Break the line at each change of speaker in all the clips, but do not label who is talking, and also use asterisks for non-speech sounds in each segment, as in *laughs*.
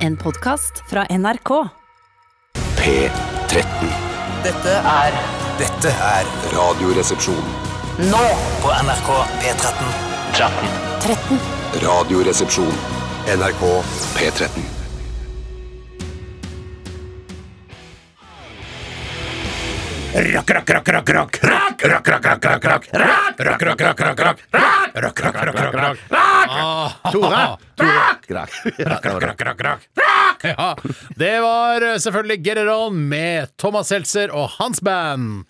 En podkast fra NRK.
P13.
Dette er Dette er
Radioresepsjon.
Nå på NRK P13 13
Radioresepsjon. NRK P13.
Rock, rock, rock, rock, rock. Rock, rock, rock, rock, rock, rock. Rock, rock, rock, rock, rock, rock. Rock, rock, rock, rock, rock, rock.
*laughs*
Rock!
Tore!
Rock! Rock, rock, rock, rock, rock. Rock!
Ja, det var eh, selvfølgelig Get It On med Thomas Seltzer og hans band.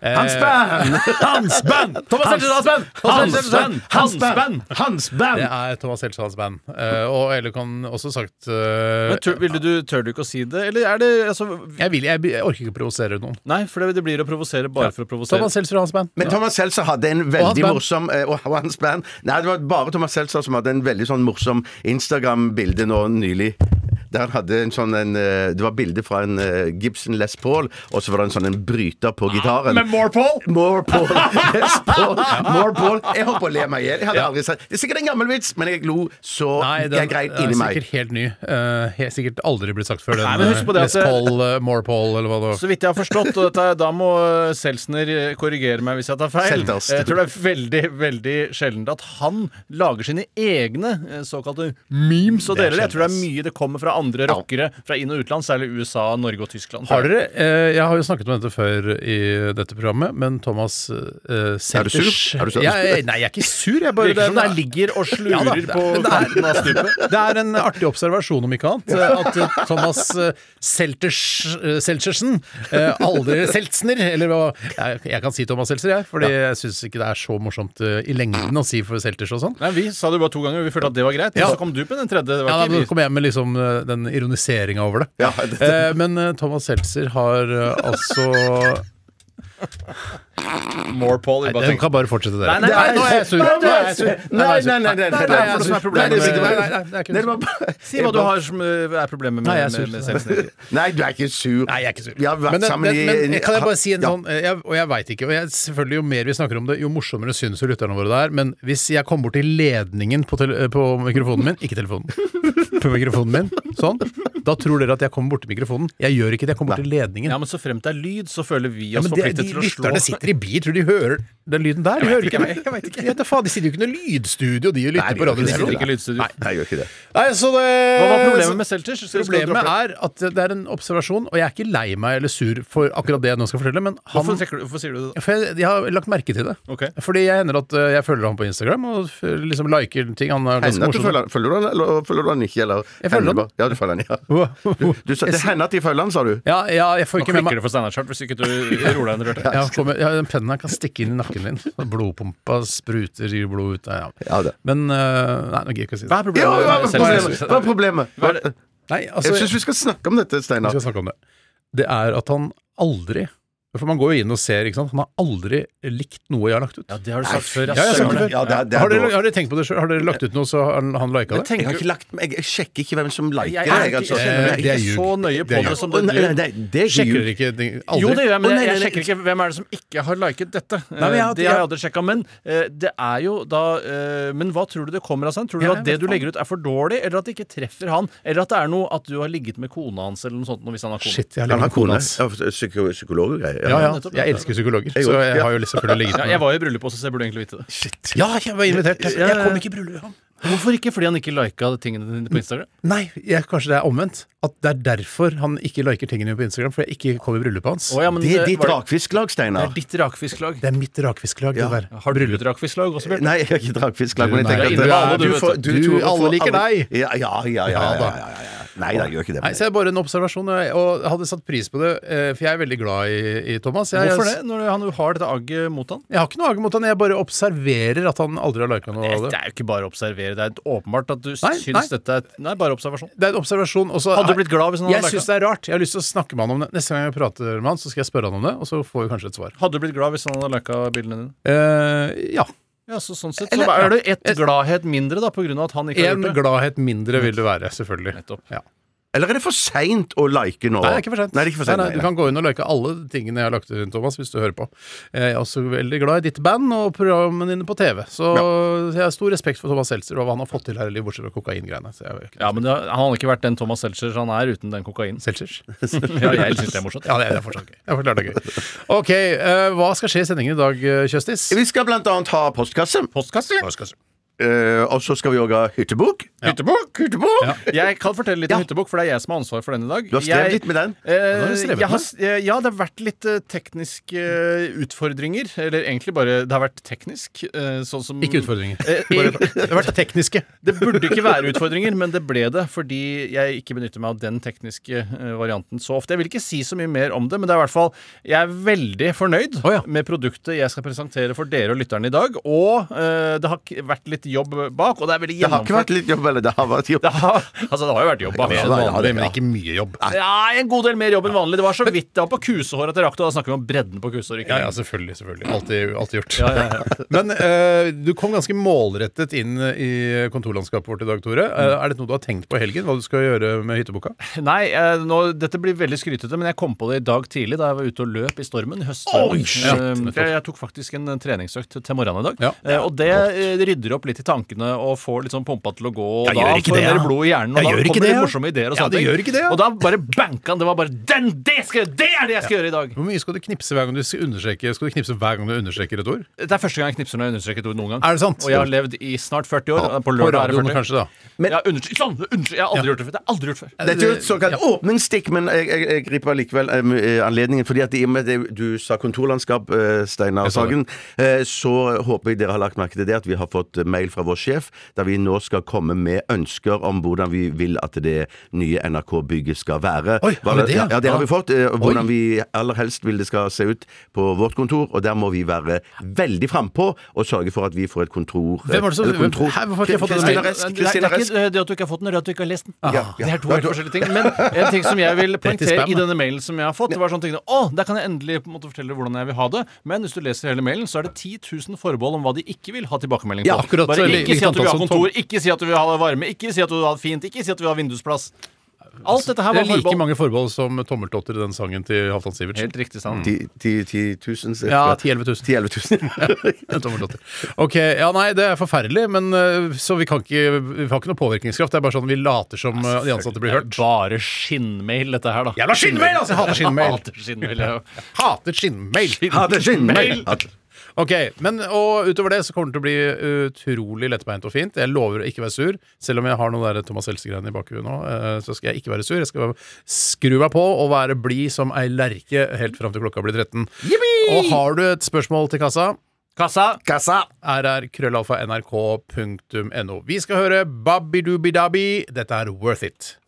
Eh,
Hans band!
*laughs* Hans band! Thomas Seltzer og hans band! Thomas
Hans
Seltzer,
band! Hans band! Hans band!
Det er Thomas Seltzer og hans band. Eh, og eller kan også sagt eh,
Men tør, ville du, tør du ikke å si det? Eller er det altså,
jeg, vil, jeg, jeg orker ikke å provosere noen.
Nei, for det, det blir å provosere bare for å provosere.
Thomas Seltzer og hans band.
Men Thomas Seltzer hadde en
hans
veldig
band.
morsom eh, Og og hans band. Nei, det var bare Thomas Seltzer som hadde en veldig sånn morsom Instagram-bilde nå nylig. Der han hadde en sånn en, eh, Det var bilde fra en eh, Gibson Les Paul, og så var det en sånn en bryter på gitaren.
more Paul!
More Paul. Yes, Paul. More Paul. Jeg holdt på å le meg i hjel. Jeg hadde aldri sett Det er sikkert en gammel vits, men jeg lo så
Nei, den
jeg grein inni
er
meg.
sikkert helt ny. Eh, helt sikkert aldri blitt sagt før. Den,
Nei, men husk på
eh,
det at-
Les Paul, eh, More Paul, eller hva det var.
Så vidt jeg har forstått, og dette, er- da må eh, Seltzner eh, korrigere meg hvis jeg tar feil.
Selvtast.
Jeg tror det er veldig veldig sjeldent at han lager sine egne eh, såkalte memes og
Det er
deler det. Jeg tror det er
sjeldent,
mye det kommer fra andre rockere fra inn- og utland, særlig USA, Norge og Tyskland.
Har dere, eh, Jeg har jo snakket om dette før i dette programmet, men Thomas eh, Selters
sur? Er du sur?
Jeg, eh, nei, jeg er ikke sur. Jeg bare,
Virker som
det
det ligger og
*laughs* Ja da,
slurer
det-
på
det er-
kanten av stupet.
Det er en artig observasjon, om ikke annet, at eh, Thomas eh, Selters, eh, Seltsersen eh, aldri Seltzner Eller hva Jeg, jeg kan si Thomas Seltzer, jeg, fordi jeg syns ikke det er så morsomt eh, i lengden å si for Selters og sånn.
Nei, Vi sa det bare to ganger, vi følte at det var greit.
Ja.
Og så kom du på den tredje. Det
Ja,
var
da, men
ikke
Da kom jeg med liksom eh, den ironiseringa over det.
Ja, det-
Eh, men eh, Thomas Seltzer har eh, altså
vi- More Paul. vi bare
Den
tenkte-
kan bare fortsette, dere.
Nei, nei,
nå er jeg sur.
Nei,
Nå er jeg sur.
nei, nei, nei, nei, nei,
Det er det som er problemet
Nei, det er-
med-
nei, nei, nei, det er ikke-
Nei, det var
Si hva du har som eh, er problemet med,
Nei, jeg er sur.
med, med Seltzner.
*laughs*
Nei, du er ikke sur.
Nei, jeg er ikke sur.
Vi har vært
Men, det-
sammen i
men, men kan jeg bare si en
Ja.
sånn eh, jeg, Og jeg veit ikke. Og jeg, selvfølgelig Jo mer vi snakker om det, jo morsommere syns jo lytterne våre det er. Men hvis jeg kom bort til ledningen på, tele, eh, på mikrofonen min Ikke telefonen. På mikrofonen min. Sånn. Da tror dere at jeg kommer borti mikrofonen. Jeg gjør ikke det. Jeg kommer bort til ledningen.
Ja, men så fremt det er lyd, så føler vi
Ja,
oss
men det, de
forpliktet til å slå.
lytterne sitter i bil, tror de hører den lyden der? Jeg hører ikke, jeg, jeg vet ikke. Ja, da faen, de sitter jo ikke i noe lydstudio, de og lytter på
Vi
de gjør ikke det.
sitter
radioresepsjonen.
ikke i lydstudio.
Nei, jeg gjør ikke det.
Nei, så det
Hva var problemet med Selters? Skal vi- skal vi
Problemet
droppe det?
er at det er en observasjon, og jeg er ikke lei meg eller sur for akkurat det jeg nå skal fortelle, men han
Hvorfor, trekker du, hvorfor sier du det? da?
for jeg, jeg har lagt merke til det.
Ok.
Fordi jeg hender at eh, jeg følger han på Instagram og f- liksom liker ting. Han er ganske
Hender at du
morsom.
følger, følger du han, eller følger du han ikke? Eller,
Jeg følger
Hender det
han.
bare- Ja, du følger *laughs* han, ja. Du, sa, det hender at de følger han, sa du?
Ja, ja, jeg får
Nå
ikke med
klikker
meg
det for Steinar Chart hvis ikke du roer deg under rørte.
ja, kommer, ja, Den pennen her kan stikke inn i nakken din. *laughs* Så Blodpumpa spruter i blod ut. Ja.
Ja, det.
Men eh, Nei, nå gidder jeg ikke å si
Hva
det.
er problemet med
Ja, hva er problemet? Hva er
Seltzer?
problemet?
Hva er det?
Nei, altså,
Jeg syns vi skal snakke om dette,
Vi
Steinar.
skal snakke om det. Det er at han aldri For man går jo inn og ser, ikke sant. Han har aldri likt noe jeg har lagt ut.
Ja, det har du sagt før.
Ja, jeg har
ass.
sagt det før.
Ja, det er- det er
har, dere,
dårlig.
har dere tenkt på det sjøl? Har dere lagt ut noe, så han, han lika det?
Jeg
Jeg har
tenker
ikke lagt meg Jeg sjekker ikke hvem som liker
Jeg
det. Jeg,
er
altså.
ikke, jeg er
Det er
ikke så
ljug. Det
nøye
er
på
ljug.
det som
Å,
du
nei, nei,
gjør.
nei, det er
Sjekker
ikke
dere ikke ting?
Jo,
Aldri?
det gjør jeg,
Å,
men
nei,
jeg, jeg
nei, nei.
sjekker ikke hvem er det som ikke har liket dette. Eh,
Nei, men jeg har-
det har jeg aldri sjekka. Men eh, det er jo da eh, Men hva tror du det kommer av seg? Tror du
Ja, jeg
at det
vet
du
faen.
legger ut, er for dårlig, eller at det ikke treffer han? Eller at det er noe at du har ligget med kona hans, eller noe sånt? Hvis han har kone.
Shit, jeg har
Han
ligget
har
med
kone.
hans.
Ja, psyko- Psykolog og greier.
Ja, ja.
nettopp.
Jeg elsker psykologer,
Jeg
så
også.
jeg har jo selvfølgelig ligget
Ja,
med
jeg var jo i bryllup også, så jeg burde egentlig vite det.
Shit.
Ja, jeg var invitert.
Ja, ja, ja.
Jeg kom ikke i bryllupet.
Hvorfor ikke? Fordi han ikke lika tingene dine på Instagram?
Nei, jeg, kanskje det er omvendt. At det er derfor han ikke liker tingene mine på Instagram, for jeg ikke kom i bryllupet hans.
Å, ja, men eh,
Det er ditt
var det-
rakfisklag,
det
Steinar.
er ditt rakfisklag.
Det er mitt rakfisklag,
Ja.
det der.
Har du et rakfisklag også, Bjørn?
Nei, jeg har ikke rakfisklag, men jeg
Du, nei,
tenker
det er inne på alle,
at
du, vet
får-
du.
tror
Du, alle
får-
liker deg.
Ja, ja, ja. ja,
Ja,
ja,
da.
ja, ja. Nei da, jeg gjør ikke det.
Nei, så det er bare en observasjon, og jeg- og jeg hadde satt pris på det, eh, for jeg er veldig glad i, i Thomas. Jeg,
Hvorfor det? Når han har dette agget mot han?
Jeg har ikke noe agg mot han, jeg bare observerer at han aldri har lika noe av
Det
det.
er jo ikke bare å observere. Det er åpenbart at du
Nei,
syns
nei.
dette er Nei, bare observasjon.
Det er en observasjon. og så-
Hadde du blitt glad hvis han hadde
Jeg
liket?
syns det er rart. Jeg har lyst til å snakke med han om det. Neste gang jeg prater med han, så skal jeg spørre han om det, og så får vi kanskje et svar.
Hadde du blitt glad hvis han hadde lika bildene dine?
Eh, ja.
Ja, så sånn sett så er det ett gladhet mindre, da, på grunn av at han ikke har
En
gjort det.
gladhet mindre vil det være, selvfølgelig.
Nettopp.
Ja.
Eller er det for seint å like nå?
Nei, det er ikke for sent.
Nei, det er ikke for sent.
Nei, nei,
nei,
Du kan gå inn og like alle tingene jeg har lagt ut, Thomas, hvis du hører på. Eh, Jeg er også veldig glad i ditt band og programmene dine på TV. Så jeg har stor respekt for Thomas Seltzer og hva han har fått til her i livet, bortsett fra kokaingreiene. Så jeg,
Ja, men det, Han hadde ikke vært den Thomas Seltzer han er uten den kokainen.
Seltzers?
Ja, *laughs* jeg synes det er morsomt.
Ja, det er, det er fortsatt gøy. Det er forklart det er gøy. Ok, eh, hva skal skje i sendingen i dag, eh, Kjøstis?
Vi skal blant annet ha postkasse,
Postkasse, eller?
eh, og så skal vi òg ha hyttebok.
*laughs* Hyttebok?
Hyttebok!
Ja.
Jeg kan fortelle litt om hyttebok, for det er jeg som har ansvar for den i dag.
Du har skrevet
jeg,
litt med den.
du
Eh,
har skrevet
jeg har,
den.
s- eh, ja, det har vært litt eh, tekniske eh, utfordringer. Eller egentlig bare Det har vært teknisk. eh, sånn som
Ikke utfordringer.
Eh,
*laughs* Bare, det har vært det tekniske.
Det burde ikke være utfordringer, men det ble det fordi jeg ikke benytter meg av den tekniske eh, varianten så ofte. Jeg vil ikke si så mye mer om det, men det er i hvert fall Jeg er veldig fornøyd
Å, ja.
med produktet jeg skal presentere for dere og lytterne i dag. Og eh, det har ikke vært litt jobb bak, og det er veldig
Det har ikke
gjennomført.
vært litt jobb, eller det har vært jobb.
Det har, *laughs* altså, det har jo vært jobb bak.
Mer enn vanlig, men ikke mye jobb.
Ja, en god del mer jobb enn vanlig. Det var så vidt det var på kusehår at jeg rakk det. og Da snakker vi om bredden på kusehår. ikke
Ja, ja,
sant?
selvfølgelig. selvfølgelig. Alltid, alltid gjort.
Ja, ja,
*laughs* Men eh, du kom ganske målrettet inn i kontorlandskapet vårt i dag, Tore. Eh,
Mm.
er dette noe du har tenkt på i helgen? Hva du skal gjøre med hytteboka?
Nei, eh, nå, dette blir veldig skrytete, men jeg kom på det i dag tidlig da jeg var ute og løp i stormen. i høststormen.
Oi, shit.
Eh, for jeg, jeg tok faktisk en eh, treningsøkt til morgenen i dag.
Ja.
Eh, og det eh, rydder opp litt i tankene og får litt sånn pumpa til å gå. Og
Jeg
da
gjør ikke
får
det,
mer
ja.
blod i hjernen, og
Jeg
da
gjør ikke
kommer
det,
det,
ja.
morsomme ideer. Og
Ja,
sånne
det
ting.
gjør ikke det, ja.
Og da bare banka han. Det var bare den! Det, skal, jeg- det er det jeg skal gjøre i dag!
Hvor mye skal du knipse hver gang du skal understreke Skal du knipse hver gang du understreker et ord?
Det er første gang jeg knipser når jeg understreker et ord noen gang.
Er det sant?
Og jeg har levd i snart 40 år.
På
På lørdag er det
radioen
40.
kanskje, da.
Men, ja, unnskyld, sånn, unnskyld, jeg har aldri gjort det før. Det har jeg aldri gjort før.
Det er jo et såkalt åpningsstikk, men jeg, jeg, jeg griper likevel em, eh, anledningen. fordi at i og med det du sa kontorlandskap, eh, Steinar
Jeg sa det.
Sagen, eh, så håper jeg dere har lagt merke til det at vi har fått mail fra vår sjef, der vi nå skal komme med ønsker om hvordan vi vil at det nye NRK-bygget skal være.
Oi, har vi det?
Ja, ja, det har vi fått. eh, og Hvordan
Oi.
vi aller helst vil det skal se ut på vårt kontor, og der må vi være veldig frampå og sørge for at vi får et kontor
Hvem var det som-
eller kontor-
hvem- her, hvorfor har ikke jeg fått denne
Christina
mailen?
Resk,
det, er- det
Christina
er
Resk.
ikke eh, det at du ikke har fått den, eller at du ikke har lest den. Ah,
Ja, ja.
Det er to helt forskjellige ting.
*laughs*
Men en ting som jeg vil
Rett i
poengtere
spam,
i
da.
denne mailen som jeg har fått, det var sånn ting Å, der kan jeg endelig på en måte fortelle hvordan jeg vil ha det. Men hvis du leser hele mailen, så er det 10 000 forbehold om hva de ikke vil ha tilbakemelding på.
Ja, akkurat, så
Bare
li-
ikke
likt
si at du vil ha
antall som
kontor, ikke si at du vil ha varme, ikke si at du vil ha det fint, ikke si at du vil ha vindusplass. Alt dette her
Det
var
er like
forbehold.
mange forbehold som tommeltotter i den sangen til Halvdan Sivertsen.
Helt
*laughs*
riktig,
Mm.
Stan.
Ti- ti- ti tusen, cirka.
Ja, 10 000-11 000.
10 000.
En tommeltotter. Ok, ja nei, det er forferdelig, men eh, så vi kan ikke Vi har ikke noe påvirkningskraft. Det er bare sånn vi later som eh, de ansatte blir hørt.
Bare skinnmail, dette her, da.
Jævla skinnmail, altså! Jeg hater skinnmail.
Hater skinnmail, ja.
Hater skinnmail!
Ha det skinnmail!
Ok, men og utover det så kommer det til å bli utrolig lettbeint og fint. Jeg lover å ikke være sur, selv om jeg har noen der Thomas Helse-greiene i bakhuet nå. eh, Så skal jeg ikke være sur. Jeg skal skru meg på og være blid som ei lerke helt fram til klokka blir 13. Og har du et spørsmål til kassa,
Kassa!
Kassa!
rr.krøllalfa.nrk.no. Vi skal høre Babidoobidabi. Dette er Worth It.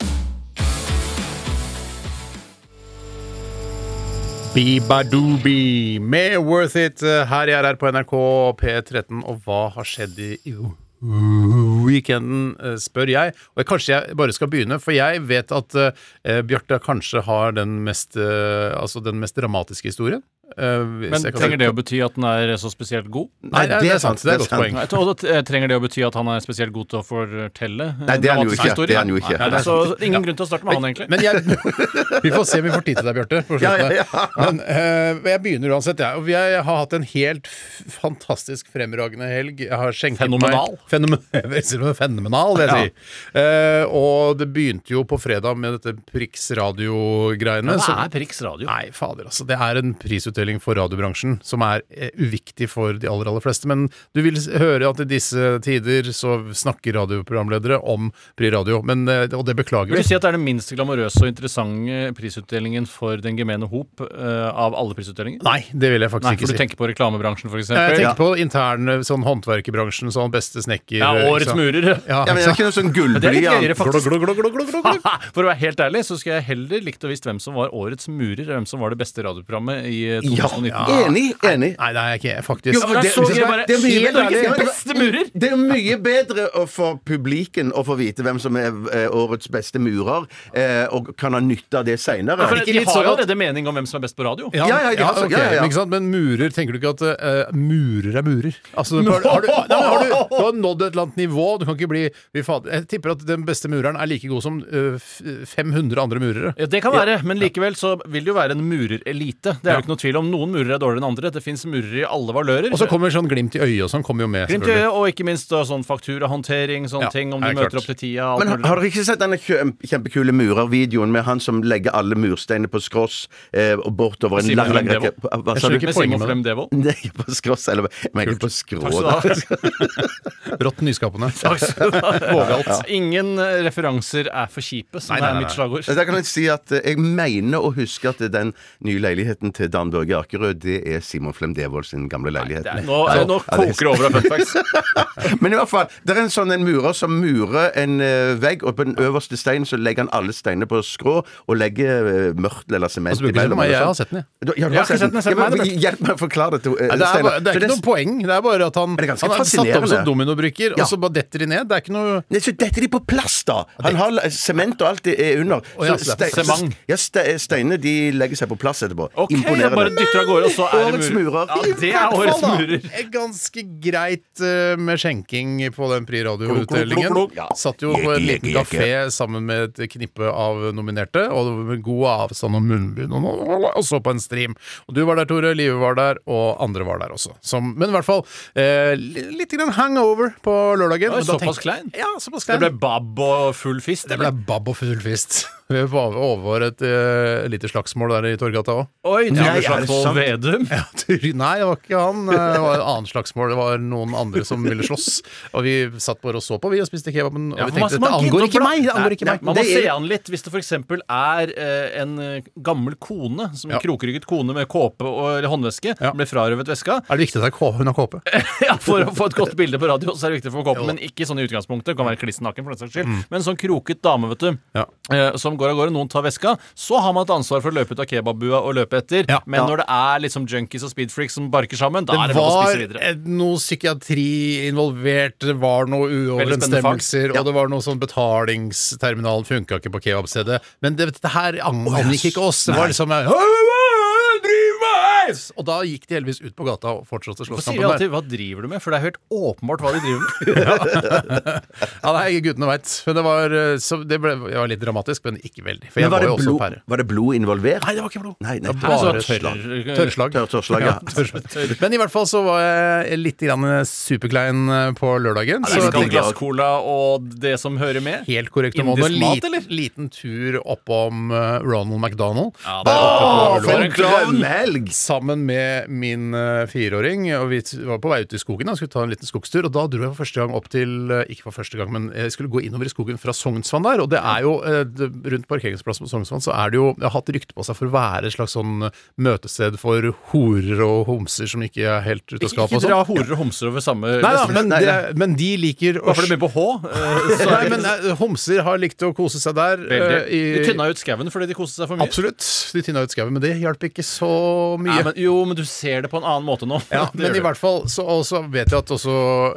Bibadoobi med Worth It eh, her i RR på NRK P13. Og hva har skjedd i i weekenden, eh, spør jeg. Og jeg, kanskje jeg bare skal begynne, for jeg vet at eh, Bjarte kanskje har den mest, eh, altså den mest dramatiske historien. Eh,
Men trenger det å bety at den er så spesielt god?
Nei, det er, det er sant. Det er et godt poeng.
Nei, og da eh, Trenger det å bety at han er spesielt god til å fortelle? eh,
Nei, det er han jo
dramatiske
ikke.
historier?
Det er han jo ikke.
Nei,
Nei,
nei, så ingen grunn til å starte med han, egentlig.
Men jeg, vi får se om vi får tid til deg, Bjarte. på
Ja, ja,
slutten
ja.
her. Men eh, jeg begynner uansett. Jeg, og jeg har hatt en helt f- fantastisk fremragende helg. Jeg har skjenket
Fenomenal.
meg Fenomen, *laughs* Jeg sier det, Fenomenal, vil jeg si. Eh, og det begynte jo på fredag med dette Prix radio-greiene.
Hva
som-
er Prix Radio?
Nei, fader, altså. Det er en prisutdeling for radiobransjen som er eh, uviktig for de aller, aller fleste. Men du vil s- høre at i disse tider så snakker radioprogramledere om Pri Radio, men, eh, og det beklager
Vil
vi.
du si at det er den minst glamorøse og interessante prisutdelingen for den gemene hop eh, av alle prisutdelinger?
Nei, det vil jeg faktisk
Nei,
ikke
for
si.
du tenker på reklamebransjen, f.eks.?
Jeg tenker på intern sånn håndverkerbransjen, sånn beste snekker
Ja, Årets
ikke sant?
murer. *laughs*
Ja,
*laughs* Ja, men det er ikke noe sånn
Men det er litt
gullblyant.
gøyere, faktisk.
Glug, glug, glug, glug, glug, glug.
For å være helt ærlig så skulle jeg heller likt å visst hvem som var årets murer, og hvem som var det beste radioprogrammet i eh, 2019.
Enig, enig.
Nei, det er jeg ikke, faktisk.
Jo,
da
det-
så jeg bare
det er mye
helt
bedre-
Norges beste murer.
Det er mye bedre å- for publiken å få vite hvem som er eh, årets beste murer, eh, og kan ha nytte av det seinere.
For
Ikke
de
litt
har
sånn
jo
at-
allerede mening om hvem som er best på radio.
Ja,
Ja, ja, ja,
ok,
ja, ja, ja.
Men, ikke sant? men murer, tenker du ikke at eh, murer er murer?
*laughs*
Altså, har, har du, nei, men har du, du har nådd et eller annet nivå. Du kan ikke bli fy fader. Jeg tipper at den beste mureren er like god som eh, f- 500 andre murere.
Ja, det kan være, men likevel så vil det jo være en murerelite. Det er jo ikke noe tvil om. Noen murer er dårligere enn andre. Det fins murere i alle valører.
Og så kommer sånn glimt i øyet og sånn kommer jo med.
Glimt i
selvfølgelig.
øyet, og ikke minst da, sånn fakturahåndtering, sånne
Ja,
ting. Om
det
du
er
møter
klart.
opp til tida. alt
Men har,
mulig.
har dere ikke sett denne kjø- kjempekule murervideoen med han som legger alle mursteinene på skross eh, og bortover en
Simon
lang, lang
Lundemo.
rekke Hva
Jeg
sa
skjønner
du?
ikke
*laughs*
Med Simon
poenget med
Flem Devold.
Nei, på skross, eller Men ikke på skrå, da.
Takk skal
Rått nyskapende.
Vågalt. Ingen eh, referanser er for kjipe, som
Nei, nei,
er
nei,
mitt slagord.
Da kan jeg si at eh, jeg mener å huske at den nye leiligheten til Dan Børge Akerød, det er Simon Flem Devold sin gamle leilighet.
Det er- Nå, altså, nå koker det over av fun facts.
*laughs* Men i hvert fall, det er en sånn en murer som murer en eh, vegg, og på den øverste steinen så legger han alle steinene på skrå og legger eh, mørtel eller
Og
sement
så Altså, bruker du
imellom.
meg,
eller
jeg har
sånt.
sett den, jeg.
Du- ja, du
Jeg
har
har ikke
sett den.
sett den selv,
Ja, men
nei, det
Hjelp meg å forklare det, eh,
Nei, det, er,
Steinar.
bare- det er
For
ikke noe poeng. Det er bare at han,
det er ganske
han er satt opp som
fascinerende.
dominobrikker,
Ja.
og så bare detter de ned. Det er ikke noe
Nei, så detter de på plass, da! Han har eh, sement og alt det er under.
Å, ja, så det er
stein-
sement.
ja, ste- steinene de legger seg på plass etterpå.
Ok, jeg bare
Imponerende.
dytter av gårde, og så er
Årets
det murer.
murer.
Ja, det er årets murer.
Ganske greit eh, med skjenking på den Pri
Klok, klok,
Radio-utdelingen.
klok, klok. Ja.
Satt jo på en
Jekke,
liten
jekke, jekke.
kafé sammen med et knippe av nominerte, og med god avstand og munnbind, og og så på en stream. Og du var der, Tore, Live var der, og andre var der også. Som, men i hvert fall eh, li- litt grann hangover på lørdagen.
Oi,
men da
såpass
tenkte-
klein?
Ja, såpass
Det
klein.
ble babb og full fist.
Det ble
eller?
babb og full fist. *laughs* Vi var over et eh, lite slagsmål der i Torgata òg.
Oi, det ble
Nei, er det
slagsmål
sant?
Vedum.
Ja, Turin- *laughs* Nei, det var ikke han. Eh, Det var et annet slagsmål. Det var noen andre som ville slåss. Og vi satt bare og så på, vi, og spiste kebaben. Og
Ja,
vi
for man-
tenkte dette
man
angår
gidder
ikke
å
meg! Det angår
Nei,
ikke
nei,
meg.
Man må
Det
se
er-
an litt hvis det f.eks. er eh, en eh, gammel kone, som en
Ja.
krokrygget kone med kåpe og eller håndveske,
Ja.
ble frarøvet
*laughs*
veska.
Er det viktig at det er kå- hun har kåpe?
Ja, For å få et godt bilde på radio så er det viktig å få kåpen,
Jo. Mm.
men ikke sånn i utgangspunktet. Det Kan være klissen naken, for den saks skyld. Men sånn kroket dame, vet du.
Ja.
eh, Som går av gårde, noen tar veska. Så har man et ansvar for å løpe ut av kebabbua og løpe etter.
Ja.
Men
Ja.
når det er liksom junkies og speedfreaks som barker sammen, da
Det
er det bare å
var
spise videre.
et- noe psykiatri involvert, det var noe
spennende fag.
uoverensstemmelser, og det var noe sånn betalingsterminalen funka ikke på kebabstedet. Men det, dette her ang- angikk ikke oss. Det var liksom eh, Driv meg! Og da gikk de heldigvis ut på gata og fortsatte
Hvorfor
slåsskampen
sier de
der.
alltid 'hva driver du med'? For det er helt åpenbart hva de driver med.
Ja, nei, guttene veit. Men det var, eh, så det ble, det var litt dramatisk, men ikke veldig. For
Men
jeg
var
var
det,
jo også
blod,
pære.
var det blod involvert?
Nei, det var ikke blod.
Nei, nei.
det var bare
Nei, så
slag.
tørr-
Tørrslag.
Tørr- tørrslag, ja.
tørrslag. Men i hvert fall så var jeg litt grann superklein eh, på lørdagen.
Så
Så jeg
skal
tenkte
glasscola og det som hører med.
helt korrekt om
Indisk mat,
liten,
eller?
liten tur oppom eh, Ronald McDonald.
Ja,
Der oppe på
Åh,
Ullevål.
for en klovn!
drømmehelg!
Sammen med min eh, fireåring. Og vi t- var på vei ut i skogen da, skulle ta en liten skogstur. Og da dro jeg for første gang opp til eh, Ikke for første gang, men jeg skulle gå innover i skogen fra Sognsvann der. Og det er jo eh, det, rundt parkeringsplassen på Sognsvann så er det jo det har hatt rykte på seg for å være et slags sånn eh, møtested for horer og homser som ikke er helt ute av skapet og
Ikke dra
sånn.
horer og homser over samme
Nei da,
lest.
men, det, men de liker å
Hvorfor det begynner på H? eh, så
Nei,
er det
men eh, homser har likt å kose seg der.
veldig-
eh, i-
De tynna ut skauen fordi de koste seg for mye.
Absolutt. De tynna ut skauen, men det hjalp ikke så mye.
Nei, men, jo, men du ser det på en annen måte nå.
Ja,
*laughs* Det
men
gjør
i
du.
hvert fall så og så vet jeg at også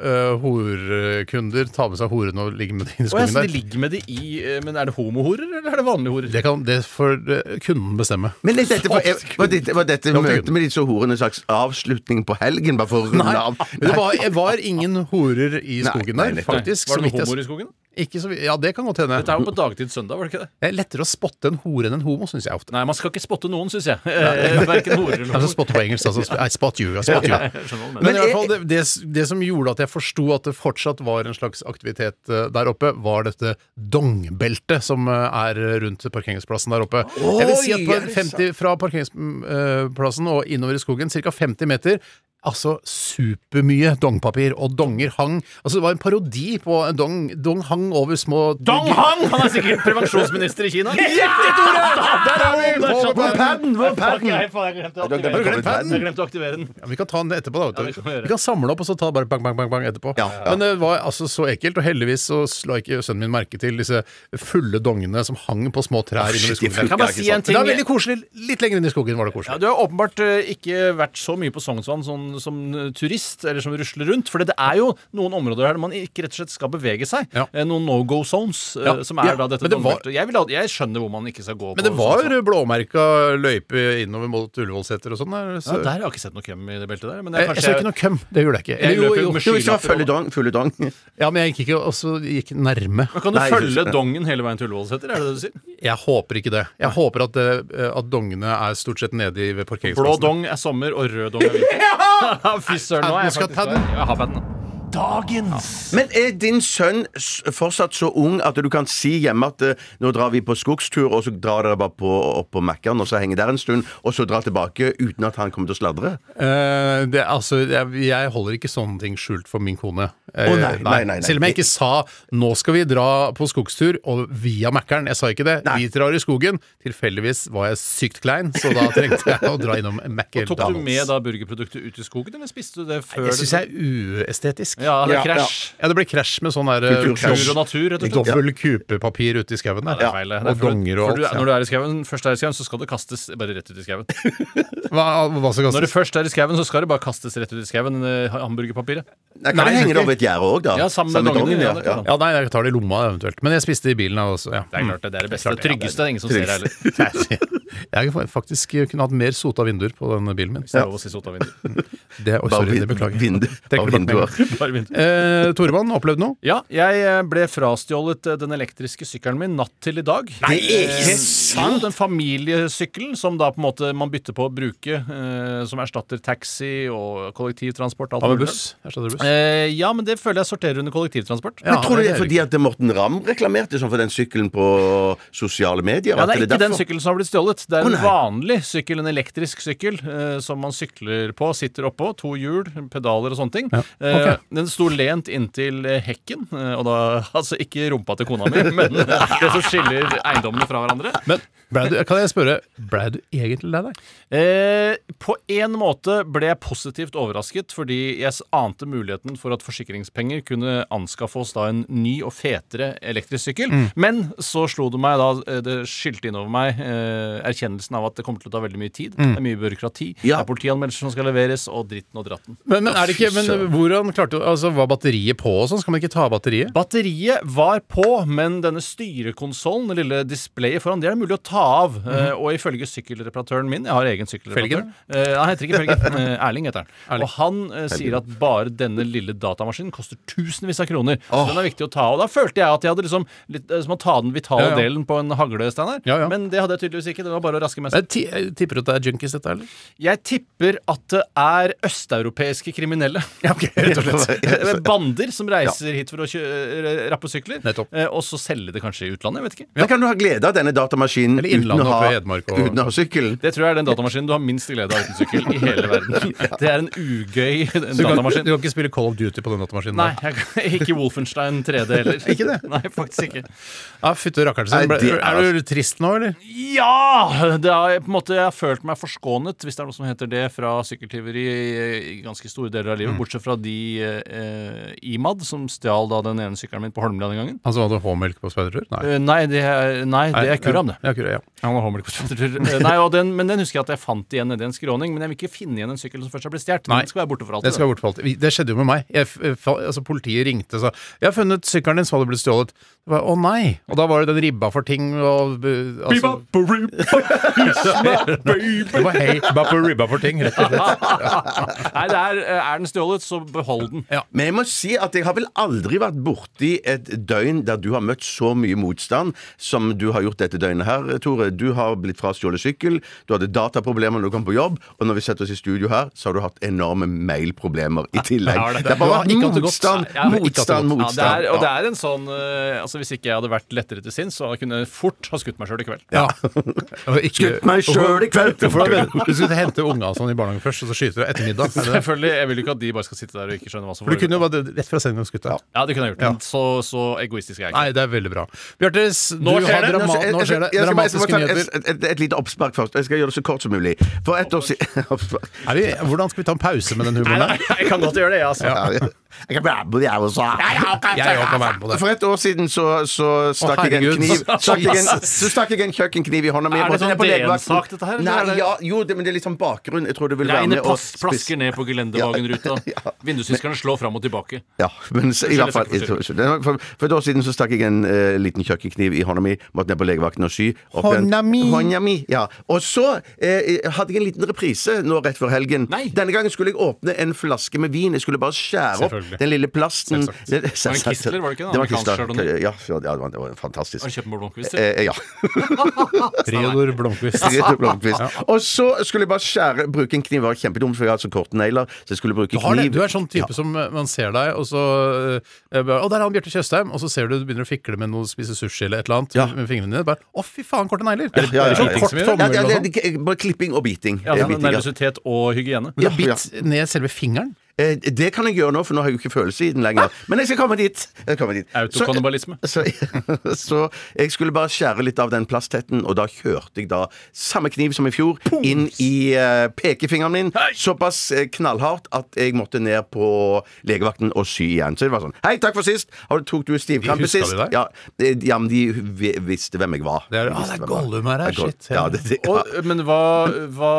eh, horekunder tar med seg horene og ligger med det inn i
Å, ja,
skogen
så de
der.
ligger med det i eh, Men er det homohorer, eller er det vanlige horer?
Det, kan, det får eh, kunden bestemme.
Men er dette, var, var dette, var dette
Ja, men-
møtet med disse horene en slags avslutning på helgen? Bare for å runde av?
Men det var, var ingen horer i skogen
nei,
der,
nettopp.
faktisk.
var
så
det
vidt
noen
jeg-
homoer i skogen?
Ikke så, vi- ja, det kan godt hende.
Dette er jo på dagtid søndag, var det ikke det?
Det er lettere å spotte en hore enn en homo, syns jeg ofte.
Nei, man skal ikke spotte noen, syns jeg. *laughs* Eh, Verken horer eller
Altså, spotte på engelsk, altså. sp- nei, Spot you. ja, Spot you.
Jeg skjønner hva du
Men i
mener.
Men
hvert
er-
fall det, det, det som gjorde at jeg forsto at det fortsatt var en slags aktivitet eh, der oppe, var dette dongbeltet som eh, er rundt parkeringsplassen der oppe. jeg vil si at
Oi,
på
er det
eh, 50, fra parkeringsplassen og innover i skogen, ca. 50 meter, altså supermye dongpapir, og donger hang Altså, det var en parodi på en dong. Dong hang over små
Dong Hang! Han er sikkert prevensjonsminister i Kina. Riktig, *laughs* Tore! Der er vi! Der satt
Hvor er
den.
padden? Hvor er
Fuck,
padden?
jeg, faen, jeg glemte å
Du
aktivere
har glemt å koble
den.
padden.
Jeg glemte å aktivere den.
Ja, vi kan ta den etterpå, da.
Ja, vi
vet du.
kan gjøre det.
vi kan samle opp og så ta bare bang, bang, bang, bang etterpå.
Ja, ja.
Men det var altså så ekkelt, og heldigvis så la ikke sønnen min merke til disse fulle dongene som hang på små trær innover i
shit,
skogen.
de fulle
der.
Kan jeg bare si en
Men Det var
ting?
veldig koselig. Litt lenger inn i skogen var det
Ja,
koselig.
du har åpenbart eh, ikke vært så mye på Sognsvann sånn, som eh, turist, eller som rusler rundt. For det er jo noen områder her der man ikke rett og slett skal bevege seg.
Ja.
Eh, Noen no go zones, eh,
Ja.
som er
Ja,
da dette
men det var-
dommertet. Jeg, vil ha- jeg skjønner hvor man ikke skal gå.
Men det
på
var
Sognsvann.
blåmerka løype innover mot Ullevålseter og sånn. der,
ja,
Så.
Der har jeg ikke sett noe køm i det beltet der. Men det
jeg,
er
jeg
kanskje
så ikke noe køm. Det gjorde jeg ikke.
Jeg
Eller
løper jo med
Jo, hvis det var
skylapper
fulle dong, fulle dong.
Ja, men jeg gikk ikke og så gikk nærme.
Men Kan du
Nei, jeg synes
følge
ikke.
dongen hele veien til Ullevålseter? Er det det du
*laughs*
sier?
Jeg håper ikke det. Jeg håper at, eh, at dongene er stort sett nede i- ved
Blå
parkeringsplassen.
dong er sommer, og rød dong
*laughs*
er vinter. Fy søren, nå er
Padden,
jeg
skal
faktisk
padden?
der. Jeg har padden. Dagens!
Men er din sønn s- fortsatt så ung at du kan si hjemme at eh, nå drar vi på skogstur, og så drar dere bare på, opp på Mækkern og så henger der en stund, og så drar tilbake uten at han kommer til å sladre?
Eh, det, altså, jeg, jeg holder ikke sånne ting skjult for min kone. Eh,
Å, nei, nei, nei, nei.
Selv om jeg ikke sa 'nå skal vi dra på skogstur' og via Mækkern. Jeg sa ikke det.
Nei.
Vi drar i skogen. Tilfeldigvis var jeg sykt klein, så da trengte jeg å dra innom Mækkern.
Tok du med da burgerproduktet ut i skogen, eller spiste du det før?
Det
du-
syns jeg er uestetisk.
Ja, det er
Ja,
krasj.
Ja, det ble krasj med sånn der eh,
Kulturkrasj.
Tur og natur, rett og slett.
Dobbel kupepapir ute i skauen der.
Det er feil. eh. det. Det er
Og
for-
donger og
for du,
alt.
Når du er i skauen, først er i skauen, så skal det kastes bare rett ut i skauen.
Hva, hva skal
Når du
kastes?
først er i skauen, så skal det bare kastes rett ut i skauen, eh, hamburgerpapiret.
Nei, kan det henge det over et gjerde òg, da?
Ja, sammen med dongene, ja, det
ja.
kan
Ja, nei, jeg tar det i lomma eventuelt. Men jeg spiste i bilen jeg også. Ja.
Det er klart det, det er det beste.
klart Mm. det, ja, det er
tryggeste. det er ingen som ser det heller.
Nei, Jeg har faktisk kunne hatt mer sota vinduer på denne bilen min.
Det er lov å si sota vinduer.
*laughs* Det, oi,
Bare
sorry, det
vin-
beklager jeg.
vindu-
Trekker
bare
tilbake
vinduer.
meldingen.
Bare vinduer.
Eh, Toremann, opplevd noe?
Ja, jeg eh, ble frastjålet eh, den elektriske sykkelen min natt til i dag. Nei,
ikke
sant! Den familiesykkelen som da på en måte man bytter på å bruke, eh, som erstatter taxi og kollektivtransport. alt
Hva med
mulig.
buss? Her står det buss.
Eh, ja, men det føler jeg sorterer under kollektivtransport.
Ja,
Men tror du
det
det er
er
fordi at Morten Ramm reklamerte sånn for den sykkelen på sosiale medier?
Ja,
at
det er ikke den
derfor?
sykkelen som har blitt stjålet. Det er en
nei.
vanlig sykkel, en elektrisk sykkel, eh, som man sykler på, sitter oppå. To hjul, pedaler og sånne ting. Eh,
ok.
den sto lent inntil eh, hekken, eh, og da *laughs* altså ikke rumpa til kona mi, *laughs* men eh, det som skiller eiendommene fra hverandre.
Men ble du, kan jeg spørre, ble du egentlig lei deg?
Eh, på en måte ble jeg positivt overrasket, fordi jeg s- ante muligheten for at forsikringspenger kunne anskaffe oss da en ny og fetere elektrisk sykkel. Men så slo det meg da eh, Det skylte innover meg eh, erkjennelsen av at det kommer til å ta veldig mye tid. Det er mye byråkrati. Det
Ja.
er politianmeldelser som skal leveres, og dritten og dratten.
Men, men, er det ikke, men hvordan klarte du altså, Var batteriet på og sånn? Skal man ikke ta av batteriet?
Batteriet var på, men denne styrekonsollen, det lille displayet foran, det er det mulig å ta av. Eh, og ifølge sykkelreparatøren min Jeg har egen sykkelreparatør.
Mhm. Felgen?
Eh, han heter
*laughs*
ikke Felgen. Eh, Erling heter han. Og han eh, sier at bare denne lille datamaskinen koster tusenvis av kroner. Så den er viktig å ta av. Da følte jeg at jeg hadde liksom litt, eh, som å ta den vitale
Ja, ja.
delen på en hagle, Steinar.
Ja, ja.
Men det hadde jeg tydeligvis ikke. Det var bare å raske med seg.
Jeg ti- jeg tipper at det er junkies, dette, eller?
Jeg tipper at det er østeuropeiske
*laughs*
kriminelle. *laughs*
rett og slett. *laughs*
Eh, Bander som reiser hit for å kjø eh, rappe sykler,
Nettopp.
eh, og så selge det kanskje i utlandet. jeg vet ikke.
Da kan du ha glede av denne datamaskinen
Eller
uten å
Innlandet
ha,
oppe i Hedmark og-
uten å ha sykkelen.
Det tror jeg er den datamaskinen du har minst glede av uten sykkel i hele
*laughs*
verden. *laughs* Det er en ugøy
Du kan, du
datamaskin.
kan ikke spille Call of Duty på den datamaskinen?
Nei,
der.
jeg, kan- *laughs* ikke Wolfenstein 3D heller.
Ikke det?
*laughs* Nei, faktisk ikke.
Ja, Ah, Fytte rakkeren sin.
Nei,
Ble,
det er- altså-
er du trist nå, eller?
Ja! Det har, jeg på en måte, jeg har følt meg forskånet, hvis det er noe som heter det, fra sykkeltyveri i- i ganske store deler av
Mm.
livet. Bortsett fra de eh, Imad som stjal da den ene sykkelen min på Holmlia den gangen.
Han som hadde H-melk på speidertur? Nei.
Eh, Nei, det er, nei, det er Kuram, det.
Ja, Kurram, ja.
Han har håndmelk på speidertur. Eh, Nei, og den, men den husker jeg at jeg fant igjen nedi en skråning. Men jeg vil ikke finne igjen en sykkel som først har blitt stjålet.
Nei.
Den skal være borte for alltid.
Det skal bort på alt. Vi- Det skjedde jo med meg. Jeg, f- fa- altså, politiet ringte og sa 'Jeg har funnet sykkelen din som hadde blitt stjålet'. Det var, Å nei! Og da var det den ribba for ting og bu- altså, Det var hei, ba på ribba for ting, rett og slett.
Nei, det er, eh, er den stjålet, så behold den.
Men jeg må si at jeg har vel aldri vært borti et døgn der du har møtt så mye motstand som du har gjort dette døgnet her, Tore, du har blitt frastjålet sykkel, du hadde dataproblemer når du kom på jobb, og når vi setter oss i studio her, så har du hatt enorme mailproblemer i tillegg.
Ja, det er det.
Det er
Du
bare
har ikke hatt det godt. Nei,
motstand,
jeg har ikke hatt det
motstand,
godt. Ja,
motstand.
det er, og det er en sånn eh, Altså Hvis ikke jeg hadde vært lettere til sinns, så kunne jeg fort ha skutt meg sjøl i kveld.
Ja. Og ikke-
Skutt meg selv i kveld!
Hvorfor da? Du skulle hente unga og sånn i barnehagen først, og så skyter du etter middag. For
Selvfølgelig, Jeg vil jo ikke at de bare skal sitte der og ikke skjønne hva som
du kunne
foregår.
jo bare rett fra sendingen skutt deg.
Ja, det kunne jeg gjort. men Så, så egoistisk er jeg ikke.
Nei, det er veldig bra. Bjarte, s- du
Nå skjer
har
det.
Nå
drama
skal- jeg-
nå
jeg-
skjer det.
jeg skal bare- jeg skal
Dramatiske
bare ta
nyheter.
et, et, et, et lite oppspark først. og Jeg skal gjøre det så kort som mulig. For et år siden *laughs* Oppspark.
Er vi, hvordan skal vi ta en pause med den humoren der?
jeg kan godt gjøre det, jeg, altså.
Ja, ja. Jeg kan være med det, jeg også.
Jeg òg kan være med på det.
For et år siden så, så stakk jeg en
herregud.
kniv
*laughs*
stakk jeg en, Så stakk jeg en kjøkkenkniv i hånda mi.
Er det
Jeg
sånn
på legevakten.
DN-sak, dette her, eller er
Nei,
det-
ja, jo, det, men det er litt sånn bakgrunn. Jeg tror det vil være med
Regnet
å
plass- plasker ned på gelendevagenruta.
*laughs*
Vindusviskerne slår fram og tilbake.
Ja, men så, i hvert fall
Forskjellig sektor.
det var for, for et år siden så stakk jeg en eh, liten kjøkkenkniv i hånda mi. Måtte ned på legevakten og sy. opp den-
Hånda mi.
Hånda mi, ja. Og så eh, hadde jeg en liten reprise nå rett før helgen.
Nei.
Denne gangen skulle jeg åpne en flaske med vin. Jeg skulle bare skjære opp
Selvfølgelig.
den lille plasten. Det, det,
var en Kistler, var det ikke det?
Det var
Amerikansk
Kistler.
Chardonnay.
Ja, ja, det var- det var fantastisk.
Har du kjøpt med blomkvister?
Eh, ja. *laughs*
Reodor Blomkvist.
Rett og blomkvist. Og så skulle jeg bare skjære bruke en kniv. Det var kjempedumt, for jeg har så korte negler. Så jeg skulle bruke
Du, har det.
kniv.
du er sånn type som eh, man ser deg, og så eh, bare, Å, der er han Bjarte Tjøstheim! Og så ser du du begynner å fikle med noe, spise sushi eller et eller annet
Ja.
med fingrene dine. Bare, Å, fy faen, korte negler!
Ja, ja, ja,
Eller sånn
ja, ja.
kort tommel
Ja, ja,
eller noe
det-
sånt.
det- Bare klipping og biting.
Ja,
Eh,
sånn
biting, ja.
Nervøsitet og hygiene.
Men du
Ja,
har
ja.
bitt ned selve fingeren.
Eh, Det kan jeg gjøre nå, for nå har jeg jo ikke følelse i den
Ah.
lenger. Men jeg skal komme dit. Jeg kommer dit.
Autokannibalisme.
Så, *laughs* så, så jeg skulle bare skjære litt av den plasttetten, og da kjørte jeg da samme kniv som i fjor inn i eh, pekefingeren min. Såpass eh, knallhardt at jeg måtte ned på legevakten og sy igjen. Så det var sånn Hei, takk for sist! Har du tok du stivkrampe
huska de
sist?
deg?
Ja, eh, ja, men de vi- visste hvem jeg var.
Det er-
De
ah, det er
visste hvem jeg var.
Gollum her,
Det er Goll-
shit.
Ja, det, det, ja.
Og, men hva, hva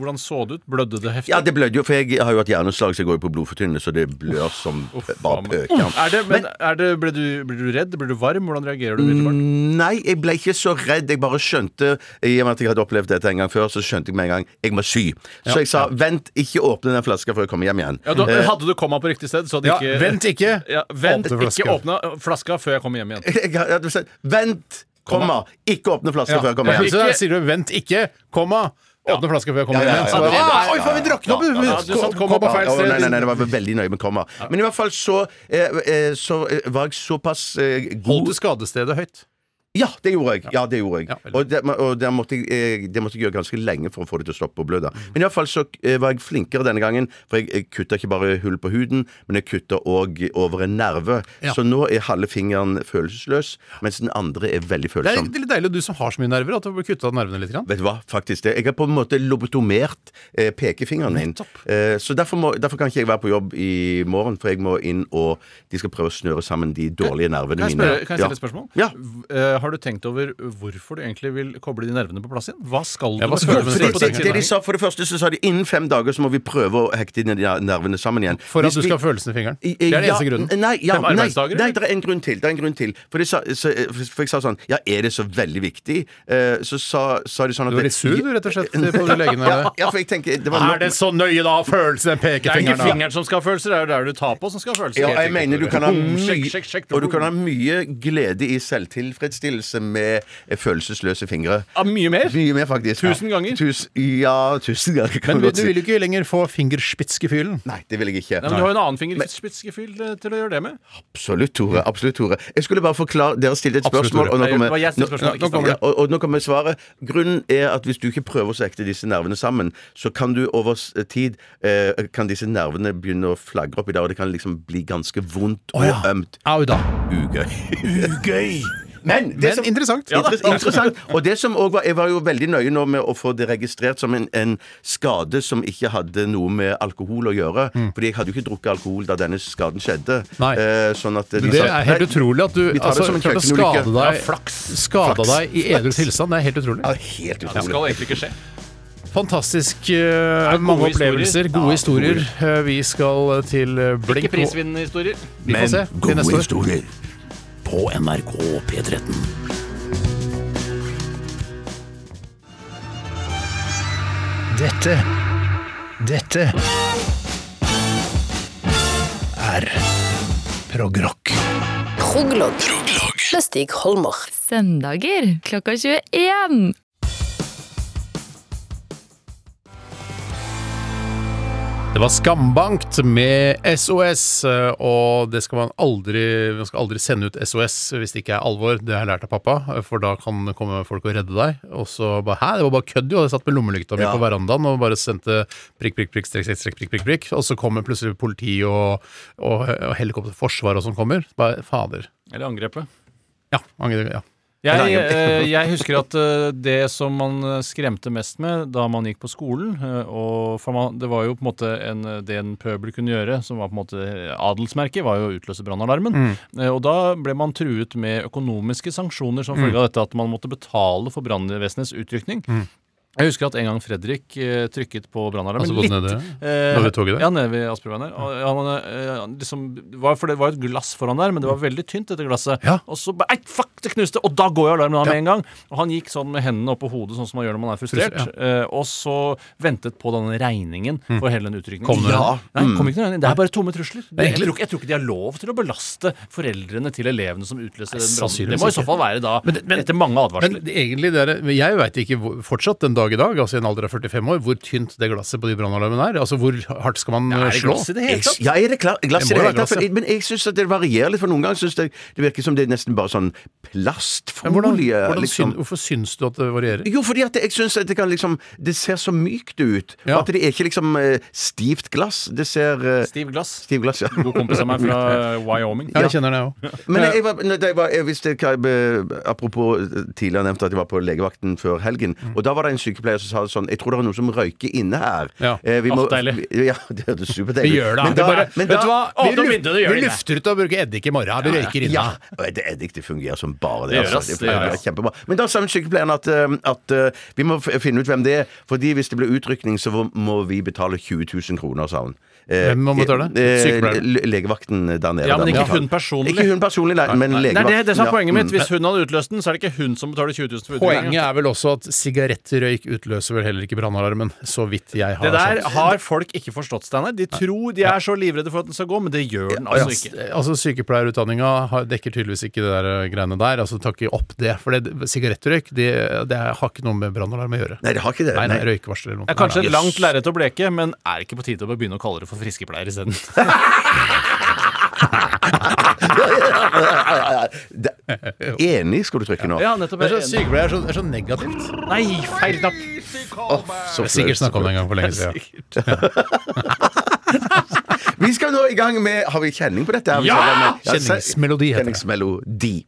Hvordan så det ut? Blødde det heftig?
Ja, det blødde jo, for jeg har jo hatt hjerneslag, så jeg går jo på blodfortynnende, så det blør som bare pøker.
Er det, men er det, ble, du, ble du redd? Ble du varm? Hvordan reagerer du?
Mm.
umiddelbart?
Nei, jeg ble ikke så redd. Jeg bare skjønte I og med at jeg hadde opplevd dette en gang før, så skjønte jeg med en gang jeg må sy. Så jeg sa vent, ikke åpne den flaska før jeg kommer hjem igjen.
Ja, da, hadde du komma på riktig sted, så
Eh.
hadde
Ja,
ikke
vent ikke!
Ja, vent,
Åpne flaska.
ikke åpne flaska før jeg kommer hjem igjen.
*laughs* Jeg hadde sagt vent, komma, ikke åpne flaska før jeg kommer
Ja,
hjem.
så der sier du 'vent ikke', komma, åpne flaska før jeg kommer
Ja, ja, ja,
hjem. Så
ja,
bare,
ja, ja,
«Å, Oi, faen, vi drakk nå!
ja, du satt komma på feil
Å,
sted.
nei, nei, nei, det var veldig nøye med komma. Men i hvert fall så, eh, eh, så eh, var jeg såpass eh, god
Holdt du skadestedet høyt?
Ja, det gjorde jeg. Ja, det gjorde jeg.
Ja, veldig.
og det, og der måtte jeg, eh, det måtte jeg gjøre ganske lenge for å få det til å stoppe å blø. da.
Mm.
Men iallfall så eh, var jeg flinkere denne gangen, for jeg, jeg kutta ikke bare hull på huden, men jeg kutta òg over en nerve.
Ja.
Så nå er halve fingeren følelsesløs, mens den andre er veldig
Det er
følsom.
litt deilig, du som har så mye nerver, at du blir kutta nervene litt. Grann.
Vet du hva, faktisk det. Jeg har på en måte lobotomert eh, pekefingeren min.
Nettopp.
Eh, så derfor, må, derfor kan ikke jeg være på jobb i morgen, for jeg må inn og De skal prøve å snøre sammen de dårlige nervene
Kan jeg,
mine.
spørre, kan jeg stille et spørsmål?
Ja.
V- eh, har du tenkt over hvorfor du egentlig vil koble de nervene på plass igjen? Hva skal du
Ja, hva skal du med
Det,
Spør
følelsene
på
det,
den
det
siden.
de sa For det første så sa de innen fem dager så må vi prøve å hekte inn de nervene sammen igjen.
For at
Hvis
du
vi-
skal ha følelsen i fingeren.
I-
Det er den
ja,
eneste grunnen.
Nei, ja,
Fem
nei, nei,
arbeidsdager, eller?
det er en grunn til. Det er en grunn til. For, de sa, så, for jeg sa sånn Ja, er det så veldig viktig? Eh, Så sa, sa de sånn at
Du er litt sur, du, rett og *laughs* slett, på de legene.
Ja, ja, for jeg tenker det var nok-
Er det så nøye, da, følelsen den
Det er ikke
pekefingeren? da?
fingeren som skal ha følelser, det er jo der du tar på som skal ha følelser.
Ja,
Helt riktig,
jeg mener du
Tore.
kan ha
Boom,
mye,
sjekk, sjekk, sjekk,
og du
boom.
kan ha mye glede i selvtilfredsstillelse med eh, følelsesløse fingre.
Ja, Mye mer?
Mye mer, faktisk.
Tusen
Ja.
ganger?
Tus, ja, tusen ganger, kan
Men
du godt
du
si.
vil jo ikke lenger få fingerspitzgefühlen.
Nei, det vil jeg ikke.
Nei, men Du har jo en annen fingerspitzgefühl eh, til å gjøre det med.
Absolutt, Tore. absolutt, Tore. Jeg skulle bare forklare, Dere stilte et
Absolutt,
spørsmål,
Tore.
og nå
Nei,
kommer,
det var jeg som stilte spørsmålet, ikke
nå,
Stavanger.
ja, og, og nå kommer svaret. Grunnen er at hvis du ikke prøver å sekte disse nervene sammen, så kan du over s- tid eh, kan disse nervene begynne å flagre opp i dag, og det kan liksom bli ganske vondt
Å, ja.
og ømt.
Au da.
Ugøy. Men, det
Men interessant. Ja, da.
Interes- interessant. Og det som også var, Jeg var jo veldig nøye nå med å få det registrert som en, en skade som ikke hadde noe med alkohol å gjøre. Fordi jeg hadde jo ikke drukket alkohol da denne skaden skjedde.
Mm. Nei.
Eh, sånn at de
Det
sa-
er helt
Nei,
utrolig at du
Vi tar det
altså,
som en
klarte å
kjøkkenulykke.
skade deg,
Ja, flaks.
skada
Flaks.
deg i edru tilstand. Det er helt utrolig.
Ja, helt
Det
utrolig.
skal egentlig ikke skje.
Fantastisk eh, mange
gode
opplevelser,
historier.
gode historier. Eh, Vi skal til eh, blink
Ikke prisvinnende historier.
Vi får se til neste år.
historier.
På NRK P13.
Dette Dette er Prog Rock.
Proglog med Stig Holmer. søndager klokka 21.
Det var skambankt med SOS, eh, og det skal man aldri Man skal aldri sende ut SOS hvis det ikke er alvor. Det har jeg lært av pappa, eh, for da kan det komme folk og redde deg. Og så bare Hæ, det var bare kødd, jo! Jeg satt med lommelykta mi
Ja.
på verandaen og bare sendte prikk, prikk, prikk, strekk, strekk, strekk, prikk, prikk, prikk. Og så kommer plutselig politi og, og, og helikopter, forsvar og sånn kommer. Bare fader.
Eller angrepet.
Ja. angre- ja.
Jeg, eh, jeg husker at eh, det som man eh, skremte mest med da man gikk på skolen eh, og for man, Det var jo på en måte en, eh, det en pøbel kunne gjøre, som var på en måte eh, adelsmerket, var jo å utløse brannalarmen.
Mm.
Eh, Og da ble man truet med økonomiske sanksjoner
Mm.
som følge av dette at man måtte betale for brannvesenets utrykning.
Mm.
Jeg husker at en gang Fredrik eh, trykket på brannalarmen.
Altså, på
litt,
nede,
eh,
nede ved toget der?
Ja, nede ved Asperveien der. Og han, eh, han liksom, det var, for det var et glass foran der, men det var veldig tynt, dette glasset.
Ja.
Og så bare Ei, fuck, det knuste! Og da går jo alarmen av
Ja.
med en gang. Og han gikk sånn med hendene oppå hodet, sånn som man gjør når man er frustrert.
Frustrert,
eh, og så ventet på denne regningen for hele den utrykningen.
Mm. Kom det
ja.
noe?
Nei, kom ikke noe regning. Det er bare tomme trusler. Det, jeg,
egentlig-
tror, ikke- jeg tror ikke de har lov til å belaste foreldrene til elevene som utløser den brannen. Det
sannsynligvis
må i så
ikke.
fall være da,
Men det- men-
etter mange advarsler.
Men det, egentlig, det er, men jeg veit ikke hvor, fortsatt den dag i dag, altså i en alder av 45 år, hvor tynt det glasset på de brannalarmene er. Altså hvor hardt skal man
er
eh,
det
slå?
glass i det hele
Jeg,
tatt?
ja, er det klar, glass i
Det
det
må
hele
være
tatt? For-
glass, ja.
Men jeg syns det varierer litt, for noen ganger syns det, det virker som det er nesten bare sånn
Men hvordan,
plastfolie.
hvordan
liksom.
syn, hvorfor syns du at det varierer?
Jo, fordi at jeg syns det kan liksom Det ser så mykt ut.
Ja.
At det er ikke liksom eh, stivt glass. Det ser eh,
Stiv glass.
Stiv glass, ja.
God kompis av meg fra Wyoming.
*laughs* Ja, jeg kjenner det, jeg òg.
*laughs* Men jeg, jeg var, når jeg var jeg, visste, hva jeg, be- Apropos eh, tidligere nevnt at jeg var på legevakten før helgen.
Mm.
Og da var det en sykepleier som sa sånn Jeg tror det er noen som røyker inne her.
Ja.
Eh, vi må,
Ah, deilig.
vi- *laughs* Ja, det hørtes superdeilig
Vi gjør det.
Men
det
da,
bare,
men
vet
da-
du hva?
Åpne
Vi, luf-
vinduet, det gjør
vi
det.
lufter ut og bruker eddik i morgen. Vi røyker inne.
Ja, og det eddik det fungerer som bare det.
Det gjør
altså.
ass,
det
det gjør
fungerer
ass.
kjempebra. Men da sa sykepleieren at, eh, at eh, vi må f- finne ut hvem det er, fordi hvis det blir utrykning, så må vi betale 20 000 kroner, sa hun. Eh,
Hvem må betale?
eh,
Sykepleieren?
le- Legevakten der nede.
Ja, men
der
ikke
borte.
hun personlig.
Ikke hun personlig, nei, men
Nei,
legevakten.
det er det som er
ja.
poenget mitt.
Mm.
Hvis hun hadde utløst den, så er det ikke hun som betaler 20 000 for utløsningen.
Poenget er vel også at sigarettrøyk utløser vel heller ikke brannalarmen, så vidt jeg har
Det der
skjønt.
har folk ikke forstått, Steinar. De tror de er så livredde for at den skal gå, men det gjør den altså
Ja,
ikke.
s- altså Sykepleierutdanninga har- dekker tydeligvis ikke det der eh, greiene der. altså Tar ikke opp det. For det, sigarettrøyk det, det har ikke noe med brannalarm å gjøre.
Nei, det har ikke det.
Nei, nei,
Nei.
røykevarsler eller noe.
Det er kanskje
Nei,
et
nei.
langt lerret å bleke, men er det ikke på tide å begynne å kalle det for friskepleier isteden?
Det- Enig skal du trykke nå.
Ja, nettopp.
Det er så sykepleier er så, er så negativt.
Nei, feil knapp!
Åh, så
Jeg har sikkert
flaut.
snakka om det en gang for lenge siden.
Vi skal nå i gang med Har vi kjenning på dette? her? Vi
Ja!
skal være med- se-
Kjenningsmelodi heter det.
Kjenningsmelodi.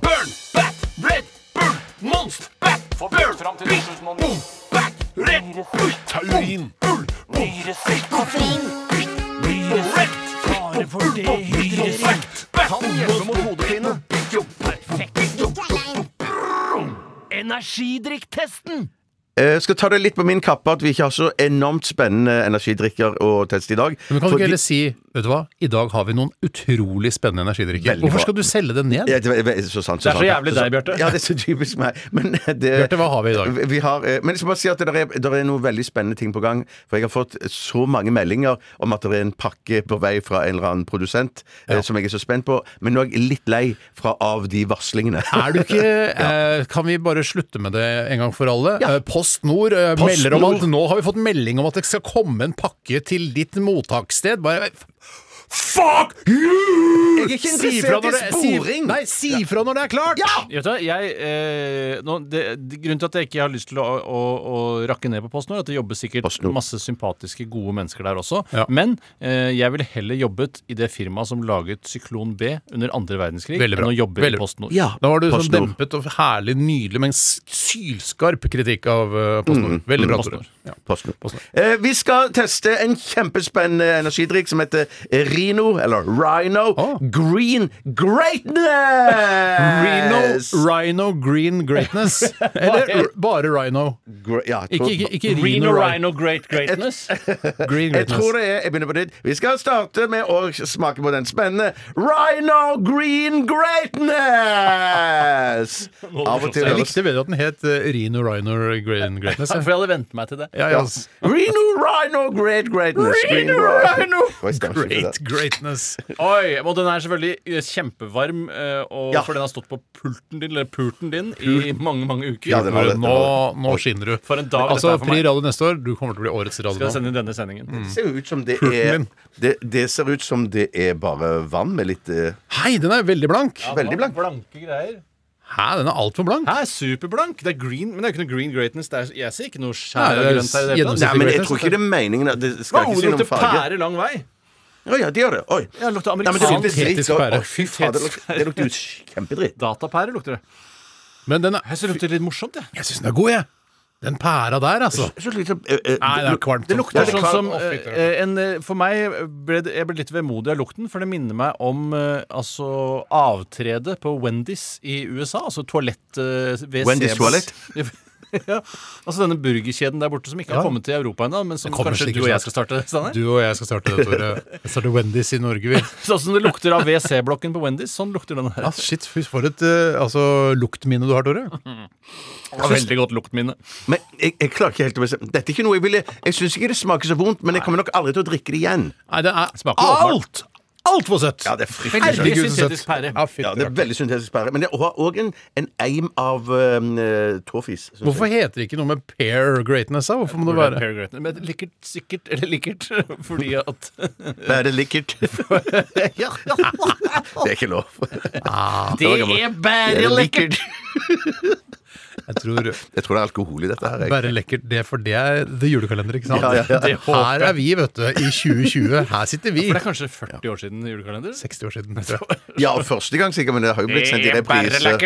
Burn, bat, red, burn, monst, bat, burn, fram til 2009. Boom, bat, red, burn, taurin, burn, nyre, fritt, koffein, nyre, fritt, bare for det, nyre, fritt, kan hjelpe mot hodepine. Perfekt. Energidrikktesten.
Eh, skal ta det litt på min kappe at vi ikke har så enormt spennende energidrikker å teste i dag.
Men kan du
Fordi-
ikke heller si Vet du hva, i dag har vi noen utrolig spennende energidrikker.
Veldig bra.
Hvorfor skal du selge det ned?
Ja, det, er- det er så sant,
Det er så
sant.
jævlig deg, Bjarte.
Ja, det er så typisk meg. Men eh, det,
Bjarte, hva har vi i dag?
Vi har, eh, men jeg skal bare si at det er, det er noen veldig spennende ting på gang. For jeg har fått så mange meldinger om at det er en pakke på vei fra en eller annen produsent eh, som jeg er så spent på. Men nå er jeg litt lei fra, av de varslingene.
Er du ikke eh, Kan vi bare slutte med det en gang for alle?
Ja.
Eh, Post Nord eh,
Post
melder om
Nord.
at nå har vi fått melding om at det skal komme en pakke til ditt mottakssted. Bare Fuck you!
Jeg er ikke
Si fra
interessert
når
i
det- si-
sporing!
Nei, si fra når det er klart!
Vet du, hva, jeg, eh, nå, det, det- grunnen til at jeg ikke har lyst til å, å, å rakke ned på Post Nord, er at det jobber sikkert
PostNord.
masse sympatiske, gode mennesker der også.
Ja.
Men eh, jeg ville heller jobbet i det firmaet som laget Syklon B under andre verdenskrig,
Veldig bra.
enn å jobbe
Veldig
i
bra.
Post Nord.
Ja,
Da var du sånn
PostNord.
dempet og herlig, nydelig, men s- sylskarp kritikk av eh, Post Nord. Veldig bra, Tore.
PostNord.
Ja.
Postnord. Eh, vi skal teste en kjempespennende energidrikk som heter Rino, eller Rhino,
Ah.
Green Greatness!
Rhino, Rhino Green *laughs* Greatness. Eller bare Rhino.
Gre- ja, jeg, tror,
Ikke, ikke, ikke
Reno
Rhino, Rhino
Rhino Great *laughs* Greatness.
Green
jeg tror
Greatness.
det er Jeg begynner på nytt. Vi skal starte med å smake på den spennende Rhino Green Greatness!
*laughs*
Greatness. Av og til
Jeg
høres
likte bedre at den het eh, Rino Rhino Green Greatness.
For
jeg.
jeg hadde vent meg til det.
Ja, ja, altså.
Reno Rhino Great Greatness. Reno Rhino
Great Greatness.
Oi, Og den er selvfølgelig eh, kjempevarm, eh, og
Ja.
for den har stått på pulten din, eller pulten din i mange mange uker.
Ja, den har det.
Nå, nå skinner du.
For en dag
Altså,
dette er for
Pri
meg.
radio neste år, du kommer til å bli årets
Skal jeg
radio nå.
sende inn denne sendingen.
Det Mm. ser jo ut som det
Pulten
er
min.
det, det ser ut som det er bare vann med litt eh,
Hei, den er veldig blank!
Veldig blank.
Blanke greier.
Hæ, den er altfor blank.
Hæ, superblank? Det er green, men det er jo ikke noe green greatness. Det er, jeg ser ikke noe
Nei,
skjær av
det er
grønt her i det hele
gjennomsnittlig
tatt.
Nei, men jeg tror ikke det er meningen at Det skal ikke si noe om
lukter
farge.
pære lang vei.
Å ja, de gjør det. Oi.
Ja, det lukter
Nei, men det
amerikansk
lukter dritt.
Syntetisk
Å,
pære.
å, Fy fader, det lukter- det lukter jo kjempedritt.
Datapære lukter det.
Men den er,
Jeg synes det lukter litt morsomt, jeg.
jeg syns den er god, jeg. Den pæra der, altså.
Så litt sånn, eh, eh,
Nei, det er kvalmt.
Det
Ja,
lukter
det er
sånn
klart.
som
Å, fy, det er
eh, en, eh, For meg ble det, jeg ble litt vemodig av lukten, for det minner meg om eh, altså, avtredet på Wendy's i USA. Altså toalett eh, ved
Wendy's
Sebas.
toalett?
*laughs* ja. Altså denne burgerkjeden der borte som ikke
Ja.
har kommet til Europa ennå, men som
Det kommer
kanskje
sikkert
du og jeg
snart.
skal starte. Steinar.
Du og jeg skal starte det,
*laughs*
Tore. Jeg starter Wendy's i Norge, vi.
Sånn som det lukter av WC-blokken på Wendy's, sånn lukter den her.
Ja, shit, fy, for et eh, altså, luktminne du har, Tore.
Veldig godt luktminne.
Men jeg, jeg klarer ikke helt å bestemme Dette er ikke noe jeg ville Jeg syns ikke det smaker så vondt, men jeg kommer nok aldri til å drikke det igjen.
Nei, den er
Smaker
alt! Altfor søtt!
Ja, det er
Veldig
fryktelig søtt.
Herregud, så søtt.
syntetisk pære.
Ja, fy,
Ja, det er veldig syntetisk pære. Men det har òg en, en eim av um, tåfis. synes jeg.
Hvorfor heter det ikke noe med pair greatness? da? Hvorfor må det være
Pear Gratin. Men likert, sikkert, eller likert, *laughs* fordi at
Bare
*laughs*
*laughs* likkert. det
Ja,
er ikke lov.
det er bare lekkert!
Jeg tror
Jeg tror det er alkohol i dette her. Jeg.
bare lekkert det, for det er the julekalender, ikke sant?
Ja, ja, ja.
Det Her er vi, vet du, i 2020. Her sitter vi.
For det er kanskje 40 år siden julekalender?
60 år *laughs* siden. tror jeg.
Ja, første gang sikkert, men det har jo blitt sendt i reprise.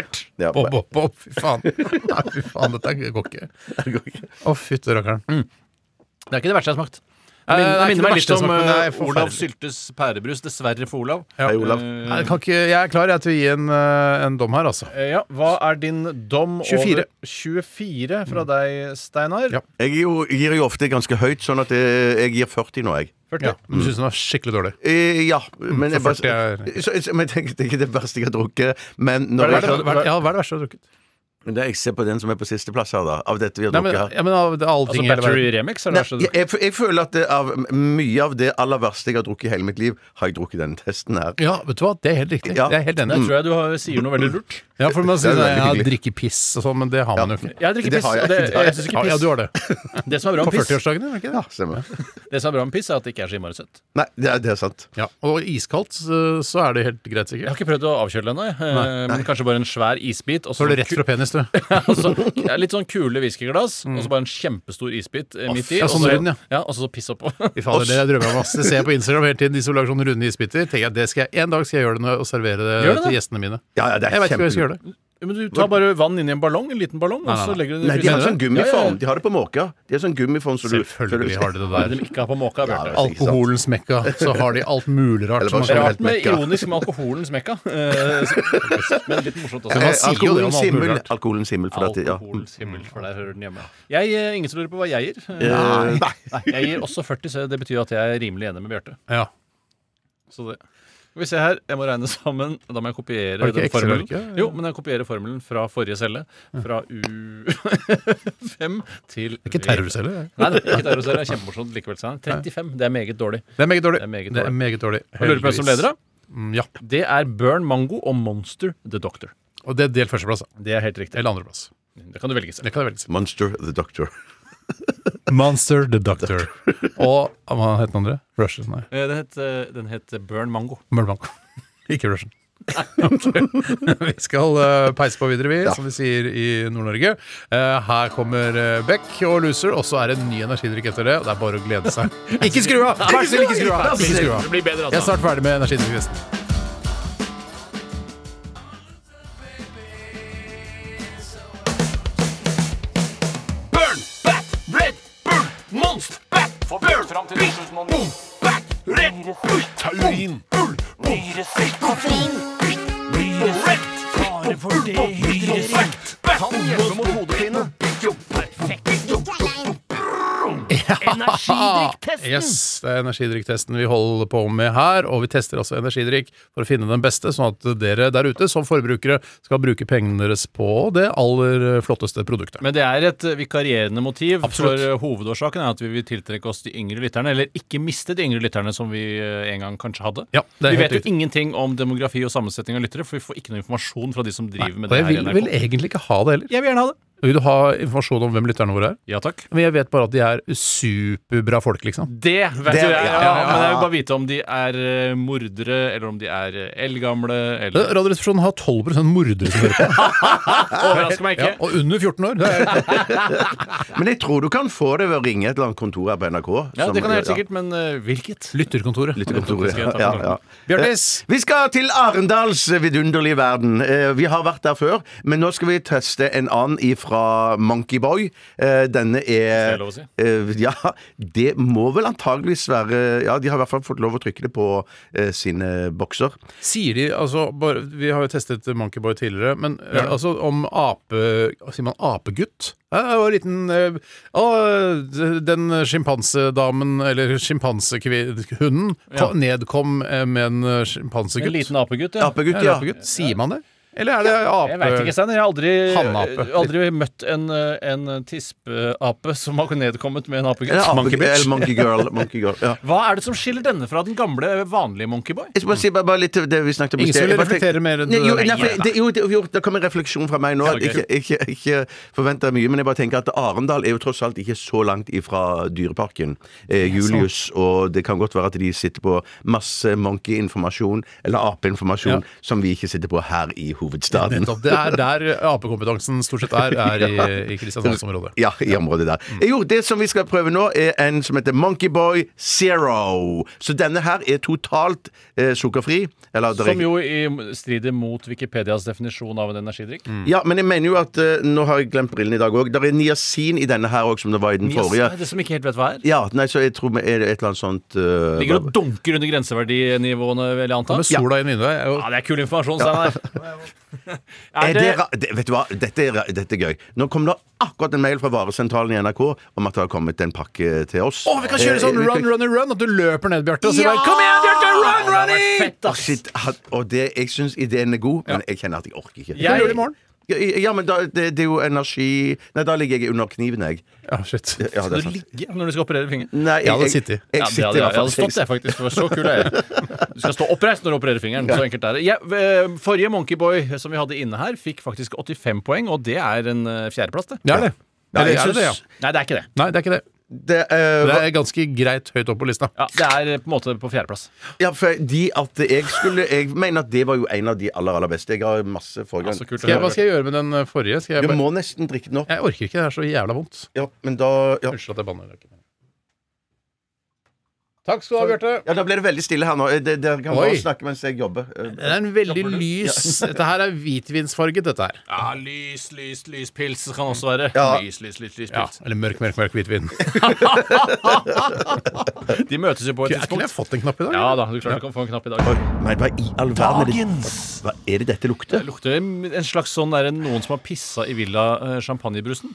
Ja,
Bob, bob, bob. Fy faen. *laughs* Nei, fy faen, dette går ikke. Å, fytti rakkeren. Mm.
Det er ikke det verste jeg har smakt.
Nei,
Eh,
det
Det
er
minner,
ikke
minner
det
meg
verste
litt
jeg
om
har smakt, men det er
eh, Olav
forferdelig.
Syltes pærebrus. Dessverre for Olav.
*laughs* Hei, Olav.
Nei, jeg, kan ikke, jeg er klar jeg, til å gi en, eh, en dom her, altså.
Eh, Ja, Hva er din dom
24.
over 24 fra deg, Steinar?
Ja.
Jeg gir jo, gir jo ofte ganske høyt, sånn at eh, jeg gir 40 nå, jeg.
40.
Ja, Mm. du syns den var skikkelig dårlig.
Eh, Ja, men jeg,
så
bare,
40 er-
så, så, men jeg tenker, det er ikke det verste jeg har drukket. Men når
Hva
jeg,
er det, hva er det, ja, hva er det verste du har drukket?
Men da, jeg ser på den som er på sisteplass her, da. Av dette vi har
Nei, men,
drukket her.
ja, men av det er alle
Altså
ting i hele verden.
Battery Remix er
Nei,
det verste du
jeg, jeg, jeg føler at det av, mye av det aller verste jeg har drukket i hele mitt liv, har jeg drukket i denne testen her.
Ja, vet du hva, det er helt riktig.
Ja.
Jeg er helt enig.
Der tror jeg du har, sier noe veldig lurt.
Mm. Ja, for man sier
Det er
sånn,
veldig
ja,
hyggelig.
drikke piss og sånn, men det har man jo ikke.
Jeg drikker
Det
piss.
har jeg.
og det,
Det har
jeg synes ikke
Ja,
piss.
ja, du har det.
Det som er bra
På
med piss,
40-årsdagen, er det ikke det?
Ja, stemmer.
det som er bra med piss er at det ikke er så innmari søtt.
Nei, det er, det er sant.
Ja, og iskaldt så så er det helt greit,
Jeg har
sikkert.
ikke prøvd å avkjøle det ennå, jeg. Eh, men kanskje bare en svær isbit. Og
Så
så
er det rett fra penis, du.
*laughs* og så- ja, litt sånn kule whiskyglass, og så bare en kjempestor isbit eh, midt i.
ja,
og
sånn
så-
rund, ja.
ja, og så så piss
*laughs*
oppå.
*laughs* Fy fader, det drømmer jeg om. ass. Det ser jeg på Instagram hele tiden, de som lager sånne runde isbiter. Tenker jeg, det skal jeg, En dag skal jeg gjøre det når jeg- og servere det,
Gjør det
til
det?
gjestene mine.
Ja, ja, det
Jeg
er
vet ikke hvor jeg skal
kjempe-
gjøre det.
Men du tar bare vann inn i en ballong, en liten ballong, og
nei,
så legger du den i
Nei, de har
fryseren.
sånn gummiform. De har det på måka. De har sånn gummiform som du
Selvfølgelig har de det
Hva er det
der.
de ikke har på måka, Bjarte?
Ja,
Alkoholens mekka, så har de alt mulig rart.
Eller
Som man kan
Det er
bare sånn-
rart
helt
med
mekka.
ironisk med alkoholens
*laughs*
mekka. eh, så- Men litt morsomt også.
man Eh, sier jo det om
Eh, Alkoholens
alt mulig
himmel.
rart.
Alkoholens himmel. For dette, ja. Mm.
Alkoholens himmel, for der hører den hjemme. Jeg, eh, Ingen som lurer på hva jeg gir. Eh,
Eh,
Nei, *laughs* jeg gir også 40, så det betyr at jeg er rimelig enig med Bjarte.
Ja.
Så det skal vi se her, Jeg må regne *laughs* sammen. Da må jeg kopiere
Har du ikke
den formelen.
Excel-arket?
Jo, men jeg kopierer formelen fra forrige celle. Fra *laughs* U5 til
Det er ikke terrorceller. det.
Nei, det er ikke terrorcelle. Det er Kjempemorsomt likevel. Steinar. 35. Det er meget dårlig.
Det er meget dårlig.
Det er meget
Det er
dårlig.
meget dårlig.
Jeg lurer på hvem som leder, da?
Mm, Ja.
Det er Burn Mango og Monster The Doctor.
Og det er delt førsteplass. da.
Det er helt riktig.
Eller andreplass.
Det kan du velge selv.
Det kan jeg velge. selv.
Monster the Doctor.
Monster the Doctor. *laughs* Og hva het den andre? Russian, nei.
Eh, Den het, eh, den het Burn Mango.
Mølbank. *laughs* Ikke Russian. *laughs* vi skal eh, peise på videre, vi, som vi sier i Nord-Norge. Eh, her kommer eh, Beck og Loser, og så er det en ny energidrikk etter det. Og det er bare å glede seg. *laughs* Ikke skru av! Vær så snill, ikke skru av! Ikke skru av.
blir bedre,
Jeg er snart ferdig med *laughs* energidrikktesten.
Burn back Red Bull Monster back For Bjørn fram til 2009 Boom back Red Bull Taurin Bull Blir det sitt Koffein Blir det rett Bare for det Blir det sitt Kan hjelpe mot hodepine Jo, perfekt
Ja,
energidrikk-testen.
Yes, det er energidrikktesten vi holder på med her, og vi tester altså energidrikk for å finne den beste, sånn at dere der ute som forbrukere skal bruke pengene deres på det aller flotteste produktet.
Men det er et eh, vikarierende motiv.
Absolutt.
For eh, hovedårsaken er at vi vil tiltrekke oss de yngre lytterne, eller ikke miste de yngre lytterne som vi eh, en gang kanskje hadde.
Ja, det er
vi
helt
vet jo
riktig.
ingenting om demografi og sammensetning av lyttere, for vi får ikke noe informasjon fra de som driver med
og
det
jeg
her i
vil
NRK.
vel egentlig ikke ha det heller.
Jeg vil gjerne ha det.
Vil du ha informasjon om hvem lytterne våre er?
Ja takk.
Men jeg vet bare at de er superbra folk, liksom.
Det vet
Det-
jo jeg,
ja,
ja,
ja, ja.
men jeg vil bare vite om de er eh, mordere, eller om de er eh, eldgamle, eller
Radioresepsjonen har 12 mordere som hører
*laughs*
på.
Overrasker meg
Ja,
ikke.
og under 14 år! Det
*laughs*
er
Men jeg tror du kan få det ved å ringe et eller annet kontor her på NRK.
Ja,
som-
det kan jeg helt sikkert, men eh, hvilket?
lytterkontoret.
Lyttekontoret.
Skal jeg ta
Ja,
kontakt?
ja.
Bjørnis!
Eh, Vi skal til Arendals vidunderlige verden. Eh, Vi har vært der før, men nå skal vi teste en annen fra Monkeyboy. Eh, Denne
det
er
lov å si?
Eh, Ja, det må vel antageligvis være Ja, de har i hvert fall fått lov å trykke det på eh, sine bokser.
Sier de altså bare, Vi har jo testet Monkeyboy tidligere, men eh, altså om ape Sier man apegutt? Ja, Jeg var en liten eh, Å, d- den sjimpansedamen, eller sjimpansehunden,
Ja.
nedkom eh, med en eh,
En
sjimpansegutt.
liten apegutt, ja.
Apegutt,
Ja, en
ja.
apegutt. Sier man det? Eller er det
Jeg veit ikke,
ape...
Steiner. Jeg har aldri, eh,
Hannape.
aldri møtt en, eh, en tispeape som har nedkommet med en apegutt.
Eller ape-
Monkey bitch.
eller Monkey girl. Monkey girl ja.
Hva er det som skiller denne fra den gamle, vanlige Monkeyboy?
Jeg skal bare si bare, bare litt til det vi snakket om i
Ingen
sted.
som
Jeg
vil
bare tenker-
reflektere mer enn
Nei, jo,
det.
nei, for, det, jo, det, jo, det kom en refleksjon fra meg nå. At
Ja,
ikke,
ok.
ikke, ikke forventer mye, men jeg bare tenker at Arendal er jo tross alt ikke så langt ifra Dyreparken. Eh, Julius, og det kan godt være at de sitter på masse monkey-informasjon, eller apeinformasjon, som vi ikke sitter på her i hovedstaden.
Nettopp. Det er der apekompetansen stort sett er, er i, i Kristiansandsområdet.
Ja, i området der. Jo, det som vi skal prøve nå, er en som heter Monkeyboy Zero. Så denne her er totalt eh, sukkerfri. Eller, det er
Som jo i- strider mot Wikipedias definisjon av en energidrikk.
Ja, men jeg mener jo at eh, Nå har jeg glemt brillene i dag òg. Det er niacin i denne her òg, som det var i den forrige.
Det som ikke helt vet hva er.
Ja, nei, så jeg tror vi er det et eller annet sånt eh,
Ligger og dunker under grenseverdinivåene, vil jeg anta.
Med sola inn i vinduet. jeg-
Ja, det er kul informasjon, Steinar.
er
*laughs* Er
det,
det
ra- det, vet du hva, dette er, ra- dette er gøy. Nå kom det akkurat en mail fra varesentralen i NRK om at det har kommet en pakke til oss.
Å, vi kan kjøre sånn
Eh, vi
run,
kan-
run, run! At du løper ned, Bjarte, og sier
Ja!
bare 'Kom igjen, Bjarte! Run, running!'
fett,
Å,
ass?
shit, ha- og det, jeg syns ideen er god, men jeg kjenner at jeg orker ikke.
Jeg-
gjør det i morgen.
Ja, ja, men da, det, det er jo energi Nei, da ligger jeg under kniven, jeg.
Ja, shit.
Ja,
Skal
det er
du
sant.
ligge når du skal operere fingeren?
Nei,
Jeg hadde sittet.
Jeg,
Ja, det
jeg sitter
hadde
i
jeg, jeg hadde
hvert fall.
stått, jeg, faktisk. For så kul er jeg. Du skal stå oppreist når du opererer fingeren. Så enkelt er det. Jeg- eh, forrige Monkeyboy som vi hadde inne her, fikk faktisk 85 poeng, og det er en eh, fjerdeplass, det.
Det er det.
Ja,
Eller
jeg
er det det, ja?
syns-
Nei, det er ikke det.
Nei, det er ikke det.
Det, eh,
Det er ganske greit høyt opp på lista.
Ja, det er eh, på en måte på fjerdeplass.
Ja, for de at jeg skulle Jeg mener at det var jo en av de aller, aller beste. Jeg har masse forgang.
Så kult å
Skal jeg, hva
høre.
skal jeg gjøre med den eh, forrige? Skal jeg,
Du
bare...
må nesten drikke den opp.
jeg orker ikke, det er så jævla vondt.
Ja, men da ja.
Unnskyld at jeg banner. Takk skal du ha, Bjarte.
ja, da ble det veldig stille her nå. Eh, det- Dere kan bare
Oi.
snakke mens jeg jobber. Eh,
Det er en veldig lys Dette her er hvitvinsfarget, dette her.
Ja, lys, lys, lyspils kan også være.
Ja.
Lys, lys, lys,
Ja,
lyspils.
Eller mørk, mørk, mørk hvitvin.
De møtes jo på et
Jeg kunne jeg
tidspunkt.
fått en knapp i dag?
Ja da, du klarte du kan få en knapp i dag.
Nei, hva i all verden er det Hva er det dette
Det
lukter?
lukter en slags sånn der, noen som har pissa i villa eh, champagnebrusen.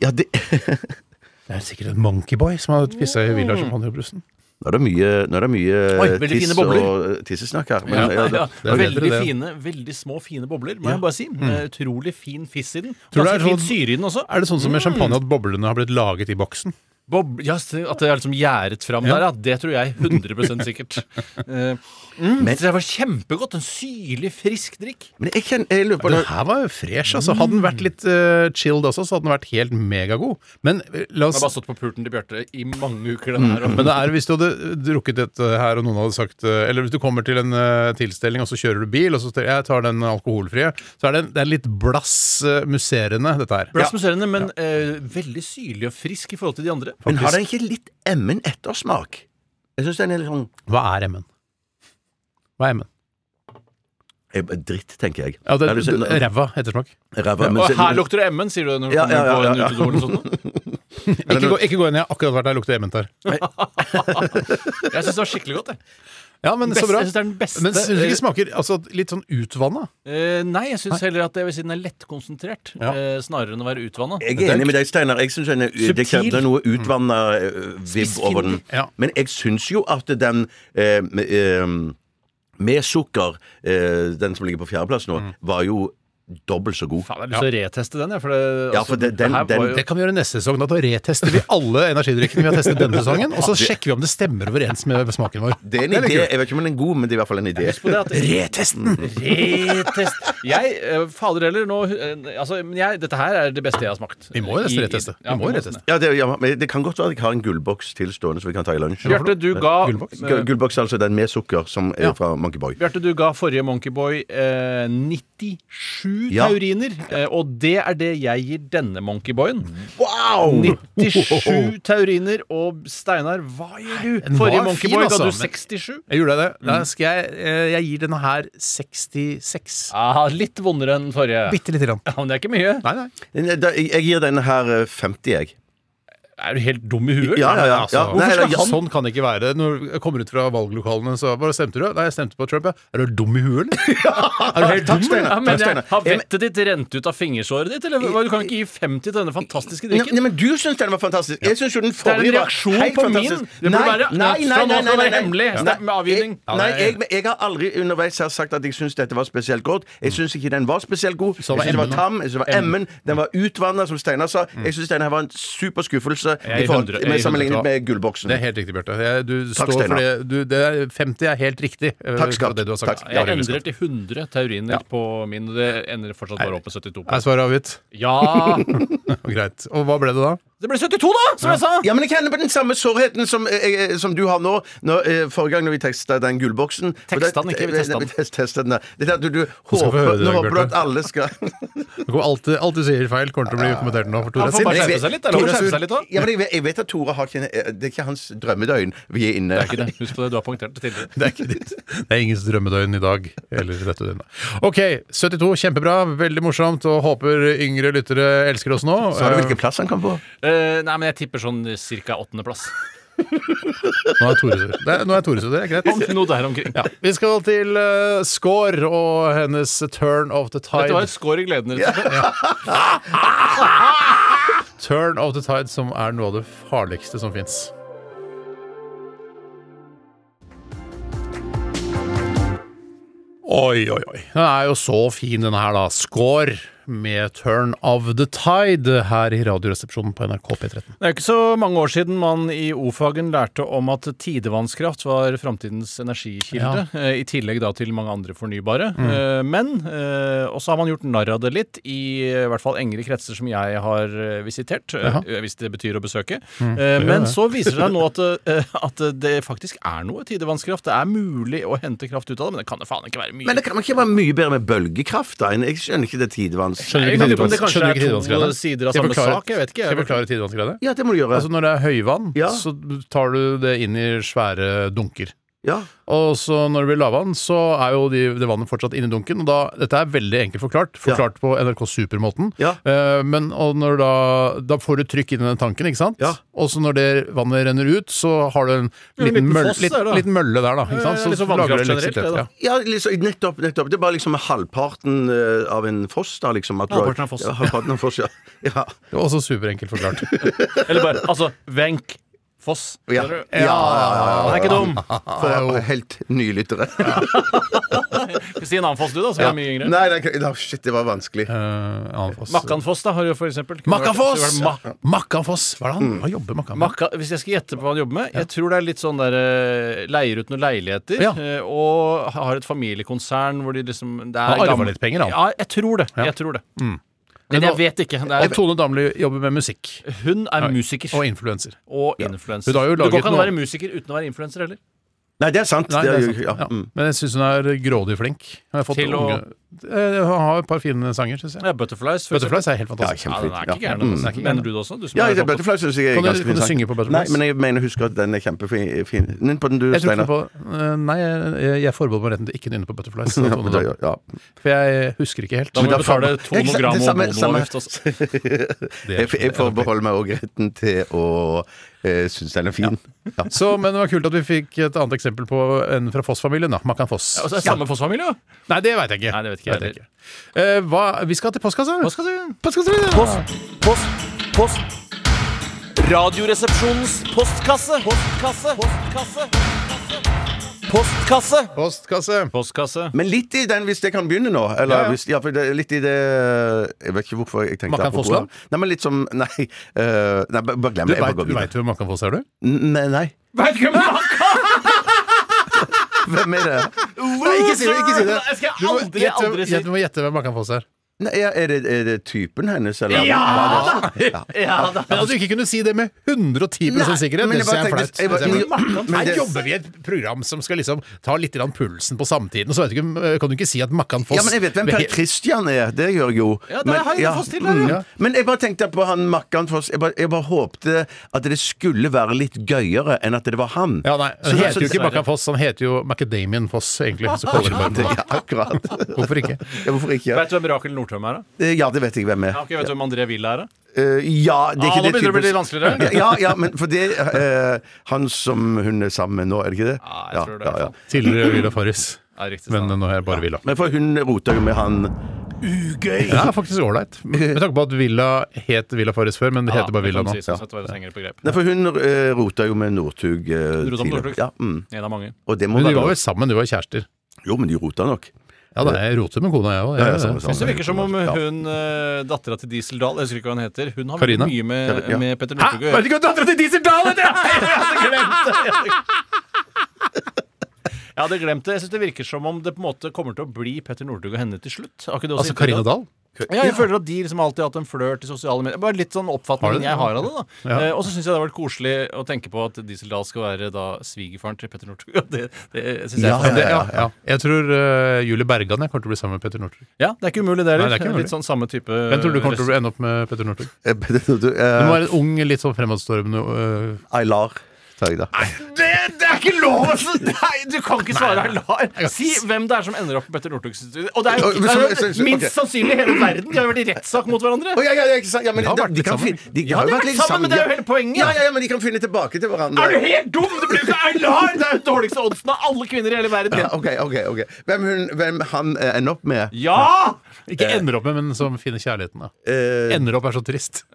Ja, det *laughs*
Det er sikkert en Monkeyboy som har pissa i
Mm.
Villa Champagnebrusen.
Nå er det mye, nå er det mye
Oi, veldig fine
tiss
bobler.
og tissesnakk her. Men, *laughs* ja,
Ja,
det,
det er bedre,
veldig
det.
fine, veldig små, fine bobler, må jeg bare si. Eh, Utrolig fin fiss i den.
Tror du det er
Ganske fin
sånn-
syre i den også.
Er det sånn som med
Mm.
champagne at boblene har blitt laget i boksen?
Bob, ja, se, at det er liksom gjæret fram der, ja. Det tror jeg 100 sikkert. *laughs* Eh, mm,
Men-
så det var kjempegodt. En syrlig, frisk drikk.
men jeg, kan, jeg lurer på
Den
nå-
her var jo fresh, altså. Hadde den
Mm.
vært litt eh, chilled også, så hadde den vært helt megagod. Men eh, la
Den
oss
har bare stått på pulten til Bjarte i mange uker. Den her, og- *laughs*
men det er hvis du hadde drukket dette her, og noen hadde sagt eh, Eller hvis du kommer til en eh, tilstelning, og så kjører du bil, og så sier jeg tar den alkoholfrie, så er det, en- det er litt blass eh, musserende, dette her.
Blass musserende, men eh, veldig syrlig og frisk i forhold til de andre.
Men har den ikke litt emmen ettersmak? Jeg syns den er litt sånn
Hva er MN? Hva er MN?
eh, Dritt, tenker jeg.
Ja, det,
Er det
det,
sånn-
ræva ettersmak.
Ræva, men
Og
så-
her lukter det MN, sier du når du
Ja,
kommer
ja, ja,
på en
ja.
utedo eller sånt. noe.
Ikke gå, ikke gå inn, jeg har akkurat vært der, lukter MN der.
Jeg syns det var skikkelig godt, jeg.
Ja, men
Best-
så bra.
jeg synes det er den beste.
Men syns du ikke det smaker altså, litt sånn utvanna?
Eh, nei, jeg syns heller at det ved siden er lettkonsentrert,
Ja.
eh, snarere enn å være utvanna.
Jeg er enig med deg, Steinar. Jeg synes den er- Det
Subtil. Mm.
krevde noe utvanna eh, vibb over den.
Ja.
Men jeg syns jo at den eh, med, eh, med sukker, eh, den som ligger på fjerdeplass nå, var jo dobbelt så god.
Mm. Faen, jeg har lyst til å reteste den, jeg. For det, altså,
Ja, for det- den-
her var
den-
jo-
Det kan vi gjøre neste sesong. Da retester vi alle energidrikkene vi har testet denne sesongen, og så sjekker vi om det stemmer overens med smaken vår.
Det er en idé. Jeg vet ikke om den er god, men det er i hvert fall en idé.
Husk på det at Retesten! Retest. Jeg eh, Fader heller, nå eh, Altså, men jeg, dette her er det beste jeg har smakt.
Vi må jo nesten
I- i-
reteste. Vi
Ja,
må jo
nesten
reteste.
det.
Ja, det, ja, men det kan godt være at jeg har en gullboks til stående som vi kan ta i lunsj.
Bjarte, du ga
Gullboks?
eh,
Gu- Gullboks altså den med sukker, som er
Ja.
fra Monkey Boy.
Bjarte, du ga forrige Monkeyboy eh, 97
Ja.
tauriner, eh, og det er det jeg gir denne Monkeyboyen.
*laughs*
Wow!
97 tauriner, og Steinar, hva gjør du?
Den var
Forrige
fin,
Monkeyboy
altså,
ga du
men-
67.
Jeg gjorde det. Da
Mm.
skal jeg, eh, jeg gir denne her 66.
Ah, litt vondere enn forrige.
Bitte lite grann.
Ja, men det er ikke mye.
Nei, nei.
Da- Jeg jeg gir denne her eh, 50, jeg.
Er du helt dum i huet?
Ja, ja, ja.
Altså,
ja.
hvorfor skal
da- ja,
han- Sånn kan det ikke være. Når jeg kommer ut fra valglokalene, så bare stemte du? Nei, jeg stemte på Trump, ja. Er du dum i huet, eller? Er
*laughs*
du helt
Takk,
dum,
Steinar.
eller?
Ja, men
Takk,
jeg,
Steinar.
Har vettet ditt rent ut av fingersåret ditt? Eller hva? Du kan ikke gi 50 til denne fantastiske
Nei, nei,
drikken?
men du syns den var fantastisk. Jeg syns jo den
Det er
forrige
en reaksjon
var helt
på min.
fantastisk.
Det burde være fra nå skal det være hemmelig.
Ja.
Snakk med avgivning.
Jeg- Nei, jeg, men jeg har aldri underveis her sagt at jeg syns dette var spesielt godt. Jeg syns ikke den var spesielt god. Jeg
var
syns den
emmen,
var
da.
tam, jeg synes den var emmen, den var utvanna, som Steinar sa. Jeg syns den her var en super skuffelse
er i
i forhold-
hundre- jeg er i
med- sammenlignet
hundre-
med gullboksen.
Det er helt riktig, Bjarte. Jeg- Du
Takk,
står for
Steinar.
det. Du, det er 50 er helt riktig. eh,
Takk, skatt.
for Det du har sagt.
Takk.
Ja,
Jeg
veldig
endrer
skatt.
til 100 tauriner på min, og det ender fortsatt bare opp med 72.
Er svaret avgitt?
Ja!
Greit. Og hva ble det da?
Det ble 72, da, som jeg sa!
Ja, men jeg kjenner på den samme sårheten som, eh, eh, som du har nå. Når, eh, forrige gang når vi testa den gullboksen
Teksta
Og da-
den ikke, vi testa den.
Nei, *laughs* vi test- testet den. ja. Det er at du, du
skal få høre
håper,
det,
nå håper du
Bjarte.
at alle skal *laughs*
Det kommer Alt, alt du sier feil, kommer til å bli kommentert nå. For Tore
Han
er
får bare
sint.
skjerpe seg litt.
Tore
Eller?
er
Skjerpe
sur.
seg litt da.
Ja, men jeg, vet- jeg vet at Tore har ikke eh, Det er ikke hans drømmedøgn vi er inne
Det er ikke det. Husk på det, du har poengtert det tidligere.
Det er ikke ditt. Det er ingens drømmedøgn i dag. Eller dette døgnet. OK, 72. Kjempebra. Veldig morsomt. Og håper yngre lyttere elsker oss nå.
Sa du
Eh,
hvilken plass han kom på?
Eh, nei, men jeg tipper sånn ca. åttendeplass.
Eh, Nå er Tore sur. Det er- Nå er Tore sur. Det er greit.
Noe der omkring.
Ja. Vi skal til uh, Skår og hennes Turn of the Tide.
Dette var et skår i gleden. rett og slett.
Turn of the Tide som er noe av det farligste som fins. Oi, oi, oi. Den er jo så fin, denne her, da. Skår med Turn of the Tide her i Radioresepsjonen på NRK P13.
Det er jo ikke så mange år siden man i O-fagen lærte om at tidevannskraft var framtidens energikilde, eh, i tillegg da til mange andre fornybare. Eh, Men eh, også har man gjort narr av det litt, i eh, hvert fall engere kretser som jeg har eh, visitert, eh, eh, hvis det betyr å besøke. Eh, Men så viser det seg nå at, eh, at det faktisk er noe tidevannskraft. Det er mulig å hente kraft ut av det, men det kan det faen ikke være mye.
Men det kan man ikke være mye bedre med bølgekraft, da? Jeg skjønner ikke det tidevanns...
Skjønner
Jeg
du
vet
ikke
ikke om det kanskje
Skjønner du
er to
tidevannsgreiene?
sider av
Skal jeg
samme
forklare-
sak, jeg vet ikke, jeg.
Skal jeg forklare tidevannsgreiene?
Ja, det må du gjøre.
Altså, når det er høyvann,
Ja.
så tar du det inn i svære dunker.
ja.
Og så når det blir lavvann, så er jo de, det vannet fortsatt inni dunken. Og da, dette er veldig enkelt forklart, forklart på NRK Super-måten.
Ja.
Eh, men og når da, da får du trykk inn i den tanken, ikke sant?
Ja.
Og så når det vannet renner ut, så har du en liten,
liten
mølle,
foss
litt,
der, da.
liten mølle der, da. Ikke sant?
ja, litt sånn vannkraft generelt, det
Ja.
da.
ja liksom, nettopp, nettopp. Det er bare liksom halvparten eh, av en foss, da, liksom. at du har-
Halvparten av foss.
Ja, halvparten av foss, ja.
*laughs*
ja.
Det var også superenkelt forklart.
*laughs*
Eh,
Eller bare, altså, Wenk Foss.
Ja.
Skjønner du?
Ja,
Han er ikke dum.
For helt nylyttere.
Si en annen Foss, du, da, som er mye yngre.
Nei, det er ikke- da, shit, det var vanskelig.
Eh, Alenfoss.
Makkanfoss, da, har du for eksempel. Kunne
Makkafoss!
vært- vært Ma
Makkafoss! Hva er det
Mm.
han? Hva jobber Makkan med?
Makka, hvis jeg skal gjette på hva han jobber med Jeg tror det er litt sånn der eh, Leier ut noen leiligheter
Ja.
eh, Og har et familiekonsern Hvor de liksom det er
Han arver
gammel-
litt penger, han.
Ja, jeg tror det, jeg tror det. Men jeg vet ikke det
Og
er,
Tone Damli jobber med musikk.
Hun er musiker
Og influenser.
og influenser
Hun har jo
Du kan
laget
ikke
noe-
være musiker uten å være influenser heller
Nei, det er sant.
Nei,
det er,
sant.
jo-
Ja.
ja. mm.
Men jeg syns hun er grådig flink. Hun har fått
Til å-
unge... Eh, Hun har et par fine sanger, syns jeg.
ja, Butterflies for eksempel.
Butterflies er helt fantastisk.
Ja,
ja,
kjempe-
den er ikke
Ja.
gæren
Mm.
altså. Mener du det også? Du som
Ja,
er sånn
det
topp-
Butterfly synes jeg
sånn
er
Kan du-
ganske
kan
fin
du
sang.
synge på Butterflies?
Nei, men jeg mener husker at den er kjempefin. fin. Nynn på den du,
jeg tror ikke
Steinar.
på eh, Nei, jeg, jeg forbeholder meg retten til ikke å nynne på Butterflies.
*laughs* Ja, men da- ja, ja.
For jeg husker ikke helt.
Da må vi
da faen-
betale
Ja, ikke sant, det
200 gram
samme-
og
samme-
monoavgift også
Det er-
Jeg, jeg forbeholder meg òg retten til å eh, synes den er fin.
Så, men det var kult at vi fikk et annet eksempel på en fra Foss-familien. da, Makan Foss.
Og så er det samme Foss-familie, jo.
Nei, det veit jeg ikke.
Nei, det vet ikke jeg
Vet ikke. Eh, hva, vi skal til postkassa.
Hva skal du
Postkassa.
Post, post. Radioresepsjonens postkasse. Postkasse. Postkasse. Postkasse.
Postkasse.
Postkasse.
Men litt i den, hvis jeg kan begynne nå. Eller
Ja, ja.
Hvis, ja, for det, er litt i det Jeg vet ikke hvorfor jeg tenkte
Makan
apropos-
Fossland?
Nei, men litt som Nei, eh, nei bare bare glem
Du
det. Jeg bare går
veit
videre.
hvem Makan Foss er, du?
N- Nei, nei.
Veit ikke hvem
*laughs* Hvem er det?
Nei, ikke si det! ikke si det
Jeg skal
Du må
aldri,
gjette-
aldri si-
gjette- Du må gjette hvem Makan Foss er.
Nei, ja, er, det, er det typen hennes, eller?
Ja! Ja da.
Men at du ikke kunne si det med 110 sikkerhet,
men
det syns jeg er
jeg bare
flaut.
tenkte- jeg bare-
Det er flaut.
men- men
Her
det-
jobber vi i et program som skal liksom ta litt grann pulsen på samtiden, og så vet du ikke, eh, kan du ikke si at Makkan Foss
Ja, men jeg vet hvem Per Christian er. Det gjør jeg jo.
Ja, det
men,
er Heine Foss til,
mm,
ja.
men jeg bare tenkte på han Makkan Foss. Jeg bare, jeg bare håpte at det skulle være litt gøyere enn at det var han.
Ja, nei,
Så-
Han heter jo
så-
ikke Makkan Foss, han heter jo Macadamian Foss, egentlig. Så kaller
*laughs*
de bare
Ja, akkurat. *laughs*
Hvorfor ikke?
Ja, hvorfor ikke?
Vet du hvem Rakel Nordtøm er? da?
Eh, Ja, det vet jeg hvem er.
Ja, ok, vet du hvem André Villa er? da?
Eh, ja, det er
Ah,
ikke
nå begynner det å bli
typisk-
litt vanskeligere.
Ja, Ja, ja, men for det eh, Han som hun er sammen med nå, er det ikke det?
Ja, Ah, jeg tror det. i hvert fall.
Tidligere Villa Farris,
Ja, riktig
men
sant.
nå er jeg bare Villa.
Men for hun rota jo med han
Det er faktisk ålreit. Med tanke på at Villa het Villa Farris før, men det heter
Ja,
bare Villa
kan
nå.
si, sånn sett var det et hengere begrep.
Nei, for hun eh, rota jo med Northug eh,
Rota med
tidligere.
Northug?
Ja, mm.
En av mange.
Og det må
Men de
være
var
lov.
vel sammen, de var kjærester.
Jo, men de rota nok.
Ja, da, jeg roter med kona, jeg òg.
Ja, ja, samme, samme.
Jeg synes det virker som om *laughs*
Ja.
hun eh, dattera til Diesel Dahl, jeg husker ikke hva hun heter, hun har
Karina?
vært mye med,
Ja.
med Petter Northug å gjøre.
ikke hva dattera til Diesel Dahl
Jeg hadde glemt det. Jeg synes det virker som om det på en måte kommer til å bli Petter Northug og henne til slutt. Har ikke du også
Altså
inntrykk av
Karina
det?
Dahl?
Ja, jeg føler at de liksom alltid har hatt en flørt i sosiale medier. Bare litt sånn
Har du
oppfatningen
det?
jeg har av det. da
Ja.
eh, Og så syns jeg det har vært koselig å tenke på at Diesel Dahl skal være da svigerfaren til Petter Northug. *laughs* Og Det, det synes jeg er
Ja,
Ja,
fint.
det, ja, ja. Jeg tror eh, Julie Bergan jeg kommer til å bli sammen med Petter Northug.
ja, det er ikke umulig, det
Nei, det er ikke
heller.
umulig.
Litt sånn samme type
Hvem tror du kommer til å ende opp med Petter Northug?
Eh, *laughs* Petter, du, eh,
Hun var en ung, litt sånn fremadstormende eh,
Aylar tar jeg da.
det, det er ikke lov! *laughs* altså! Nei, du kan ikke svare Aylar. Si hvem det er som ender opp med Petter Northug. Og det er jo
Ja, men så- så- så-
minst
ok.
sannsynlig i hele verden. De har jo vært i rettssak mot hverandre.
Å, ja, ja, ja, ikke sant? Ja, men
De har
de-
vært
de
litt
kan
sammen.
finne- de
Ja,
har
de har
vært
vært
litt
sammen, men det er jo
ja.
hele poenget.
Ja, ja, ja, men de kan finne tilbake til hverandre.
Er du helt dum?! Du bruker Aylar! Det er jo den dårligste oddsen av alle kvinner i hele verden.
Ja, ok, ok, ok Hvem, hun, hvem han eh, ender opp med?
Ja!
Ikke
Eh.
ender opp med, men som finner kjærligheten. da
Eh,
Ender opp er så trist.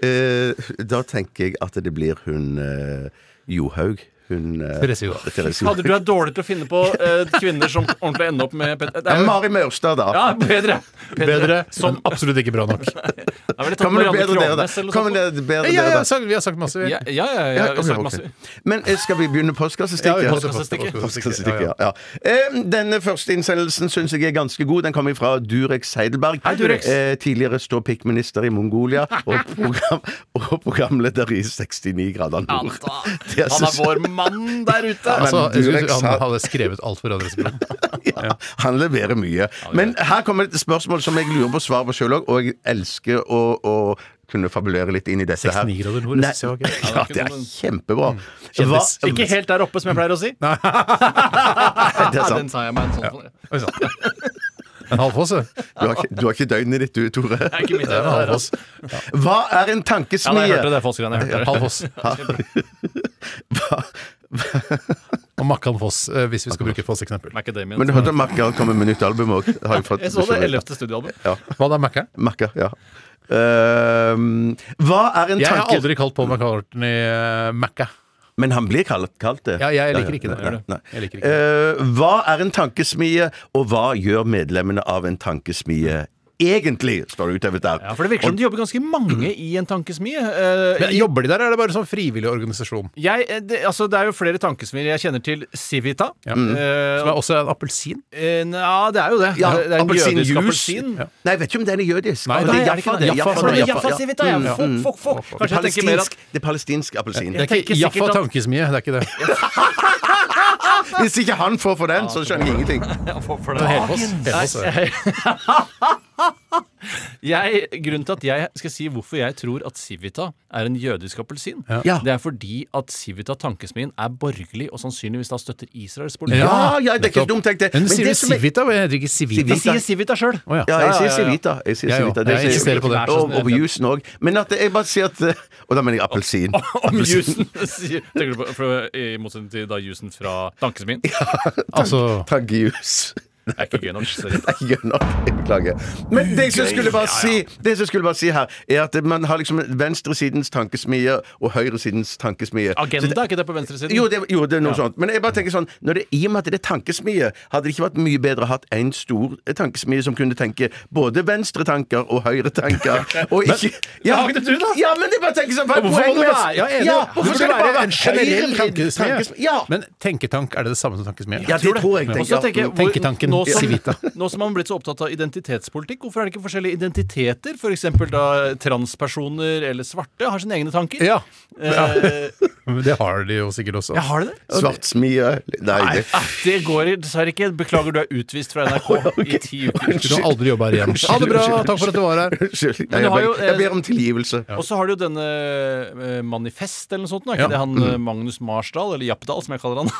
eh, da tenker jeg at det blir hun eh, Johaug. Hun eh,
Therese Johaug.
Therese
Fader,
Johaug.
du er dårlig til å finne på eh, kvinner som ordentlig ender opp med pet- Det
Ja,
er jo-
Mari Maurstad, da.
Ja, bedre.
Bedre,
Som
men absolutt ikke bra nok.
Det er vel litt
Kommer det
Marianne
bedre dere
Krånes
da?
eller
Kommer
sånt.
det bedre
ja,
dere
ja,
da?
sagt- vi har sagt masse. vi.
Ja, ja, ja. ja,
Ja,
jeg har
ok,
sagt
ok.
masse-
Men eh, skal vi begynne postkastestikket?
Ja, vi-
Postkastestikket.
Postkastestikket, ja, ja. Eh, Denne første innsendelsen syns jeg er ganske god. Den kommer fra Durex Heidelberg.
Hei, Durex.
Eh, Tidligere ståpikkminister i Mongolia og, program, og programleder i 69 grader
Ja,
nord.
da. Han er
Det synes-
vår mann der ute.
Ja, men
Altså,
du,
jeg
Rex,
skulle-
har-
han hadde skrevet alt for adressebrevene.
*laughs* Ja, han leverer mye. Men her kommer et spørsmål som jeg lurer på svar på sjøl òg, og jeg elsker å, å kunne fabulere litt inn i dette her.
69 grader nord, det
Nei,
synes jeg var gøy.
*laughs* Ja, det er kjempebra.
Kjendis.
Hva-
Altså, Ikke helt der oppe, som jeg pleier å
*laughs*
si.
Det er sant.
Den sa jeg meg en sånn for.
*laughs* Oi, sånn. sant. En halvfoss, du.
Du har, ikke- du har ikke døgnet ditt, du, Tore.
Det er ikke mitt
Det er en
øye, det der,
halvfoss.
altså.
Hva er
Ja, nei, jeg
en
hørte
tankesmie?
det Foss-greiene. jeg hørte det.
Halvfoss. Og Makkan Foss, eh, hvis vi skal bruke et Foss-eksempel.
Macadamian.
Men du hørte Makka komme med nytt album òg?
Jeg så det 11. studioalbum.
Hva da, Mackan?
Makka, ja. Ehm, hva er en
Jeg har
tanke...
aldri kalt Paul McCartney uh, Macca.
Men han blir kalt, kalt det.
Ja, jeg liker ikke det.
Nei, nei.
Jeg liker ikke
Eh, hva er en tankesmie, og hva gjør medlemmene av en tankesmie egentlig? Står det utover der.
Ja, for det virker som de jobber ganske mange i en tankesmie. Eh,
Men Jobber de der, eller er det bare sånn frivillig organisasjon?
Jeg, eh, det, altså, det er jo flere tankesmier. Jeg kjenner til Civita.
Ja.
Eh,
Mm. Som er også en appelsin?
Eh, Ja, det er jo det.
Ja,
det er en
appelsinjuice.
jødisk appelsin.
Ja.
Nei, jeg vet ikke om den er jødisk.
Nei, nei,
Å,
er
det er
det
Jaffa,
ikke
det.
det?
er
Jaffa,
Jaffa, det er
sånn,
Jaffa,
Jaffa
ja.
Civita, ja.
Mm,
Fuck,
mm.
fuck, fuck.
Det
Kanskje jeg tenker mer at
palestinsk, det er palestinsk appelsin.
Jeg tenker
Ikke Jaffa
sikkert at-
tankesmie, det er ikke det.
*laughs* Hvis ikke han får for den, så skjønner jeg ingenting.
Ja, for- for
Det er
det.
Helfoss. Helfoss, ja.
Jeg, *laughs* grunnen til at jeg skal si hvorfor jeg tror at Civita er en jødisk appelsin,
Ja.
det er fordi at Civita tankesmien er borgerlig og sannsynligvis da støtter Israels politikk.
Ja, ja, det er ikke
nettopp.
dumt tenkt, det.
Men
Men
sier
det
du
som er-
Civita? og Jeg heter ikke
De
Civita.
sier Civita sjøl!
Å, ja.
Ja, jeg
ja,
sier
ja.
Civita. Jeg sier
Jeg
Civita.
òg.
Det
Jeg
sier-
insisterer på det.
Og, og på jusen òg. Men at jeg bare sier at eh, Og da mener jeg appelsin.
*laughs* Om jusen *laughs* sier- Tenker du på for, I motsetning til da jusen fra tankesmien. Det
Altså
*laughs* Taggejus.
er ikke gøy nok.
*laughs*
Sorry.
Det er ikke gøy nok. Jeg beklager. Men det som jeg skulle bare si, det som jeg skulle bare si her, er at man har liksom venstresidens tankesmie og høyresidens tankesmie. Så
Agenda, er ikke det på venstresiden?
Jo, det, jo, det er noe sånt. Men jeg bare tenker sånn når det, I og med at det er tankesmie, hadde det ikke vært mye bedre å hatt en stor eh, tankesmie som kunne tenke både venstre tanker og
*laughs*
høyre tanker? Og ikke, ja,
har ikke du da?
ja, men jeg bare tenker sånn hva er
Hvorfor må
poenget
du
med-
være- ja, jeg er enig.
Ja,
Du
hvorfor
Det
skal det
være
bare
en generell tankesmie.
Ja.
Men tenketank, er det det samme som tankesmie?
ja, det tror jeg.
Og så tenker jeg, hvor-
Tenketanken
nå som-
Civita.
Nå som man har blitt så opptatt av identitetspolitikk, hvorfor er det ikke forskjellige identiteter? F.eks. da transpersoner eller svarte har sine egne tanker.
Ja.
Eh,
Men Det har de jo sikkert også.
ja, har de det?
Svart smie Nei, det
Ah, Det går dessverre ikke. Beklager, du er utvist fra
*laughs*
NRK i ti uker.
Du har aldri jobba her igjen. Ha det bra, takk for at du var her.
Unnskyld. Jeg,
Men du har
bare-
jo, eh,
jeg ber om tilgivelse.
Og så har du jo denne eh, Manifest eller noe sånt. nå, Er ikke
Ja. Mm.
det han eh, Magnus Marsdal, eller Jappdal, som jeg
*laughs*
kaller han?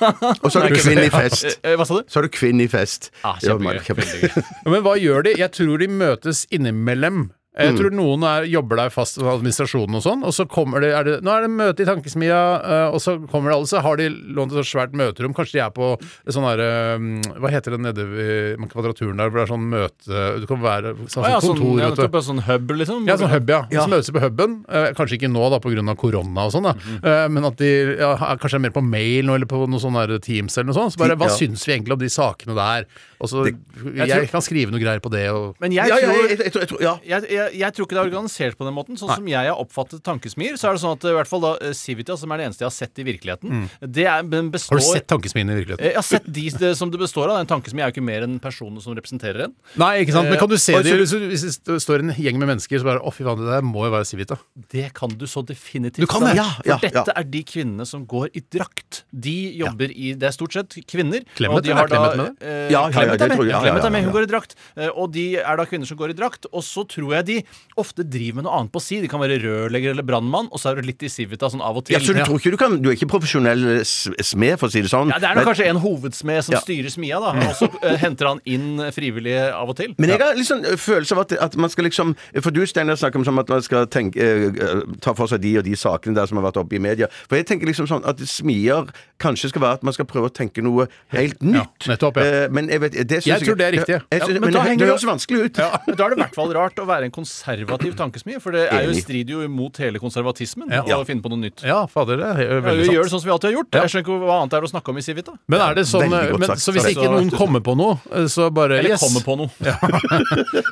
Og så har du
Nei, ikke-
Kvinn i fest.
Eh, eh, Hva sa du?
Så har du Kvinn i fest.
Ah,
Ja,
kjempegøy,
men-
veldig gøy.
Men hva gjør de? Jeg tror de møtes innimellom. Jeg tror noen er, jobber der fast med administrasjonen og sånn, og så kommer det, er det Nå er det møte i Tankesmia, eh, og så kommer det alle, så har de lånt et sånt svært møterom. Kanskje de er på sånn derre Hva heter det nede ved Kvadraturen der, hvor det er sånn møte Du kan være sånn,
Ah, ja, sånn,
kontor,
ja,
vet du.
nettopp, ja, sånn hub, liksom?
Ja, sånn hub, ja. Som møtes på huben. Eh, kanskje ikke nå, da, pga. korona og sånn, da.
Mhm.
Eh, men at de ja, er- kanskje er mer på mail nå, eller på noe sånn der Teams eller noe sånt. Så bare, hva
Ja.
syns vi egentlig om de sakene der? Og så, jeg,
tror-
kan skrive noe greier på det og
Men jeg
Ja,
tror
ja, jeg, jeg, tror- jeg tror, ja.
jeg, jeg, jeg tror ikke det er organisert på den måten. Sånn som jeg har oppfattet tankesmier, så er det sånn at eh, i hvert fall da eh, Civita, som er det eneste jeg har sett i virkeligheten, det er, den
Mm. Har
består
du sett tankesmien i virkeligheten?
Eh, Jeg har sett de det, som det består av. Den tankesmien er jo ikke mer enn personene som representerer en.
Nei, ikke sant. Men kan du se
og
det
så-
hvis, hvis det st- står en gjeng med mennesker så bare Å, fy faen, det der må jo være Civita.
Det kan du så definitivt.
Du kan
si.
det.
Ja, ja,
For dette
ja.
er de kvinnene som går i drakt. De jobber i Det er stort sett kvinner.
Clemet,
og de
eller
har
er Clemet med det?
eh,
Ja, ja, ja,
Clemet
det
er med.
tror jeg. Ja, ja,
Clemet er med.
ja,
Hun
ja.
går i drakt. Eh, Og de er da kvinner som går i drakt. Og så tror jeg de ofte driver med noe annet på si. De kan være rørlegger eller brannmann, og så er du litt i Civita sånn av og til.
ja, så du tror ikke du kan Du er ikke profesjonell s- smed, for å si det sånn.
Ja, Det er nok
men,
kanskje en hovedsmed som
Ja. Mm.
styrer smia, da. Og så eh, henter han inn frivillige av og til.
men jeg
Ja.
har litt sånn eh, følelse av at, at man skal liksom For du, Steinar, snakker om sånn at man skal tenke, eh, eh, ta for seg de og de sakene der som har vært oppe i media. For jeg tenker liksom sånn at smier kanskje skal være at man skal prøve å tenke noe helt nytt.
nettopp, ja.
Eh, Men jeg vet det synes
Jeg tror det er riktig, ja.
Jeg, jeg synes,
Ja, men
men
da
det,
henger
det
du-
høres vanskelig ut.
*laughs* Men Da er det i hvert fall rart å være en konservativ tankesmie, for det er jo
Enig.
strider jo imot hele konservatismen
Ja.
å finne på noe nytt.
Ja, fader, det er jo
Ja,
veldig
vi gjør
sant.
det sånn som vi alltid har gjort. Jeg skjønner ikke hva annet det er å snakke om i Civita.
Men er det sånn
Veldig
eh,
godt
men,
sagt.
Så hvis
Sorry.
ikke noen kommer på noe, eh, så bare
Eller
yes.
kommer på noe. Ja,
ja,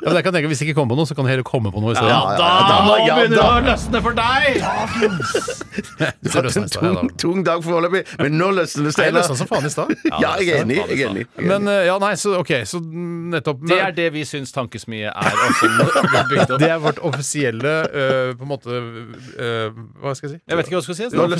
men jeg kan tenke, Hvis ikke kommer på noe, så kan det heller komme på noe i stedet.
da, nå
ja,
begynner det
da.
å løsne for deg!
Det sånn.
Det har vært
*laughs*
løsner
en
seg, ja, da.
tung, tung dag foreløpig, men nå løsner
Nei, jeg
det Steinar.
løsna som faen i stad.
Ja, jeg er enig. Jeg er enig. Jeg er enig.
Men eh, ja, nei, så ok, så mm, nettopp
Det er det vi syns tankesmie er. og sånn det er bygd opp.
Det er vårt offisielle eh, På en måte eh, Hva skal jeg si?
Jeg vet ikke hva du skal si. altså.
Nå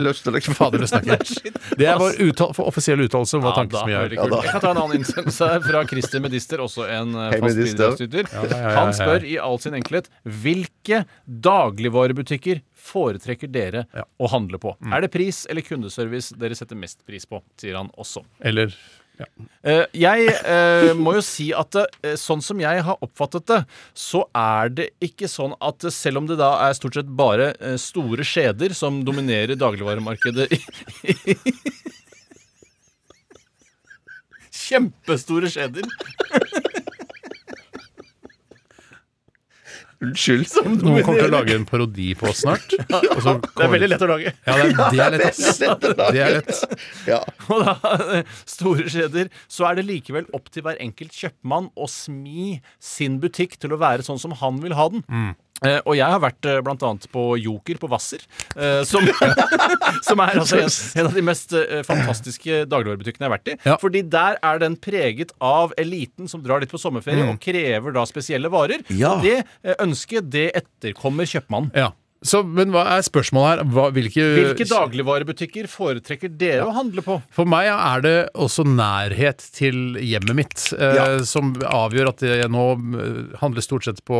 offisielle-
løsner det ikke. jeg løsner det ikke.
Fader, det snakker
*laughs*
jeg. Det er vår uttal for offisielle uttalelse om hva
Ja, da,
tankesmie er.
veldig kult. Jeg kan ta en annen innsendelse her fra Christer Medister, også en eh,
Hei,
fast
Medister.
bidragsyter.
ja, ja, ja.
Han spør i all sin enkelhet hvilke dagligvarebutikker foretrekker dere å handle på.
Mm.
Er det pris eller kundeservice dere setter mest pris på, sier han også.
Eller ja.
Eh, jeg eh, må jo si at eh, sånn som jeg har oppfattet det, så er det ikke sånn at eh, selv om det da er stort sett bare eh, store skjeder som dominerer dagligvaremarkedet i *laughs* Kjempestore skjeder.
Unnskyld.
Noen kommer til å lage en parodi på oss
*laughs*
snart. Og så kommer-
lett å lage.
Ja, det er, det er lett.
*laughs*
ass. Det er lett.
Ja.
Og da, eh, store skjeder, så er det likevel opp til hver enkelt kjøpmann å smi sin butikk til å være sånn som han vil ha den. Eh, og jeg har vært eh, blant annet på Joker på Hvasser, eh, som, *laughs* som er altså en, en av de mest eh, fantastiske dagligvarebutikkene jeg har vært i.
Ja.
Fordi der er den preget av eliten som drar dit på sommerferie og krever da spesielle varer.
Ja.
Og det eh, ønsket, det etterkommer kjøpmannen.
Ja. Så, men hva er spørsmålet her? Hva, hvilke,
Hvilke dagligvarebutikker foretrekker dere å handle på?
For meg er det også nærhet til hjemmet mitt eh,
Ja.
som avgjør at jeg nå eh, handler stort sett på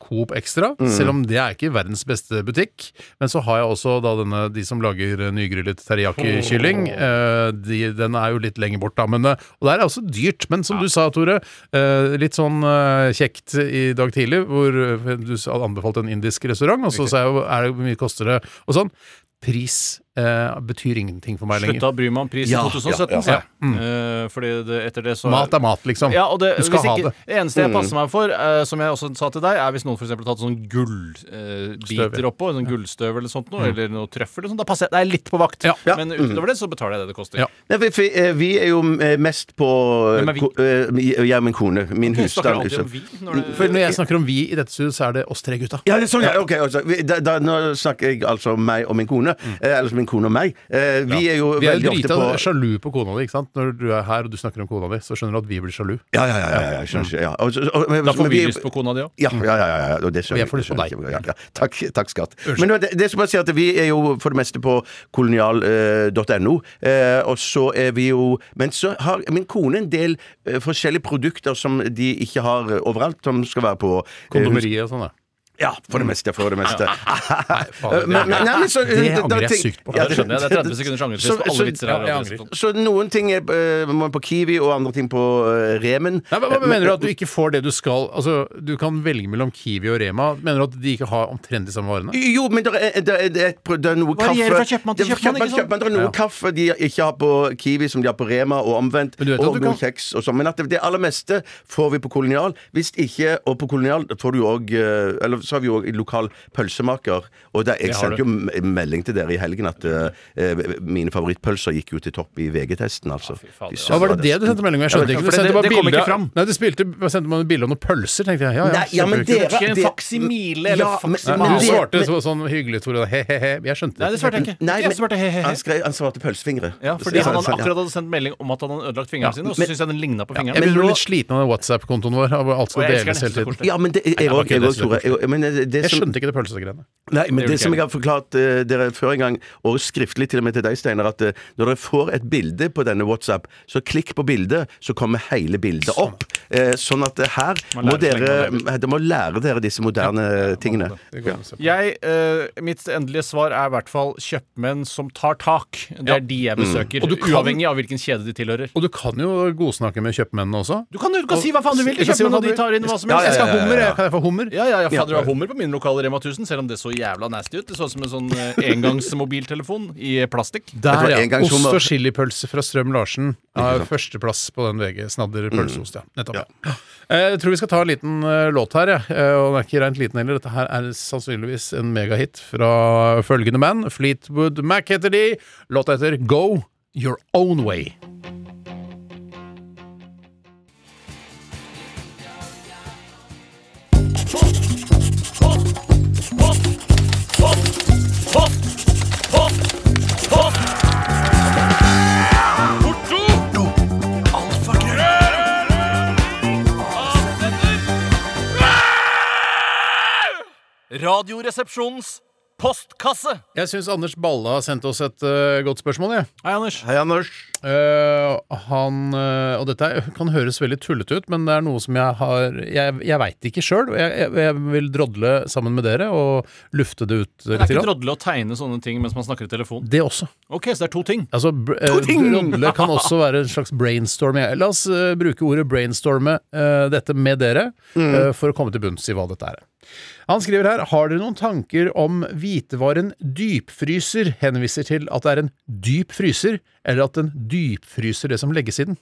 Coop Extra, selv om det er ikke verdens beste butikk. Men så har jeg også da denne, de som lager eh, nygrillet teriyaki-kylling. Eh, de, den er jo litt lenger bort, da. Men, eh, og der er også dyrt. Men som du sa, Tore, eh, litt sånn eh, kjekt i dag tidlig, hvor eh, du sa- anbefalte en indisk restaurant, og så sa jeg jo er det, hvor mye koster det, og sånn. Pris eh, betyr ingenting for meg lenger.
Slutta å bry meg om pris
Ja,
i 2017,
ja, Mm. ja,
ja.
sa jeg. Eh, fordi det, etter det så
Mat er mat, liksom.
Ja, og det,
du skal
hvis
ha
ikke,
det.
det eneste
Mm.
jeg passer meg for, eh, som jeg også sa til deg, er hvis noen for eksempel har tatt sånn gullbiter eh,
Støv, ja. Mm.
biter oppå, sånn gullstøv eller sånt noe, eller noe trøffel eller sånt, da passer jeg, da er jeg litt på vakt.
Ja. Ja.
Men
Mm.
utover det så betaler jeg det det koster.
Ja.
Nei, for, for, eh, vi er jo eh, mest på
Hvem er vi?
ko- eh, mi- Jeg og min kone. Min
Du snakker
husstand.
alltid om
liksom.
vi når det
For når jeg snakker om vi i dette studio, så er det oss tre gutta.
Ja, det er sånn, ja, ok, altså, vi, da, da, Nå snakker jeg altså om meg og min kone.
Mm.
Eh, eller min kone og meg. Eh, vi er jo
Vi er jo
veldig ofte
drita
på
sjalu på kona di. ikke sant? Når du er her og du snakker om kona di, så skjønner du at vi blir sjalu.
Ja, ja, ja. ja, ja, jeg skjønner ikke, ja. Og så- og- men-
Mm. Da får
men
vi lyst på kona di òg.
Ja, ja, ja, ja, ja, og det skjønner
Jeg får lyst på
skjønner
deg.
jeg. Ja, ja. Takk, takk, skatt. Men nå, det, det som jeg sier at Vi er jo for det meste på kolonial.no, eh, og så er vi jo Men så har min kone en del eh, forskjellige produkter som de ikke har eh, overalt, som skal være på eh,
Kondomeriet og sånn, da.
Ja, for det meste. For det
*laughs*
meste.
faen, det-
Eh, Men- men- nei, men så-
Mm. det
da- da
angrer jeg
tenk-
sykt på.
Ja, det skjønner jeg. Det er 30 sekunders
Så-
angrepsrist på
så-
alle vitser her.
ja, jeg
og
angrer.
sånt.
Så noen ting er eh, må på Kiwi, og andre ting på eh, Remen.
Nei, hva, hva mener du at du ikke får det du skal? Altså, Du kan velge mellom Kiwi og Rema. Mener du at de ikke har omtrent de samme varene?
Jo, men det er, det er, det er, et- det er noe kaffe
Varierer fra kjøpmann til
Det er
kjøpmann, ikke sant?
Det er noe
Ja.
kaffe de ikke har på Kiwi, som de har på Rema, og omvendt.
Men du vet at du
Og noen
kan-
kjeks og sånn. Men at det, det aller meste får vi på Kolonial. Hvis ikke, og på Kolonial får du òg Eller så har vi jo òg lokal pølsemaker. Og der, jeg
har
sendte
du.
jo m- melding til dere i helgen at eh, eh, mine favorittpølser gikk jo til topp i VG-testen, altså.
fy fader,
Fy
altså.
Ja,
søren,
var det det du sendte melding om? Jeg skjønte ikke.
Ja, for
Du
det-
sendte
det-
bare
det kom ikke
bilder-
fram.
Nei, du spilte, bare sendte man bilde av noen pølser, tenkte jeg. Ja, ja,
Nei, ja, men
kjempekult.
dere-
Ikke en
det-
faksimile eller
Ja, men-
faksimal.
men
Men du
det-
svarte så, sånn hyggelig, Tore. da. He-he-he. Jeg skjønte
Nei, det svarte jeg ikke.
Nei,
Ikke jeg
men-
svarte he, he, he.
Han, skrev, han svarte pølsefingre.
Ja, fordi
Ja,
han
sånn, ja.
akkurat hadde sendt melding om at han hadde ødelagt fingeren sin, og så
men-
syns jeg den ligna på fingeren.
Jeg
Men
begynner å bli
nå-
litt sliten av den WhatsApp-kontoen vår. av Alt
Og
skal
jeg
deles
elsker den,
hele
jeg synes det er
tiden.
koselig.
Ja, men det, jeg
det var
òg,
ikke det som var
Tore. Jeg- Men det, det
Jeg
som
skjønte ikke det pølsegreiene.
Nei, men
gjør
det,
ikke
som
jeg.
jeg har forklart eh, dere før en gang, og skriftlig til og med til deg, Steinar, at eh, når dere får et bilde på denne WhatsApp, så klikk på bildet, så kommer hele bildet opp. Eh, sånn at eh, her
Man
må
lærer seg
dere
lenge å
eh, Dere må lære dere disse moderne tingene.
Det går an å se på.
Jeg, eh, mitt endelige svar er i hvert fall kjøpmenn som tar tak. Det er de jeg besøker,
Og du kan-
uavhengig av hvilken kjede de tilhører.
Og du kan jo godsnakke med kjøpmennene også.
Du kan, du kan si hva faen du vil til
Jeg kan si
kjøpmenn,
hva
og de
faen
tar
du-
inn hva som
Ja,
helst.
Jeg skal ha hummer, jeg. Kan jeg få hummer?
Ja, ja, ja, fader, det var hummer på min lokale Rema 1000, selv om det så jævla nasty ut. Det så ut som en sånn eh, *laughs* engangsmobiltelefon i plastikk.
Der,
Jeg tror
ja. Ost
engangshummer.
og chilipølse fra Strøm Larsen. Ja, førsteplass på den VG. Snadder
Mm.
pølseost, ja. Nettopp. ja. Eh, Jeg tror vi skal ta en liten eh, låt her, jeg. Eh, og den er ikke rent liten heller. Dette her er sannsynligvis en megahit fra følgende band. Fleetwood Mac heter de. Låta heter Go Your Own Way.
Radioresepsjonens postkasse.
Jeg syns Anders Balla sendte oss et eh, godt spørsmål, jeg.
Hei, Anders.
Hei, Anders.
Eh, han eh, Og dette er- kan høres veldig tullete ut, men det er noe som jeg har Jeg, jeg veit ikke sjøl, og jeg, jeg, jeg vil drodle sammen med dere og lufte det ut
Det er
litt.
ikke
grann.
drodle å tegne sånne ting mens man snakker i telefon.
Det også.
Ok, så det er to ting.
Altså, br eh, drodle kan også være en slags brainstorming. La oss eh, bruke ordet brainstorme eh, dette med dere, eh, for å komme til bunns i hva dette er. Han skriver her Har dere noen tanker om hvitevaren dypfryser henviser til at det er en dyp fryser, eller at den dypfryser det som legges i den?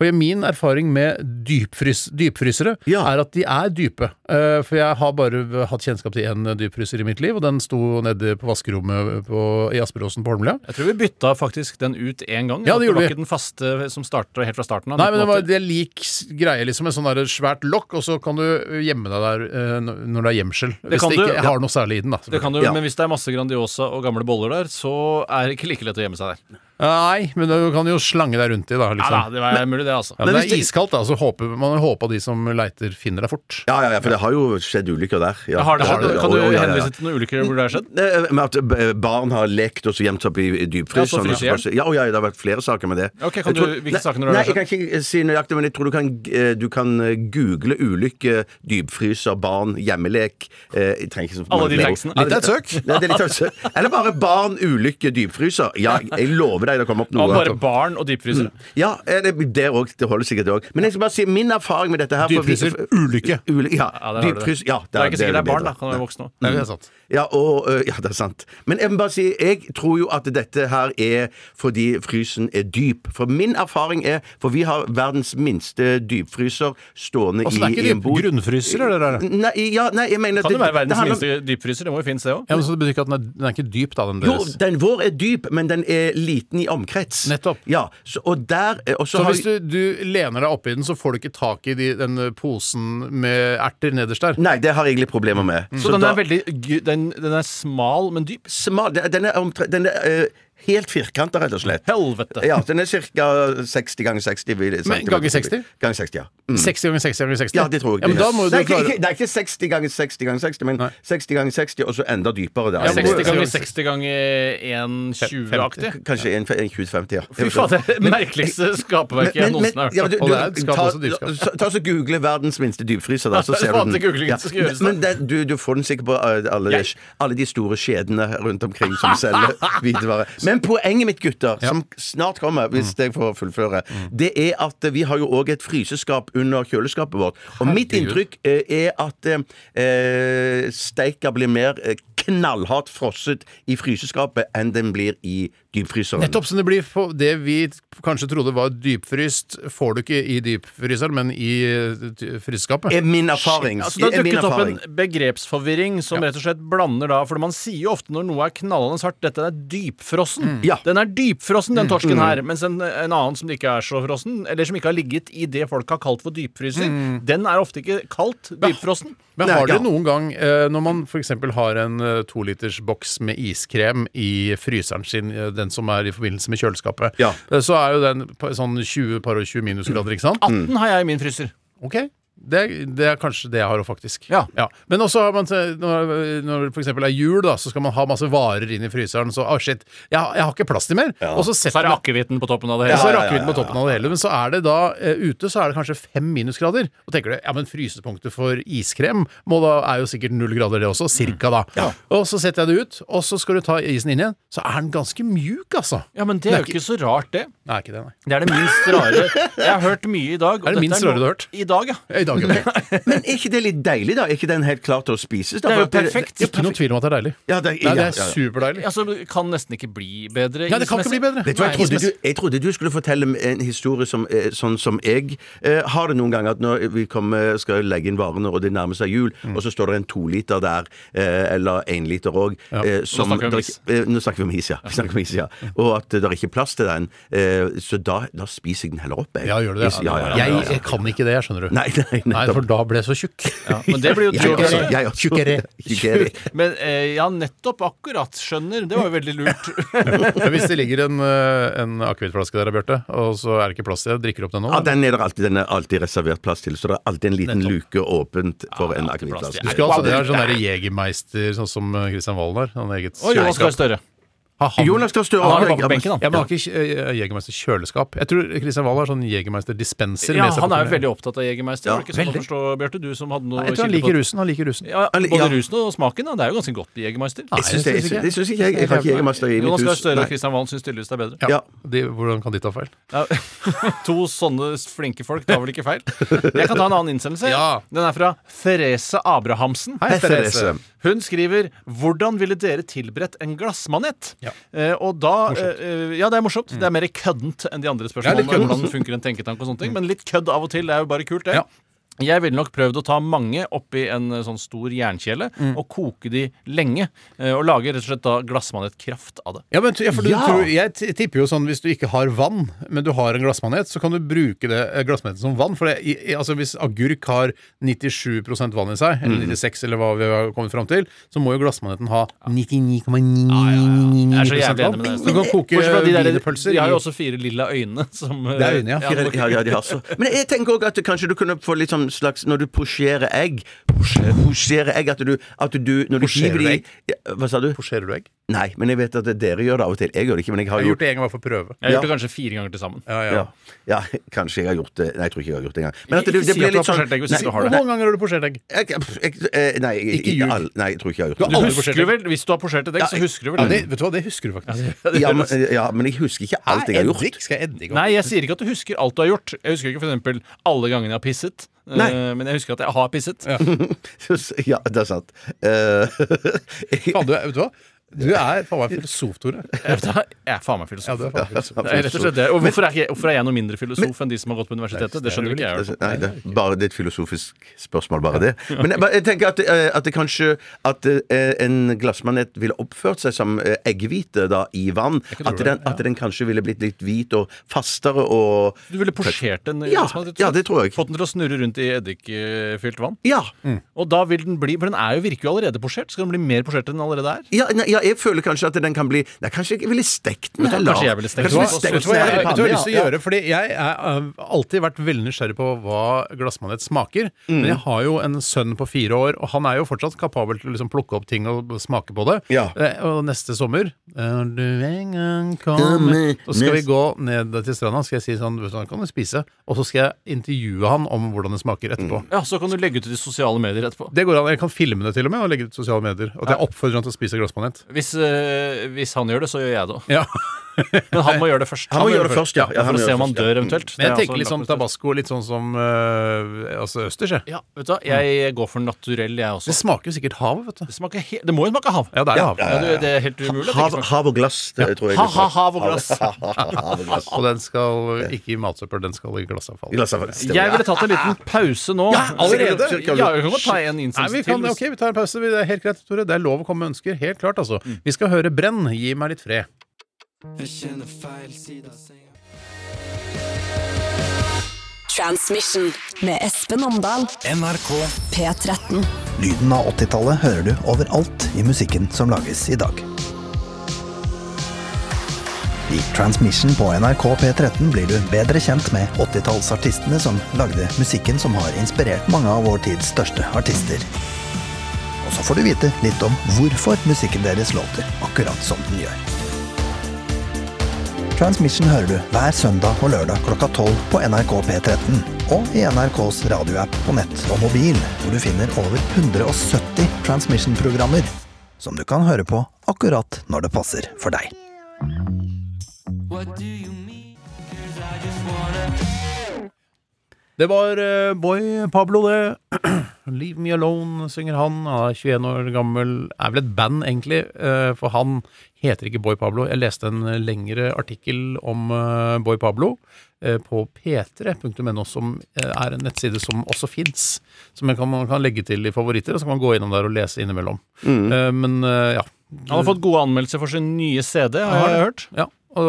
For min erfaring med dypfrys dypfrysere
Ja.
er at de er dype. Eh, For jeg har bare hatt kjennskap til én dypfryser i mitt liv, og den sto nede på vaskerommet på, i Asperåsen på Holmlia.
Jeg tror vi bytta faktisk den ut én gang.
Ja, det gjorde
var
vi.
ikke den faste som starta helt fra starten av.
Nei, men det, var,
1980.
det er lik s- greie, liksom. En sånn der svært lokk, og så kan du gjemme deg der eh, n- når det er gjemsel. Hvis
kan
det
du,
ikke
ja.
har noe særlig i den, da.
Det kan du,
Ja.
Men hvis det er masse Grandiosa og gamle boller der, så er det ikke like lett å gjemme seg der.
Nei, men du kan jo slange deg rundt i, da.
Ja da,
Liksom.
det var mulig, det, altså.
Ja, men
Men
det
hvis
er
det-
iskaldt, da, så håper man håper de som leiter, finner deg fort.
Ja, ja, ja, for det har jo skjedd ulykker der. Ja.
Har det, har det, kan
Ja,
du
ja, ja, ja.
henvise til noen ulykker hvor det har skjedd?
Eh, Med at eh, barn har lekt og så gjemt seg opp i
Ja, så
dypfryseren. og
fryser
så- Ja, å ja, det har vært flere saker med det.
Ok, kan
Jeg tror-
du- hvilke
Nei,
saker når det
Nei,
har
jeg kan ikke eh, si nøyaktig, men jeg tror du kan, eh, du kan eh, google ulykke, dypfryser, barn, hjemmelek eh, jeg trenger ikke så
Alle
mange
de
flere
tekstene.
ord.
Litt
av et søk.
Nei, det er litt av et søk. Eller bare barn, ulykke, dypfryser. Ja, jeg lover deg det kommer opp noe.
Og bare barn og dypfryser.
Ja, eh, det, det, også, det holder sikkert det òg. Men jeg skal bare si min erfaring med dette her for vi-
Dypfryser, ulykke.
Uly- ja,
Ja, der har du det.
dypfrys, ja,
Det er ikke sikkert det er barn,
bedre.
da. Kan være voksne òg.
Det er sant.
Ja, og, øh, ja, det er sant. Men jeg må bare si, jeg tror jo at dette her er fordi frysen er dyp. For min erfaring er For vi har verdens minste dypfryser stående
Åssen er
i, i
ikke
en bod.
det grunnfryser, eller? er det?
Nei, ja, nei, jeg mener
Kan det være verdens
handler om-
minste dypfryser? Det må jo finnes, det òg.
Ja, men så det betyr ikke at den er, den er ikke dyp, da, den
Jo,
deres.
den vår er dyp, men den er liten i omkrets.
Nettopp.
Ja, så, og der eh, og så
Så
har-
hvis du, du lener deg oppi den, så får du ikke tak i de, den posen med erter nederst der?
Nei, det har jeg egentlig problemer med.
Så den
da-
er veldig gy- den, den er smal, men dyp.
smal. Den- Den er, omtre- den er eh, helt firkanta, rett og slett.
Helvete!
Ja, den er ca. 60 ganger 60. vil jeg-
Men ganger 60?
Ganger 60, ja. Mm.
60 ganger 60 ganger 60?
Ja, det tror jeg.
Ja, men da må du
Nei, ikke,
klare
ikke, det er ikke 60 ganger 60 ganger 60, men
Nei.
60 ganger 60, og så enda dypere. Der.
Ja,
60
hvor-
ganger 60 ganger 1,20-aktig.
Kanskje en- en 2050, ja.
Fy faen, det er det merkeligste skaperverket jeg noensinne har
ja, men
hørt. om.
du,
Og det er et
du,
skap,
ta,
også dypskap.
ta, ta så Google 'verdens minste dypfryser', da, så
Det er
ser du
faen
den.
til googlingen som skal gjøres, da.
Men det, du, du får den sikkert på eh, alle, de,
Jeg-
alle de store kjedene rundt omkring
*laughs*
som selger hvitevare. Men poenget mitt, gutter, som snart kommer, hvis
Mm.
jeg får fullføre, det er at eh, vi har jo òg et fryseskap under kjøleskapet vårt. Og mitt inntrykk eh, er at eh, eh, steika blir mer eh, knallhardt frosset i fryseskapet enn den blir i dypfryseren.
Nettopp som det blir på det vi kanskje trodde var dypfryst, får du ikke i dypfryseren, men i eh, ty- fryseskapet.
Er min erfaring.
Altså, det
er
har
min
dukket opp
erfaring.
en begrepsforvirring som rett og slett blander da For man sier jo ofte når noe er knallende hardt, dette er dypfrossen.
Mm.
Ja.
Den er dypfrossen, den torsken her. Mens en, en annen som ikke er så frossen, eller som ikke har ligget i det folk har kalt for dypfrysing,
Mm.
den er ofte ikke kalt dypfrossen.
Men
Nei,
har dere
ja.
noen gang, eh, når man f.eks. har en eh, toliters boks med iskrem i fryseren sin, eh, den som er i forbindelse med kjøleskapet,
Ja.
eh, så er jo den på sånn 20 par og 20 minusgrader, ikke sant?
Den har jeg i min fryser.
Ok, det, det er kanskje det jeg har òg, faktisk.
Ja.
Men også har man, se- når, når det for eksempel er jul, da, så skal man ha masse varer inn i fryseren. Så ah, shit, jeg, har- jeg har ikke plass til mer. Og så
Så
setter
er det
man
akkevitten på toppen av det
ja,
hele.
så rakker vi den på toppen av det hele. Men så er det da eh, ute så er det kanskje fem minusgrader. Og tenker du ja, men frysepunktet for iskrem må da, er jo sikkert null grader, det
Mm.
også. Cirka, da. Og så setter jeg det ut, og så skal du ta isen inn igjen. Så er den ganske mjuk, altså.
Ja, men det er jo ikke så rart, det.
Nei, ikke det, nei.
Det er det minst rare Jeg har hørt mye i dag. og
Er det
dette
minst
noe-
rare du har hørt?
I dag, ja.
I
*laughs*
dag, ja.
*laughs*
Men er ikke det litt deilig, da? Er ikke den helt klar til å spises? Da?
Det er jo
For at
perfekt.
det-
Ikke noe tvil om at det er deilig.
Ja, det,
Nei, det
ja,
er
ja, ja.
superdeilig.
Altså, det kan nesten ikke bli bedre.
Ja, det kan ikke bli
ismessig.
bedre.
Vet du hva, jeg
Nei,
trodde du, jeg trodde du skulle fortelle en historie som, eh, sånn som jeg eh, har det noen ganger. At når vi kommer, skal legge inn varene, og det nærmer seg jul,
Mm.
og så står det en toliter der, eh, eller en liter òg eh, som-
snakker vi om
der-
is.
eh, Nå snakker vi om is, ja. Vi snakker om is,
*laughs*
ja. Og at det er ikke plass til den. Eh, så da, da spiser jeg den heller opp, jeg.
Ja, gjør du det? altså?
Is- Ja, ja, ja,
jeg,
ja,
jeg kan ikke det, jeg skjønner du.
Nei,
Nei,
nei, nettopp.
for da ble jeg så tjukk.
men det blir jo
Jeg også.
tjukkere.
Jeg også.
Tjukkere.
Tjukkere.
Men eh, ja, nettopp akkurat. Skjønner. Det var jo veldig lurt.
Men *laughs* Hvis det ligger en, eh, en akevittflaske der, Bjarte, og så er det ikke plass til det, drikker du opp den nå?
Ja, den er det alltid, den er alltid reservert plass til, så det er alltid en liten luke åpent for en
alltid plass
akevittflaske.
til.
Du skal altså, det er sånn der Jegermeister, sånn som eh, Christian Valen har. Han har eget
Og Jonas Gahr Støre.
Ha, han-
Jonas Gahr Støre
Han har
har-
det bak på benken, han.
Ja, men han har ikke eh, Jegermeister-kjøleskap. Jeg tror Christian Valen har sånn Jegermeister-dispenser.
Ja,
med seg på
han er jo
turné.
veldig opptatt av Jegermeister. Var det ikke sånn å forstå, Bjarte? Du som hadde noe
Jeg tror han
kilde på
liker rusen. Han liker rusen.
Ja,
Han-
både
ja.
rusen og smaken. Da. Det er jo ganske godt med Jegermeister.
Jeg syns det, jeg syns- det syns ikke jeg. Jeg har ikke Jegermeister i mitt
Jonas Gahr
hus.
Støre og
Nei.
Kristian Valen syns tydeligvis det er bedre.
Ja.
De, hvordan kan de ta feil?
Ja. To sånne flinke folk tar vel ikke feil? Jeg kan ta en annen innsendelse.
*laughs* Ja.
Den er fra Therese Abrahamsen.
Hei, Therese.
Hun skriver 'Hvordan ville dere tilberedt en glassmanet?'
Ja. Mm.
Eh, og da eh, Ja, det er morsomt. Det er mer køddent enn de
Ja,
andre
litt
spørsmålene. om
køddent. Mm.
hvordan funker en tenketank og sånne ting Men litt kødd av og til. Det er jo bare kult, det.
Ja.
Jeg ville nok prøvd å ta mange oppi en eh, sånn stor jernkjele
Mm.
og koke de lenge. eh, Og lage rett og slett da glassmanetkraft av det.
Ja, men, t- ja, for du
Ja!
tror, jeg t- tipper jo sånn hvis du ikke har vann, men du har en glassmanet, så kan du bruke det eh, glassmaneten som vann. For det, i, i- altså, hvis agurk har 97 vann i seg, eller 96 eller hva vi har kommet fram til, så må jo glassmaneten ha 99,999
Jeg er så jævlig enig
vann.
med deg.
Så Mm. du kan koke
Bortsett fra de der-
wienerpølser.
De har
i-
jo også fire lilla øyne. Som, eh,
Det er øyne, ja.
ja,
Ja, ja, de har så. Men jeg tenker også at kanskje du kunne få litt sånn slags Når du posjerer egg posjerer- Posjerer egg At du, at du når du
Posjerer
hiver
du
de
egg?
ja, Hva sa du?
Pocherer du egg?
Nei, men jeg vet at dere gjør det av og til. Jeg gjør det ikke, men jeg har
Jeg har
gjort
gjort det en gang bare for å prøve.
Jeg har gjort det kanskje fire ganger til sammen.
Ja, ja.
ja. ja, kanskje jeg har gjort det Nei, jeg tror ikke jeg har gjort det engang. Men
Ikke
at det, det
si at
blir
du har
litt sånn
posjert egg hvis
Nei,
ikke du har
Hvor
det.
mange ganger har du posjert egg?
jeg, jeg, jeg, eh, nei, jeg,
Ikke ljug.
all- Nei, jeg tror ikke jeg har gjort
Du
det.
har aldri
Husker
posjert
du
egg?
vel, Hvis du har posjert et egg, så husker du vel
Ja, det, vet du hva, det husker du faktisk.
*laughs*
Ja men, ja, men jeg husker ikke alt jeg har gjort. *laughs*
Eddik? Skal jeg eddik opp?
Nei, jeg sier ikke at du husker alt du har gjort. Jeg husker ikke for eksempel alle gangene jeg har pisset. eh,
Nei.
Men jeg husker at jeg har pisset.
Ja, det er sant. *laughs* Eh,
Faen, du, er- vet du hva? Du er faen meg filosof, Tore.
Jeg er faen meg
Ja, du
filosof.
er faen meg filosof.
Det er rett og slett det. Og hvorfor er, ikke, jeg- hvorfor er jeg noe mindre filosof enn de som har gått på universitetet? Det skjønner ikke jeg. altså. i hvert fall.
Nei, det, er bare, det er et filosofisk spørsmål, bare det. Men jeg, bare- jeg tenker at, eh, at det kanskje At eh, en glassmanet ville oppført seg som eh, egghvite da, i vann. At den, at den kanskje ville blitt litt hvit og fastere og
Du ville posjert en eh,
Ja,
glassmanet,
ja, det tror jeg.
Fått den til å snurre rundt i eddikfylt vann.
Ja.
Og da vil den bli For den er jo, virker jo allerede posjert. Skal den bli mer posjert enn den allerede er?
Ja, nei, ja, jeg føler kanskje at den kan bli Nei, kanskje jeg ville stekt den heller.
kanskje jeg ville stekt
Kanskje
den.
vi
Vet
Vet du
stekte
hva jeg,
den
vet du hva jeg
i
har
panne,
lyst til å
ja.
gjøre? Fordi jeg har alltid vært veldig nysgjerrig på hva glassmanet smaker. Men jeg har jo en sønn på fire år, og han er jo fortsatt kapabel til å liksom plukke opp ting og smake på det.
Ja.
Eh, Og neste sommer eh, Når du en gang kommer Så skal vi gå ned til stranda, skal jeg si sånn Vet du hva, kan du spise? Og så skal jeg intervjue han om hvordan det smaker etterpå.
Ja, Så kan du legge ut i de sosiale medier etterpå.
Det går an, Jeg kan filme det til og med og legge ut i sosiale medier. At jeg oppfordrer han til å spise
*laughs*
glassmanet.
Hvis, eh, hvis han gjør det, så gjør jeg det òg.
Ja.
Men han må gjøre det først.
Han må gjøre det først, ja. Ja, han
for å
må
se
gjøre det
om han
først, ja.
dør eventuelt.
Men
Det er
jeg
også
tenker
en
litt sånn
lakmusprosedyr.
tabasco, litt sånn som øh, altså østers, jeg.
Ja, vet du hva, jeg går for naturell, jeg også.
Det smaker jo sikkert hav, vet du.
Det, smaker he det må jo smake hav.
Ja, det er jo hav.
Ja, du, det er helt umulig. at det ikke
Hav,
smaker-
hav og glass, det tror jeg.
Ha, ha, hav og
*laughs*
glass.
hav og glass.
Og den skal ikke i matsøppel, den skal i glassavfall.
Glass av- stemmer,
Jeg
ja.
ville tatt en liten pause nå.
Ja, allerede?
Ja, vi kan godt ta en
Nei,
innsats
vi
til.
kan, ok, vi tar en pause. Det er helt greit, Tore. Det er lov å komme med ønsker. Helt klart, altså. Vi skal høre Brenn. Gi meg litt fred.
Transmission med Espen Omdal.
NRK
P13.
Lyden av 80-tallet hører du overalt i musikken som lages i dag. I Transmission på NRK P13 blir du bedre kjent med 80-tallsartistene som lagde musikken som har inspirert mange av vår tids største artister. Og så får du vite litt om hvorfor musikken deres låter akkurat som den gjør. Transmission hører du hver søndag og lørdag klokka 12 på NRK P13 og i NRKs radioapp på nett og mobil, hvor du finner over 170 Transmission-programmer som du kan høre på akkurat når det passer for deg.
Det var eh, Boy Pablo, det. *clears throat* Leave Me Alone synger han. Han er 21 år gammel. Er vel et band, egentlig. eh, For han heter ikke Boy Pablo. Jeg leste en eh, lengre artikkel om eh, Boy Pablo eh, på p3.no, som eh, er en nettside som også fins. Som man kan, man kan legge til i favoritter, og så kan man gå innom der og lese innimellom. Eh, Men eh, ja.
Han har fått gode anmeldelser for sin nye CD, har jeg hørt.
Ja, og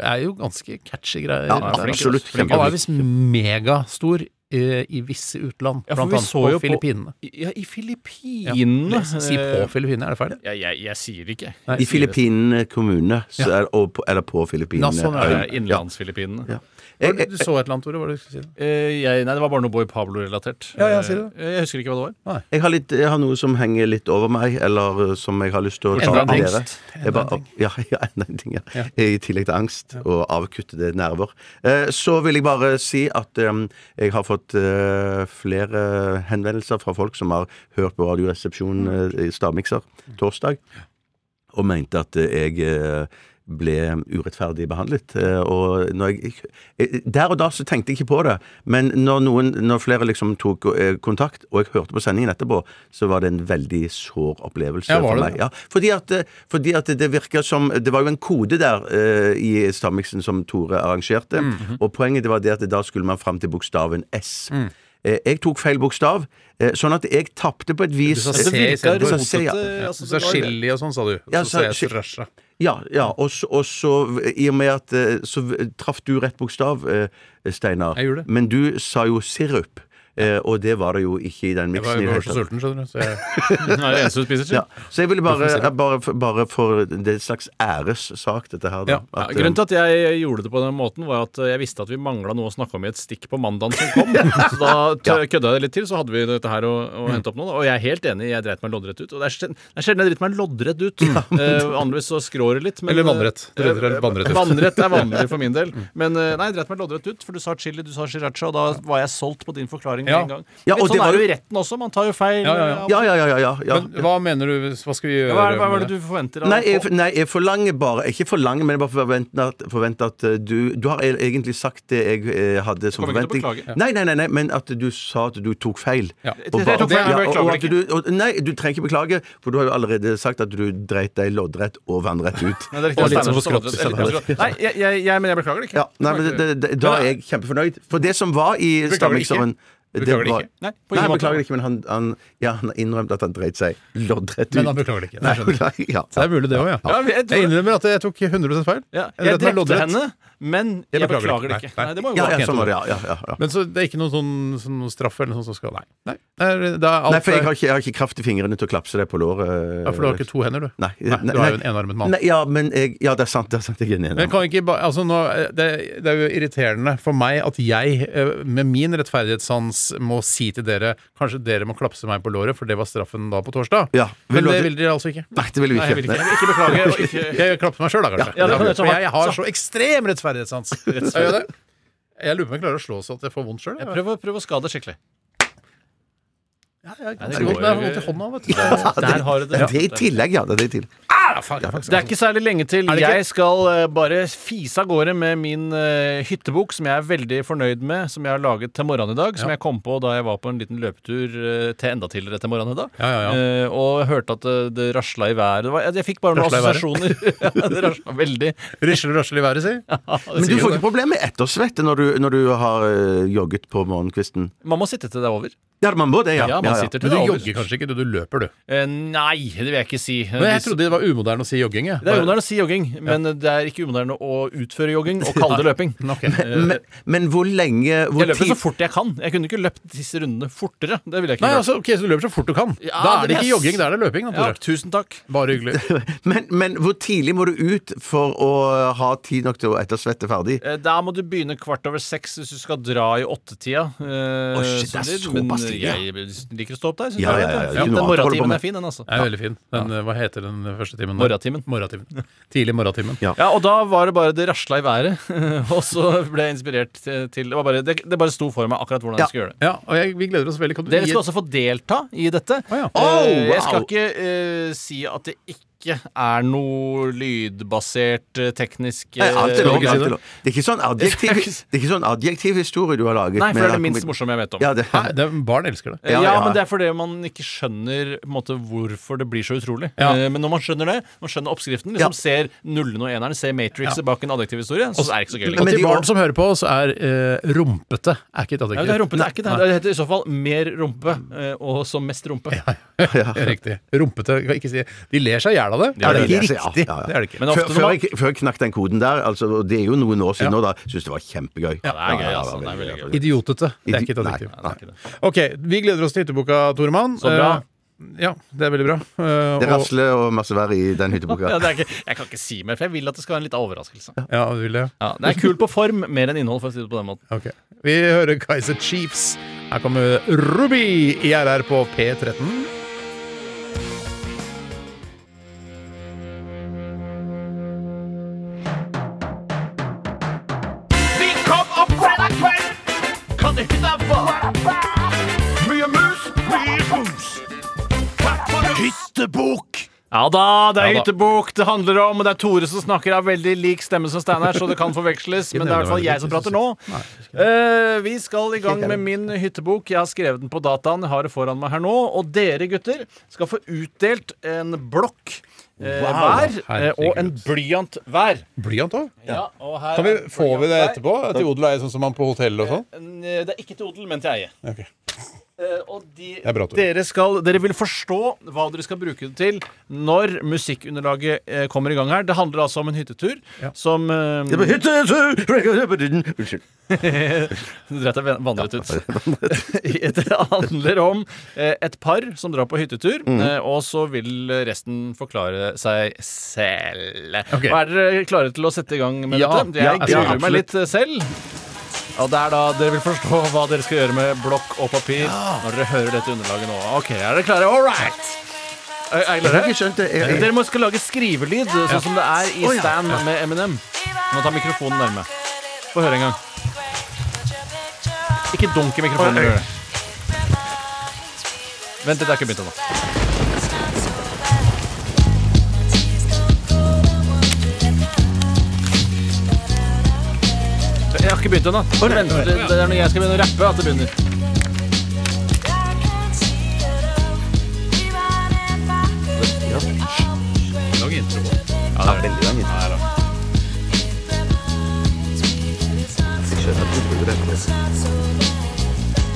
er jo ganske catchy greier.
Ja,
Der.
absolutt.
Han er visst megastor eh, i visse utland,
Ja, for
blant
vi
annet
så jo
på
på-
Filippinene.
Ja, i Filippinene. eh,
Ja, si på Filippinene, er det feil?
Ja, jeg, jeg sier det ikke.
Nei.
I Filippinene kommune, så er, og på, eller på Filippinene.
Ja, sånn er
Eh,
det.
Innlandsfilippinene.
Ja.
Var
Jeg,
det- Du så et eller annet, Tore? Hva var det du skulle si?
Eh, jeg, nei, det var bare noe Boy Pablo-relatert.
Ja, ja, si det.
Eh, Jeg husker ikke hva det var.
jeg, har litt, jeg har noe som henger litt over meg, eller eh, som jeg har lyst til å ta
Enda
opp
en
med dere.
angst.
Jeg bare- Ja, *laughs* ja, enda en ting, ja. I tillegg til angst og avkuttede nerver. Eh, Så vil jeg bare si at eh, jeg har fått eh, flere henvendelser fra folk som har hørt på Radioresepsjonen eh, i Stavmikser torsdag, og mente at eh, jeg eh, ble urettferdig behandlet. eh, Og når jeg, eh, der og da så tenkte jeg ikke på det, men når, noen, når flere liksom tok eh, kontakt, og jeg hørte på sendingen etterpå, så var det en veldig sår opplevelse
Ja, var
for
det
meg.
det?
Ja, fordi at, eh, fordi at det virker som Det var jo en kode der eh, i
Mhm. Mm.
Stammiksen som Tore arrangerte, og poenget det var det at da skulle man fram til bokstaven S. Eh, Jeg tok feil bokstav, eh, sånn at jeg tapte på et vis
sa
Eh,
C
det virker-
istedenfor.
du sa C, ja.
altså,
Så sa chili og sånn, sa du.
Ja,
Så sa
sa-
jeg srasha.
Ja, ja. Og, så, og så, i og med at eh, Så v- traff du rett bokstav, eh, Steinar.
Jeg gjorde det.
Men du sa jo sirup, eh, og det var det jo ikke i den
Jeg var
miksen. i
jeg
det
var
hele
så
tatt.
sulten, skjønner du. Så jeg,
Nei, *laughs* det eneste du spiser,
Ja,
sirup.
så jeg ville bare, jeg bare, for- bare for Det er en slags æressak, dette her. Da.
Ja.
Ja,
At, eh,
grunnen til at jeg gjorde det på den måten, var at eh, jeg visste at vi mangla noe å snakke om i et stikk på mandagen som
*laughs*
kom. Så da tø- kødda jeg det litt til, så hadde vi dette her å, å hente opp nå. da. Og jeg er helt enig, jeg dreit meg loddrett ut. Og det er sjelden, det er sjelden jeg driter meg loddrett ut. Eh, Vanligvis så skrår det litt. men- eh,
Eller vannrett. Du driter deg vannrett ut. Mm.
Vannrett er vanlig for min del. Men eh, nei, jeg dreit meg loddrett ut, for du sa chili, du sa sriracha, og da var jeg solgt på din forklaring med
Ja.
en gang.
Ja,
litt
og det
sånn
var
er det jo
jo-
i retten også, man tar jo feil. eh,
Ja, ja, ja.
ja, ja, ja, ja, ja, ja.
Men hva mener du? Hva skal vi gjøre?
Hva, er, hva
med
er det du forventer? av
Nei jeg,
folk?
nei, jeg forlanger bare Ikke forlanger, men jeg bare forventer at, forventer at eh, du Du har e- egentlig sagt det jeg eh, hadde som
Kommer ikke til å
forventning.
beklage.
Nei, nei, nei, nei, men at du sa at du tok feil.
Ja.
Og
Jeg tok feil,
ja,
jeg
og-
beklager
og at du, og, nei, du trenger ikke beklage, for du har jo allerede sagt at du dreit deg loddrett og vannrett
*laughs*
ut.
Nei, det er
Og litt
riktig. Steinar
sånn
som
skrått-
skrått-
skrått-
skrått- Nei, jeg, jeg, jeg, men jeg beklager det ikke.
Ja, nei, men det, det, da er jeg kjempefornøyd. For det som var i
Beklager
Stammikseren
ikke.
det
Beklager
var-
ikke.
Nei, på
Nei,
ingen
han
måte.
beklager ikke, men han, han, ja, han har innrømt at han dreit seg loddrett ut.
Men han beklager det ikke, det
Nei, *laughs*
skjønner
nei, ja.
Så det er mulig, det òg, ja.
Ja, jeg tror-
Jeg innrømmer at jeg tok 100 feil.
Ja,
Eller
jeg
at den er
drepte
loddrett.
henne, men jeg beklager, det ikke. Nei, det må jo
Ja,
gå.
ja, sånn var det, ja. ja, ja, ja.
Men så det er ikke noen sånn, sånn straff eller noe sånt som skal Nei. Nei, det er, det er alt,
Nei, for jeg har, ikke, jeg har ikke kraft i fingrene til å klapse deg på låret. eh,
ja, for du har ikke to hender, du.
Nei,
du er jo en enarmet mann.
Nei, ja, men jeg, ja, det er sant. Det er sant jeg er en
Men
enig.
kan ikke ba, altså nå, det, det er jo irriterende for meg at jeg eh, med min rettferdighetssans må si til dere kanskje dere må klapse meg på låret, for det var straffen da på torsdag.
Ja, vil
Men
du
det
at-
vil dere altså ikke.
Nei, det vil vi
Nei, jeg vil
ikke.
ikke.
Nei. *laughs*
Ikke beklage og ikke
*laughs* Jeg klapper meg sjøl, da, kanskje.
Ja, det kan jeg ta
for jeg,
hardt.
har så ekstrem
*laughs*
rettferdighetssans. Jeg, gjør det. jeg lurer på om jeg klarer å slå så at jeg får vondt sjøl.
Prøv, å- prøv å skade skikkelig.
Ja, jeg
det
har
går
vondt jeg har
jo-
vondt i hånda, vet du.
Der har du
Det er i tillegg, ja. Det er det i tillegg.
Det er ikke særlig lenge til.
det ikke?
Jeg skal eh, bare fise av gårde med min eh, hyttebok, som jeg er veldig fornøyd med, som jeg har laget til morgenen i dag. Som jeg kom på da jeg var på en liten løpetur eh, til enda tidligere til morgenen i dag.
Ja, ja, ja.
Eh, og hørte at det, det rasla i været. Det var, jeg fikk bare noen
Rasla
assosiasjoner. *laughs* ja, det rasla veldig.
Risler og rasler i været, si.
Men du får ikke problemer med ettersvette når du, når du har øh, jogget på morgenkvisten?
Man må sitte til det er over.
Ja, man må det, ja.
Ja, man sitter til
Men du
det er over.
jogger kanskje ikke, du, du løper, du.
Eh, nei, det vil jeg ikke si.
Men jeg
Hvis-
trodde det var umoderne å si jogging. Jeg.
det er umoderne å si jogging, men det er ikke umoderne å utføre jogging
*laughs*
og kalle det løping. *laughs*
Ok.
Men, men hvor lenge hvor
Jeg løper
tid-
så fort jeg kan. Jeg kunne ikke løpt disse rundene fortere. Det ville jeg ikke
Nei,
gjort.
altså, ok, Så du løper så fort du kan? da
Ja,
er det
men
ikke
jeg-
jogging, da er det løping.
altså,
Da,
Ja,
Tore.
tusen takk.
Bare
*laughs*
hyggelig.
men, men hvor tidlig må du ut for å ha tid nok til å ettersvette ferdig?
Eh, Da må du begynne kvart over seks hvis du skal dra i åttetida. Eh,
Å, shit, det er
så
såpass
men eh,
tidlig, ja.
jeg liker å stå opp der. synes
Ja,
jeg.
ja, ja, ja.
Den
Ikke noe annet å holde på
morgentimen
med.
er fin, den, altså.
Det er veldig fin. Den, eh, Hva heter den første timen? da?
Morgentimen.
Morgentimen. Tidlig morgentimen.
Ja.
Ja, og da var det bare det rasla i været, *laughs* og så ble jeg inspirert til til- Det, var bare, det, det bare sto for meg akkurat hvordan
Ja.
jeg skulle gjøre det.
Ja, og jeg, vi gleder oss veldig. Kan du
Dere
gi-
skal også få delta i dette.
Å, ja.
Eh,
Oh,
Jeg skal
wow.
ikke eh, si at det ikke er noe lydbasert, eh, teknisk
Nei,
eh,
alt er lov.
ikke si
Alt
det.
er lov. Det er ikke sånn
*laughs*
adjektiv, det er ikke sånn adjektiv historie du har laget.
Nei, for
men
det er det
har
minst
kommet-
morsomme jeg vet om.
Ja, det,
Nei, det, er- barn elsker det.
Eh, Ja,
Ja, ja.
men det er fordi man ikke skjønner på en måte, hvorfor det blir så utrolig.
Ja.
Eh, Men når man skjønner det, man skjønner oppskriften,
Ja.
liksom ser nullen og eneren, ser Matrixet bak en adjektivhistorie, så er det ikke så gøy
Og
lenger.
Men
til
de-
barn som hører på, så er eh, rumpete er ikke et
Nei, det er
adjektiv.
rumpete er ikke det. Det heter i så fall mer rumpe, eh, og som mest rumpe.
Riktig. Rumpete kan ikke si De ler seg i hjel av det.
Ja,
er det
de
ikke
ler seg- ja,
riktig?
ja, ja.
Det er det ikke.
Men
før,
ofte når
før,
man
jeg, før jeg knakk den koden der, altså, og det er jo noen år siden
Ja.
nå, da, syntes det var kjempegøy. Ja,
det er gøy, altså. Det er veldig gøy.
Idiotete. Det er ikke et
Idi-
adjektiv.
nei,
Nei, det er ikke det.
Ok, vi gleder oss til hytteboka, Toremann.
Så bra.
ja, det er veldig bra. Eh,
Det
og-
rasler og masse vær i den hytteboka.
*laughs* Ja, det er ikke, jeg kan ikke si mer, for jeg vil at det skal være en liten overraskelse.
Ja, du vil det?
Ja, det er kult på form, mer enn innhold, for å si det på den måten.
Ok. Vi hører Kaiser Chiefs. Her kommer Ruby i RR på P13.
Vi kom opp fredag kveld, kan det hete hva? Mye mus, mye bus. Hyttebok!
Ja da, det er
Ja da.
hyttebok det handler om, og det er Tore som snakker av veldig lik stemme som Steinar, så det kan forveksles, men det er i hvert fall jeg som prater nå. Eh, vi skal i gang med min hyttebok. Jeg har skrevet den på dataen, jeg har det foran meg her nå. Og dere gutter skal få utdelt en blokk eh, hver, eh, og en blyant hver.
Blyant òg?
Ja, og her
Kan vi,
er en
får vi det
blyant hver.
etterpå? Til odel og eie, sånn som man på hotell og sånn?
En, eh, Det er ikke til odel, men til eie.
Ok.
Eh, Og de,
er bra, Tore.
dere, skal, dere vil forstå hva dere skal bruke det til når musikkunderlaget eh, kommer i gang her. Det handler altså om en hyttetur som eh,
Det var hytte- Unnskyld.
*laughs* Du dreit deg vandret ut. *laughs* det handler om eh, et par som drar på hyttetur,
Mm.
eh, og så vil resten forklare seg selv.
Ok.
Og er dere klare til å sette i gang med
Ja,
dette? Jeg
ja,
gruer
ja,
meg litt eh, selv. Og det er da dere vil forstå hva dere skal gjøre med blokk og papir når dere hører dette underlaget nå. Ok, er dere klare? All right! Er er dere
Jeg har ikke
klare?
skjønt det. Jeg- jeg-
Dere må skal lage skrivelyd, sånn som det er i Stand med Eminem. Nå tar mikrofonen nærme. Få høre en gang. Ikke dunk i mikrofonen.
Oi, oi.
gjør det. Vent, dette er ikke begynt ennå. Jeg har ikke begynt ennå. Vent, Det det er når jeg skal begynne å rappe at det begynner.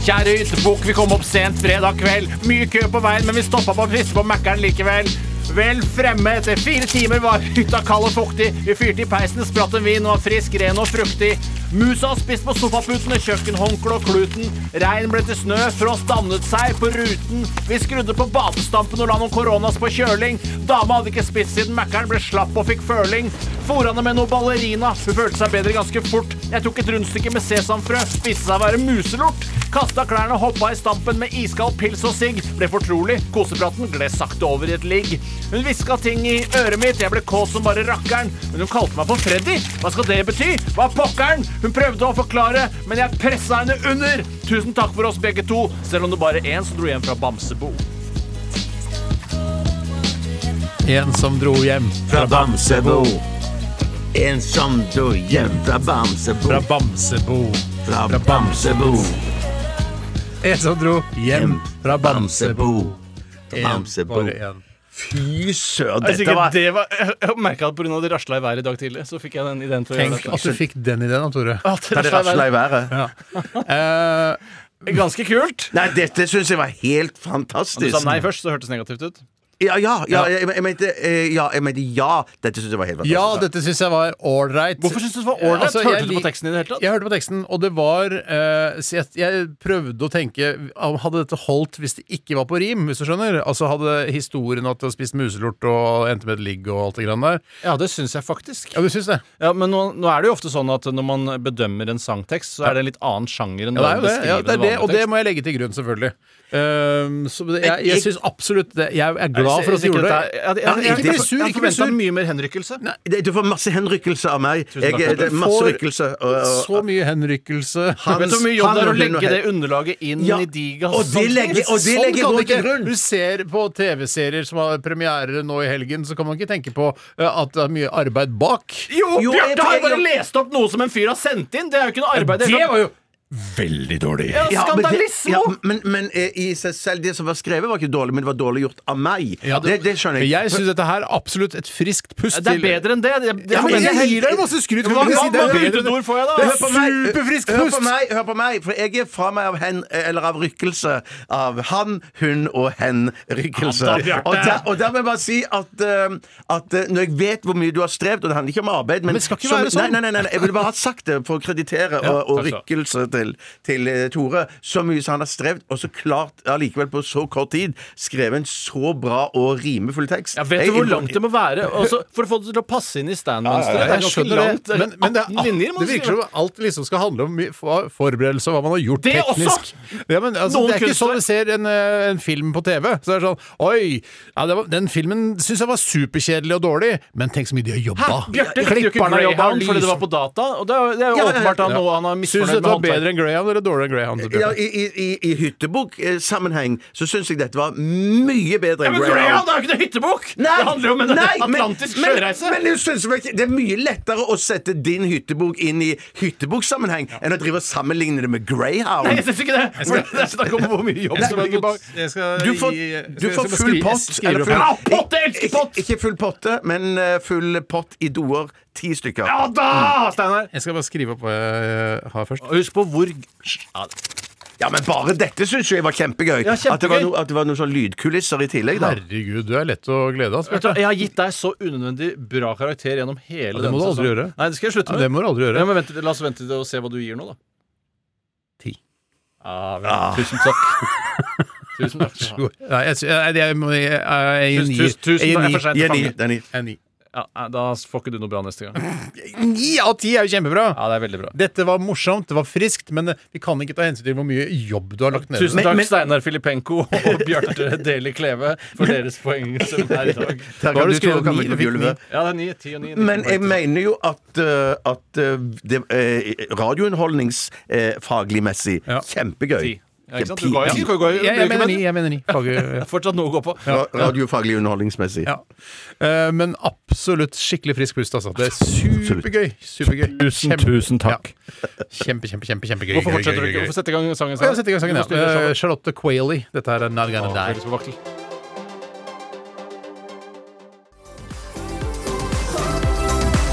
Kjære hyttebukk, vi kom opp sent fredag kveld. Mye kø på veien, men vi stoppa på å pisse på Mækkern likevel. Vel fremme etter fire timer var hytta kald og fuktig. Vi fyrte i peisen, spratt en vin og var frisk, ren og fruktig. Musa spiste på sofaputene, kjøkkenhåndkle og kluten. Regn ble til snø, frost dannet seg på ruten. Vi skrudde på badestampen og la noen koronas på kjøling. Dama hadde ikke spist siden Mækkern ble slapp og fikk føling. Fôra henne med noe ballerina, hun følte seg bedre ganske fort. Jeg tok et rundstykke med sesamfrø, spiste seg å være muselort. Kasta klærne, hoppa i stampen med iskald pils og sigg. Ble fortrolig. Kosepraten gled sakte over i et ligg. Hun hviska ting i øret mitt, jeg ble kåt som bare rakkeren. Men hun kalte meg for Freddy. Hva skal det bety? Hva er pokkeren? Hun prøvde å forklare, men jeg pressa henne under. Tusen takk for oss begge to, selv om det bare er én som dro hjem fra Bamsebo.
En som dro hjem fra Bamsebo.
En som dro hjem fra Bamsebo,
Fra Bamsebo.
fra
*laughs*
Bamsebo,
En som dro hjem fra Bamsebo.
Bamsebo,
En,
Bamsebo.
bare en.
Fy søren,
Jeg,
dette var
det var, jeg, jeg merka at pga. det rasla i været i dag tidlig, så fikk jeg den ideen til å
Tenk altså. at du fikk den ideen, da, Tore.
Kan det rasla i været?
Eh,
Ganske kult.
Nei, dette syns jeg var helt
Du
fantastisk.
sa nei først, så hørtes negativt ut.
Ja, ja, ja, jeg, jeg mente eh, ja, jeg mente ja. Dette syns jeg var helt fantastisk.
ja, dette syns jeg var ålreit.
Hvorfor syns du det var ålreit?
Altså,
Hørte
jeg
du
lik-
på teksten i det hele tatt?
Jeg hørte på teksten, og det var eh, så jeg, jeg prøvde å tenke om Hadde dette holdt hvis det ikke var på rim, hvis du skjønner? Altså hadde historien at du har spist muselort og endte med et ligg og alt det grann der?
Ja, det syns jeg faktisk.
Ja, du syns det?
Ja, men nå, nå er det jo ofte sånn at når man bedømmer en sangtekst, så er det en litt annen sjanger enn
Ja, det er jo det.
den
Ja, det er det
beskrivende
og det
vanlige
må jeg legge til grunn, selvfølgelig. Ehm, så det, jeg jeg syns absolutt det. Jeg er
tekst.
glad for at du gjorde det.
Jeg synes ikke dette er-
Ja,
Jeg
ikke bli
sur,
jeg
ikke bli
forventa
sur.
mye mer henrykkelse.
Det- Du får masse henrykkelse av meg. Jeg,
takk.
det er masse
Får-
rykkelse. Og, og,
Så mye henrykkelse.
Vet du hvor mye jobb
han
det er å
ruller noe
legge det
helt-
underlaget inn
Ja,
i diga? Sånn
og det legger- og det legger
kan
går
det ikke-
til grunn.
Du ser på TV-serier som har premiere nå i helgen, så kan man ikke tenke på eh, at det er mye arbeid bak.
Jo,
Jo, jeg-
Bjarte har jo bare
jeg-
lest opp noe som en fyr har sendt inn! Det er jo ikke noe arbeid.
Det var jo
ja,
Ja, men det-
skandalisme!
ja, men, men eh, i seg selv, det som var skrevet, var ikke dårlig, men det var dårlig gjort av meg.
Ja,
det, det skjønner
Men
jeg.
Jeg syns dette her er absolutt et friskt pust
Det er bedre enn det. det, det
Ja, men
forventer
jeg
jeg
gir deg
helt-
masse skryt.
Hva,
Kan du
hva,
si det
hva
er bedre enn det?
budord får jeg, da?
Hør på meg,
Superfrisk
hør
pust.
på meg, hør på meg, for jeg er fra meg av hen, eller av rykkelse. Av han, hun og hen-rykkelse.
Ja, da, Bjarte.
Og, der- og der må jeg bare si at, eh, at eh, når jeg vet hvor mye du har strevd, og det handler ikke om arbeid Men,
det skal ikke
som-
være sånn.
Nei, nei, nei, nei, jeg ville bare ha sagt det for å kreditere og, og
takk
rykkelse til, til eh, Tore. Så mye som han har strevd, og så klart allikevel på så kort tid skrevet en så bra og rimefull tekst.
Ja, vet
Jeg
du hvor
imponer-
langt det må være altså, for å få det til å passe inn i stand-mønsteret? Det er
Jeg
ganske
skjønner det,
langt. Det er
men, men det, er-
18 linjer må
det
du
virker
skrive.
som alt liksom skal handle om mye for- forberedelse og hva man har gjort
Det også!
teknisk. Ja, men, altså,
Noen
det er ikke
kunstnere-
sånn vi ser en, eh, en film på TV. Så er det sånn Oi! Ja, det var, den filmen syns jeg var superkjedelig og dårlig, men tenk så mye de har jobba.
Bjarte likte jo ikke Greyhound fordi det var på data. Og det er jo, det er jo
Ja, ja, ja.
åpenbart han,
Ja.
noe han er
Syns
misfornøyd
dette
med
var bedre bedre enn Greyhound eller dårligere enn Greyhound?
Ja, I i, i, i hyttebukk-sammenheng så syns jeg dette var mye bedre enn Greyhound.
er jo ikke noe hyttebukk!
Nei, nei, men- men- Men, jeg synes vel ikke- det er mye lettere å sette din hyttebok inn i hyttebukksammenheng enn å drive og sammenligne det med Greyhound.
syns ikke det! For Det er snakk om hvor mye jobb
Jeg skal
som
bare
ligger
not-
bak.
jeg skal
Du får,
gi-
du
skal-
får
skal bare
full
skri-
pott.
skrive
Eller
opp
full,
her.
Au, Ah, pott, jeg elsker
Ikke-
pott!
Ikke full potte, men eh, full pott i doer. Ti stykker.
Ja da, Steinar!
Jeg skal bare skrive opp hva jeg har først.
Og Husk på hvor ja,
Ja, men bare dette syns jeg var kjempegøy.
Ja, kjempegøy.
At, det var no, at det var noen sånn lydkulisser i tillegg, da.
Herregud, du er lett å glede altså. av.
Vet du, hva, jeg har gitt deg så unødvendig bra karakter gjennom hele
Ja, det må du
denne
aldri
sesongen.
gjøre.
Nei, det skal jeg slutte
Ja,
med.
det må du aldri gjøre.
Ja, men vent, La oss vente og se hva du gir nå, da.
Ti.
Ah, vel, Tusen takk. Tusen takk. skal du ha.
Nei, jeg, sy- jeg, jeg, må- jeg, jeg, jeg,
Tusen, tusen, tusen,
jeg,
takk, jeg er
jeg,
for sent
Gi
til
en ni.
fanget.
det er ni.
jeg, jeg,
Ja, nei, da får ikke du noe bra neste gang.
Ni av ti er jo kjempebra!
Ja, det er veldig bra.
Dette var morsomt, det var friskt, men eh, vi kan ikke ta hensyn til hvor mye jobb du har lagt ned.
*laughs* Tusen
Men-
takk,
men-
Steinar Filipenko og Bjarte Deli Kleve, for deres poeng som er i dag.
Da
Der
har
kan
du
du tro
skrevet
å komme
ni,
til
du fikk
gulvet.
Ja, det er ni, ti og ni.
Men jeg mener jo at, eh, at eh, det, eh, radiounderholdningsfaglingmessig
Ja.
kjempegøy.
Ti. Ja, ikke sant?
Ti.
Du ga jo
Ja.
ti. Du ga jo-
jeg, jeg mener ni.
Det
Jeg mener ni. Faget,
*laughs* er Fortsatt noe å gå på.
Ra- Radiofaglig underholdningsmessig.
Ja. Eh, men absolutt skikkelig frisk pust, altså. Det er supergøy. supergøy.
Tusen,
Kjempe-
tusen takk.
Ja. Kjempe, kjempe, kjempe, kjempegøy. gøy,
Hvorfor fortsetter du
gøy,
ikke?
gøy,
Hvorfor
gøy.
sette i gang sangen?
Å, ja, sett i gang sangen,
Hvorfor
ja.
styrer du
Eh,
showet?
Charlotte Quailey. Dette her er Not Gonna
Å,
Die.
føles på vaktel.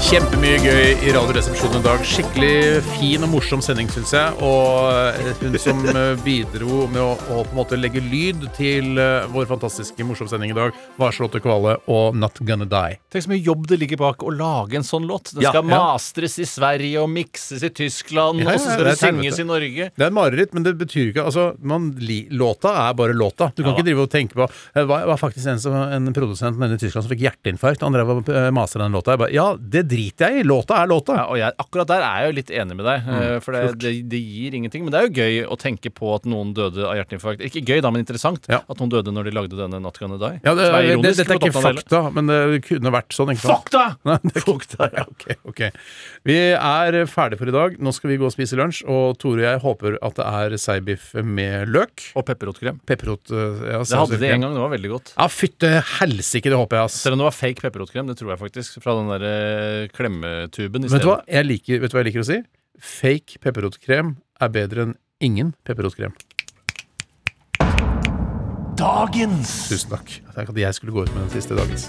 Kjempemye gøy i Radioresepsjonen i dag. Skikkelig fin og morsom sending, syns jeg. Og eh, hun
*laughs*
som eh, bidro med å, å på en måte legge lyd til eh, vår fantastiske morsomme sending i dag, var Charlotte Kvale og Not Gonna Die.
Tenk så mye jobb det ligger bak å lage en sånn låt. Den
Ja,
skal
ja.
mastres i Sverige og mikses i Tyskland,
Ja, ja,
og så
det
skal
er
det
et
synges
helvete.
i Norge.
Det er et mareritt, men det betyr ikke altså, man, li, Låta er bare låta. Du kan ikke drive og tenke på eh, Det var, var faktisk en, som, en produsent nede i Tyskland som fikk hjerteinfarkt. Han drev og eh, maste den låta. Jeg bare, ja, det driter jeg i. Låta er låta.
Ja, og jeg, akkurat der er jeg jo litt enig med deg, eh,
Mm,
for det, det, det gir ingenting. Men det er jo gøy å tenke på at noen døde av hjerteinfarkt. Ikke gøy, da, men interessant.
Ja.
At noen døde når de lagde denne Not Gonna Die.
Ja, det,
som er
det,
ironisk
dette er
på
ikke
toppen av det hele.
fakta, men det kunne vært sånn. Ikke sant?
Fuck, da!
Nei, det er ikke- ja, ok, ok. Vi er ferdige for i dag. Nå skal vi gå og spise lunsj, og Tore og jeg håper at det er seibiff med løk.
Og pepperrotkrem.
Pepperrot eh, ja,
Det hadde de en gang, det var veldig godt.
Ja, fytte helsike, det håper jeg, ass.
Selv om det var fake pepperrotkrem, det tror jeg faktisk, fra den der eh, klemmetuben i
Vet du, hva?
stedet.
Jeg liker, vet du hva jeg liker å si? Fake pepperrotkrem er bedre enn ingen pepperrotkrem.
Dagens
Tusen takk. Tenk at jeg skulle gå ut med den siste dagens.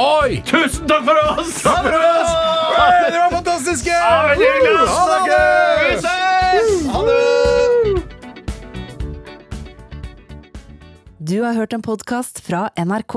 Oi!
Tusen takk for oss! Takk for oss!
Dere var fantastiske! Ha det gøy!
Du har hørt en podkast fra NRK.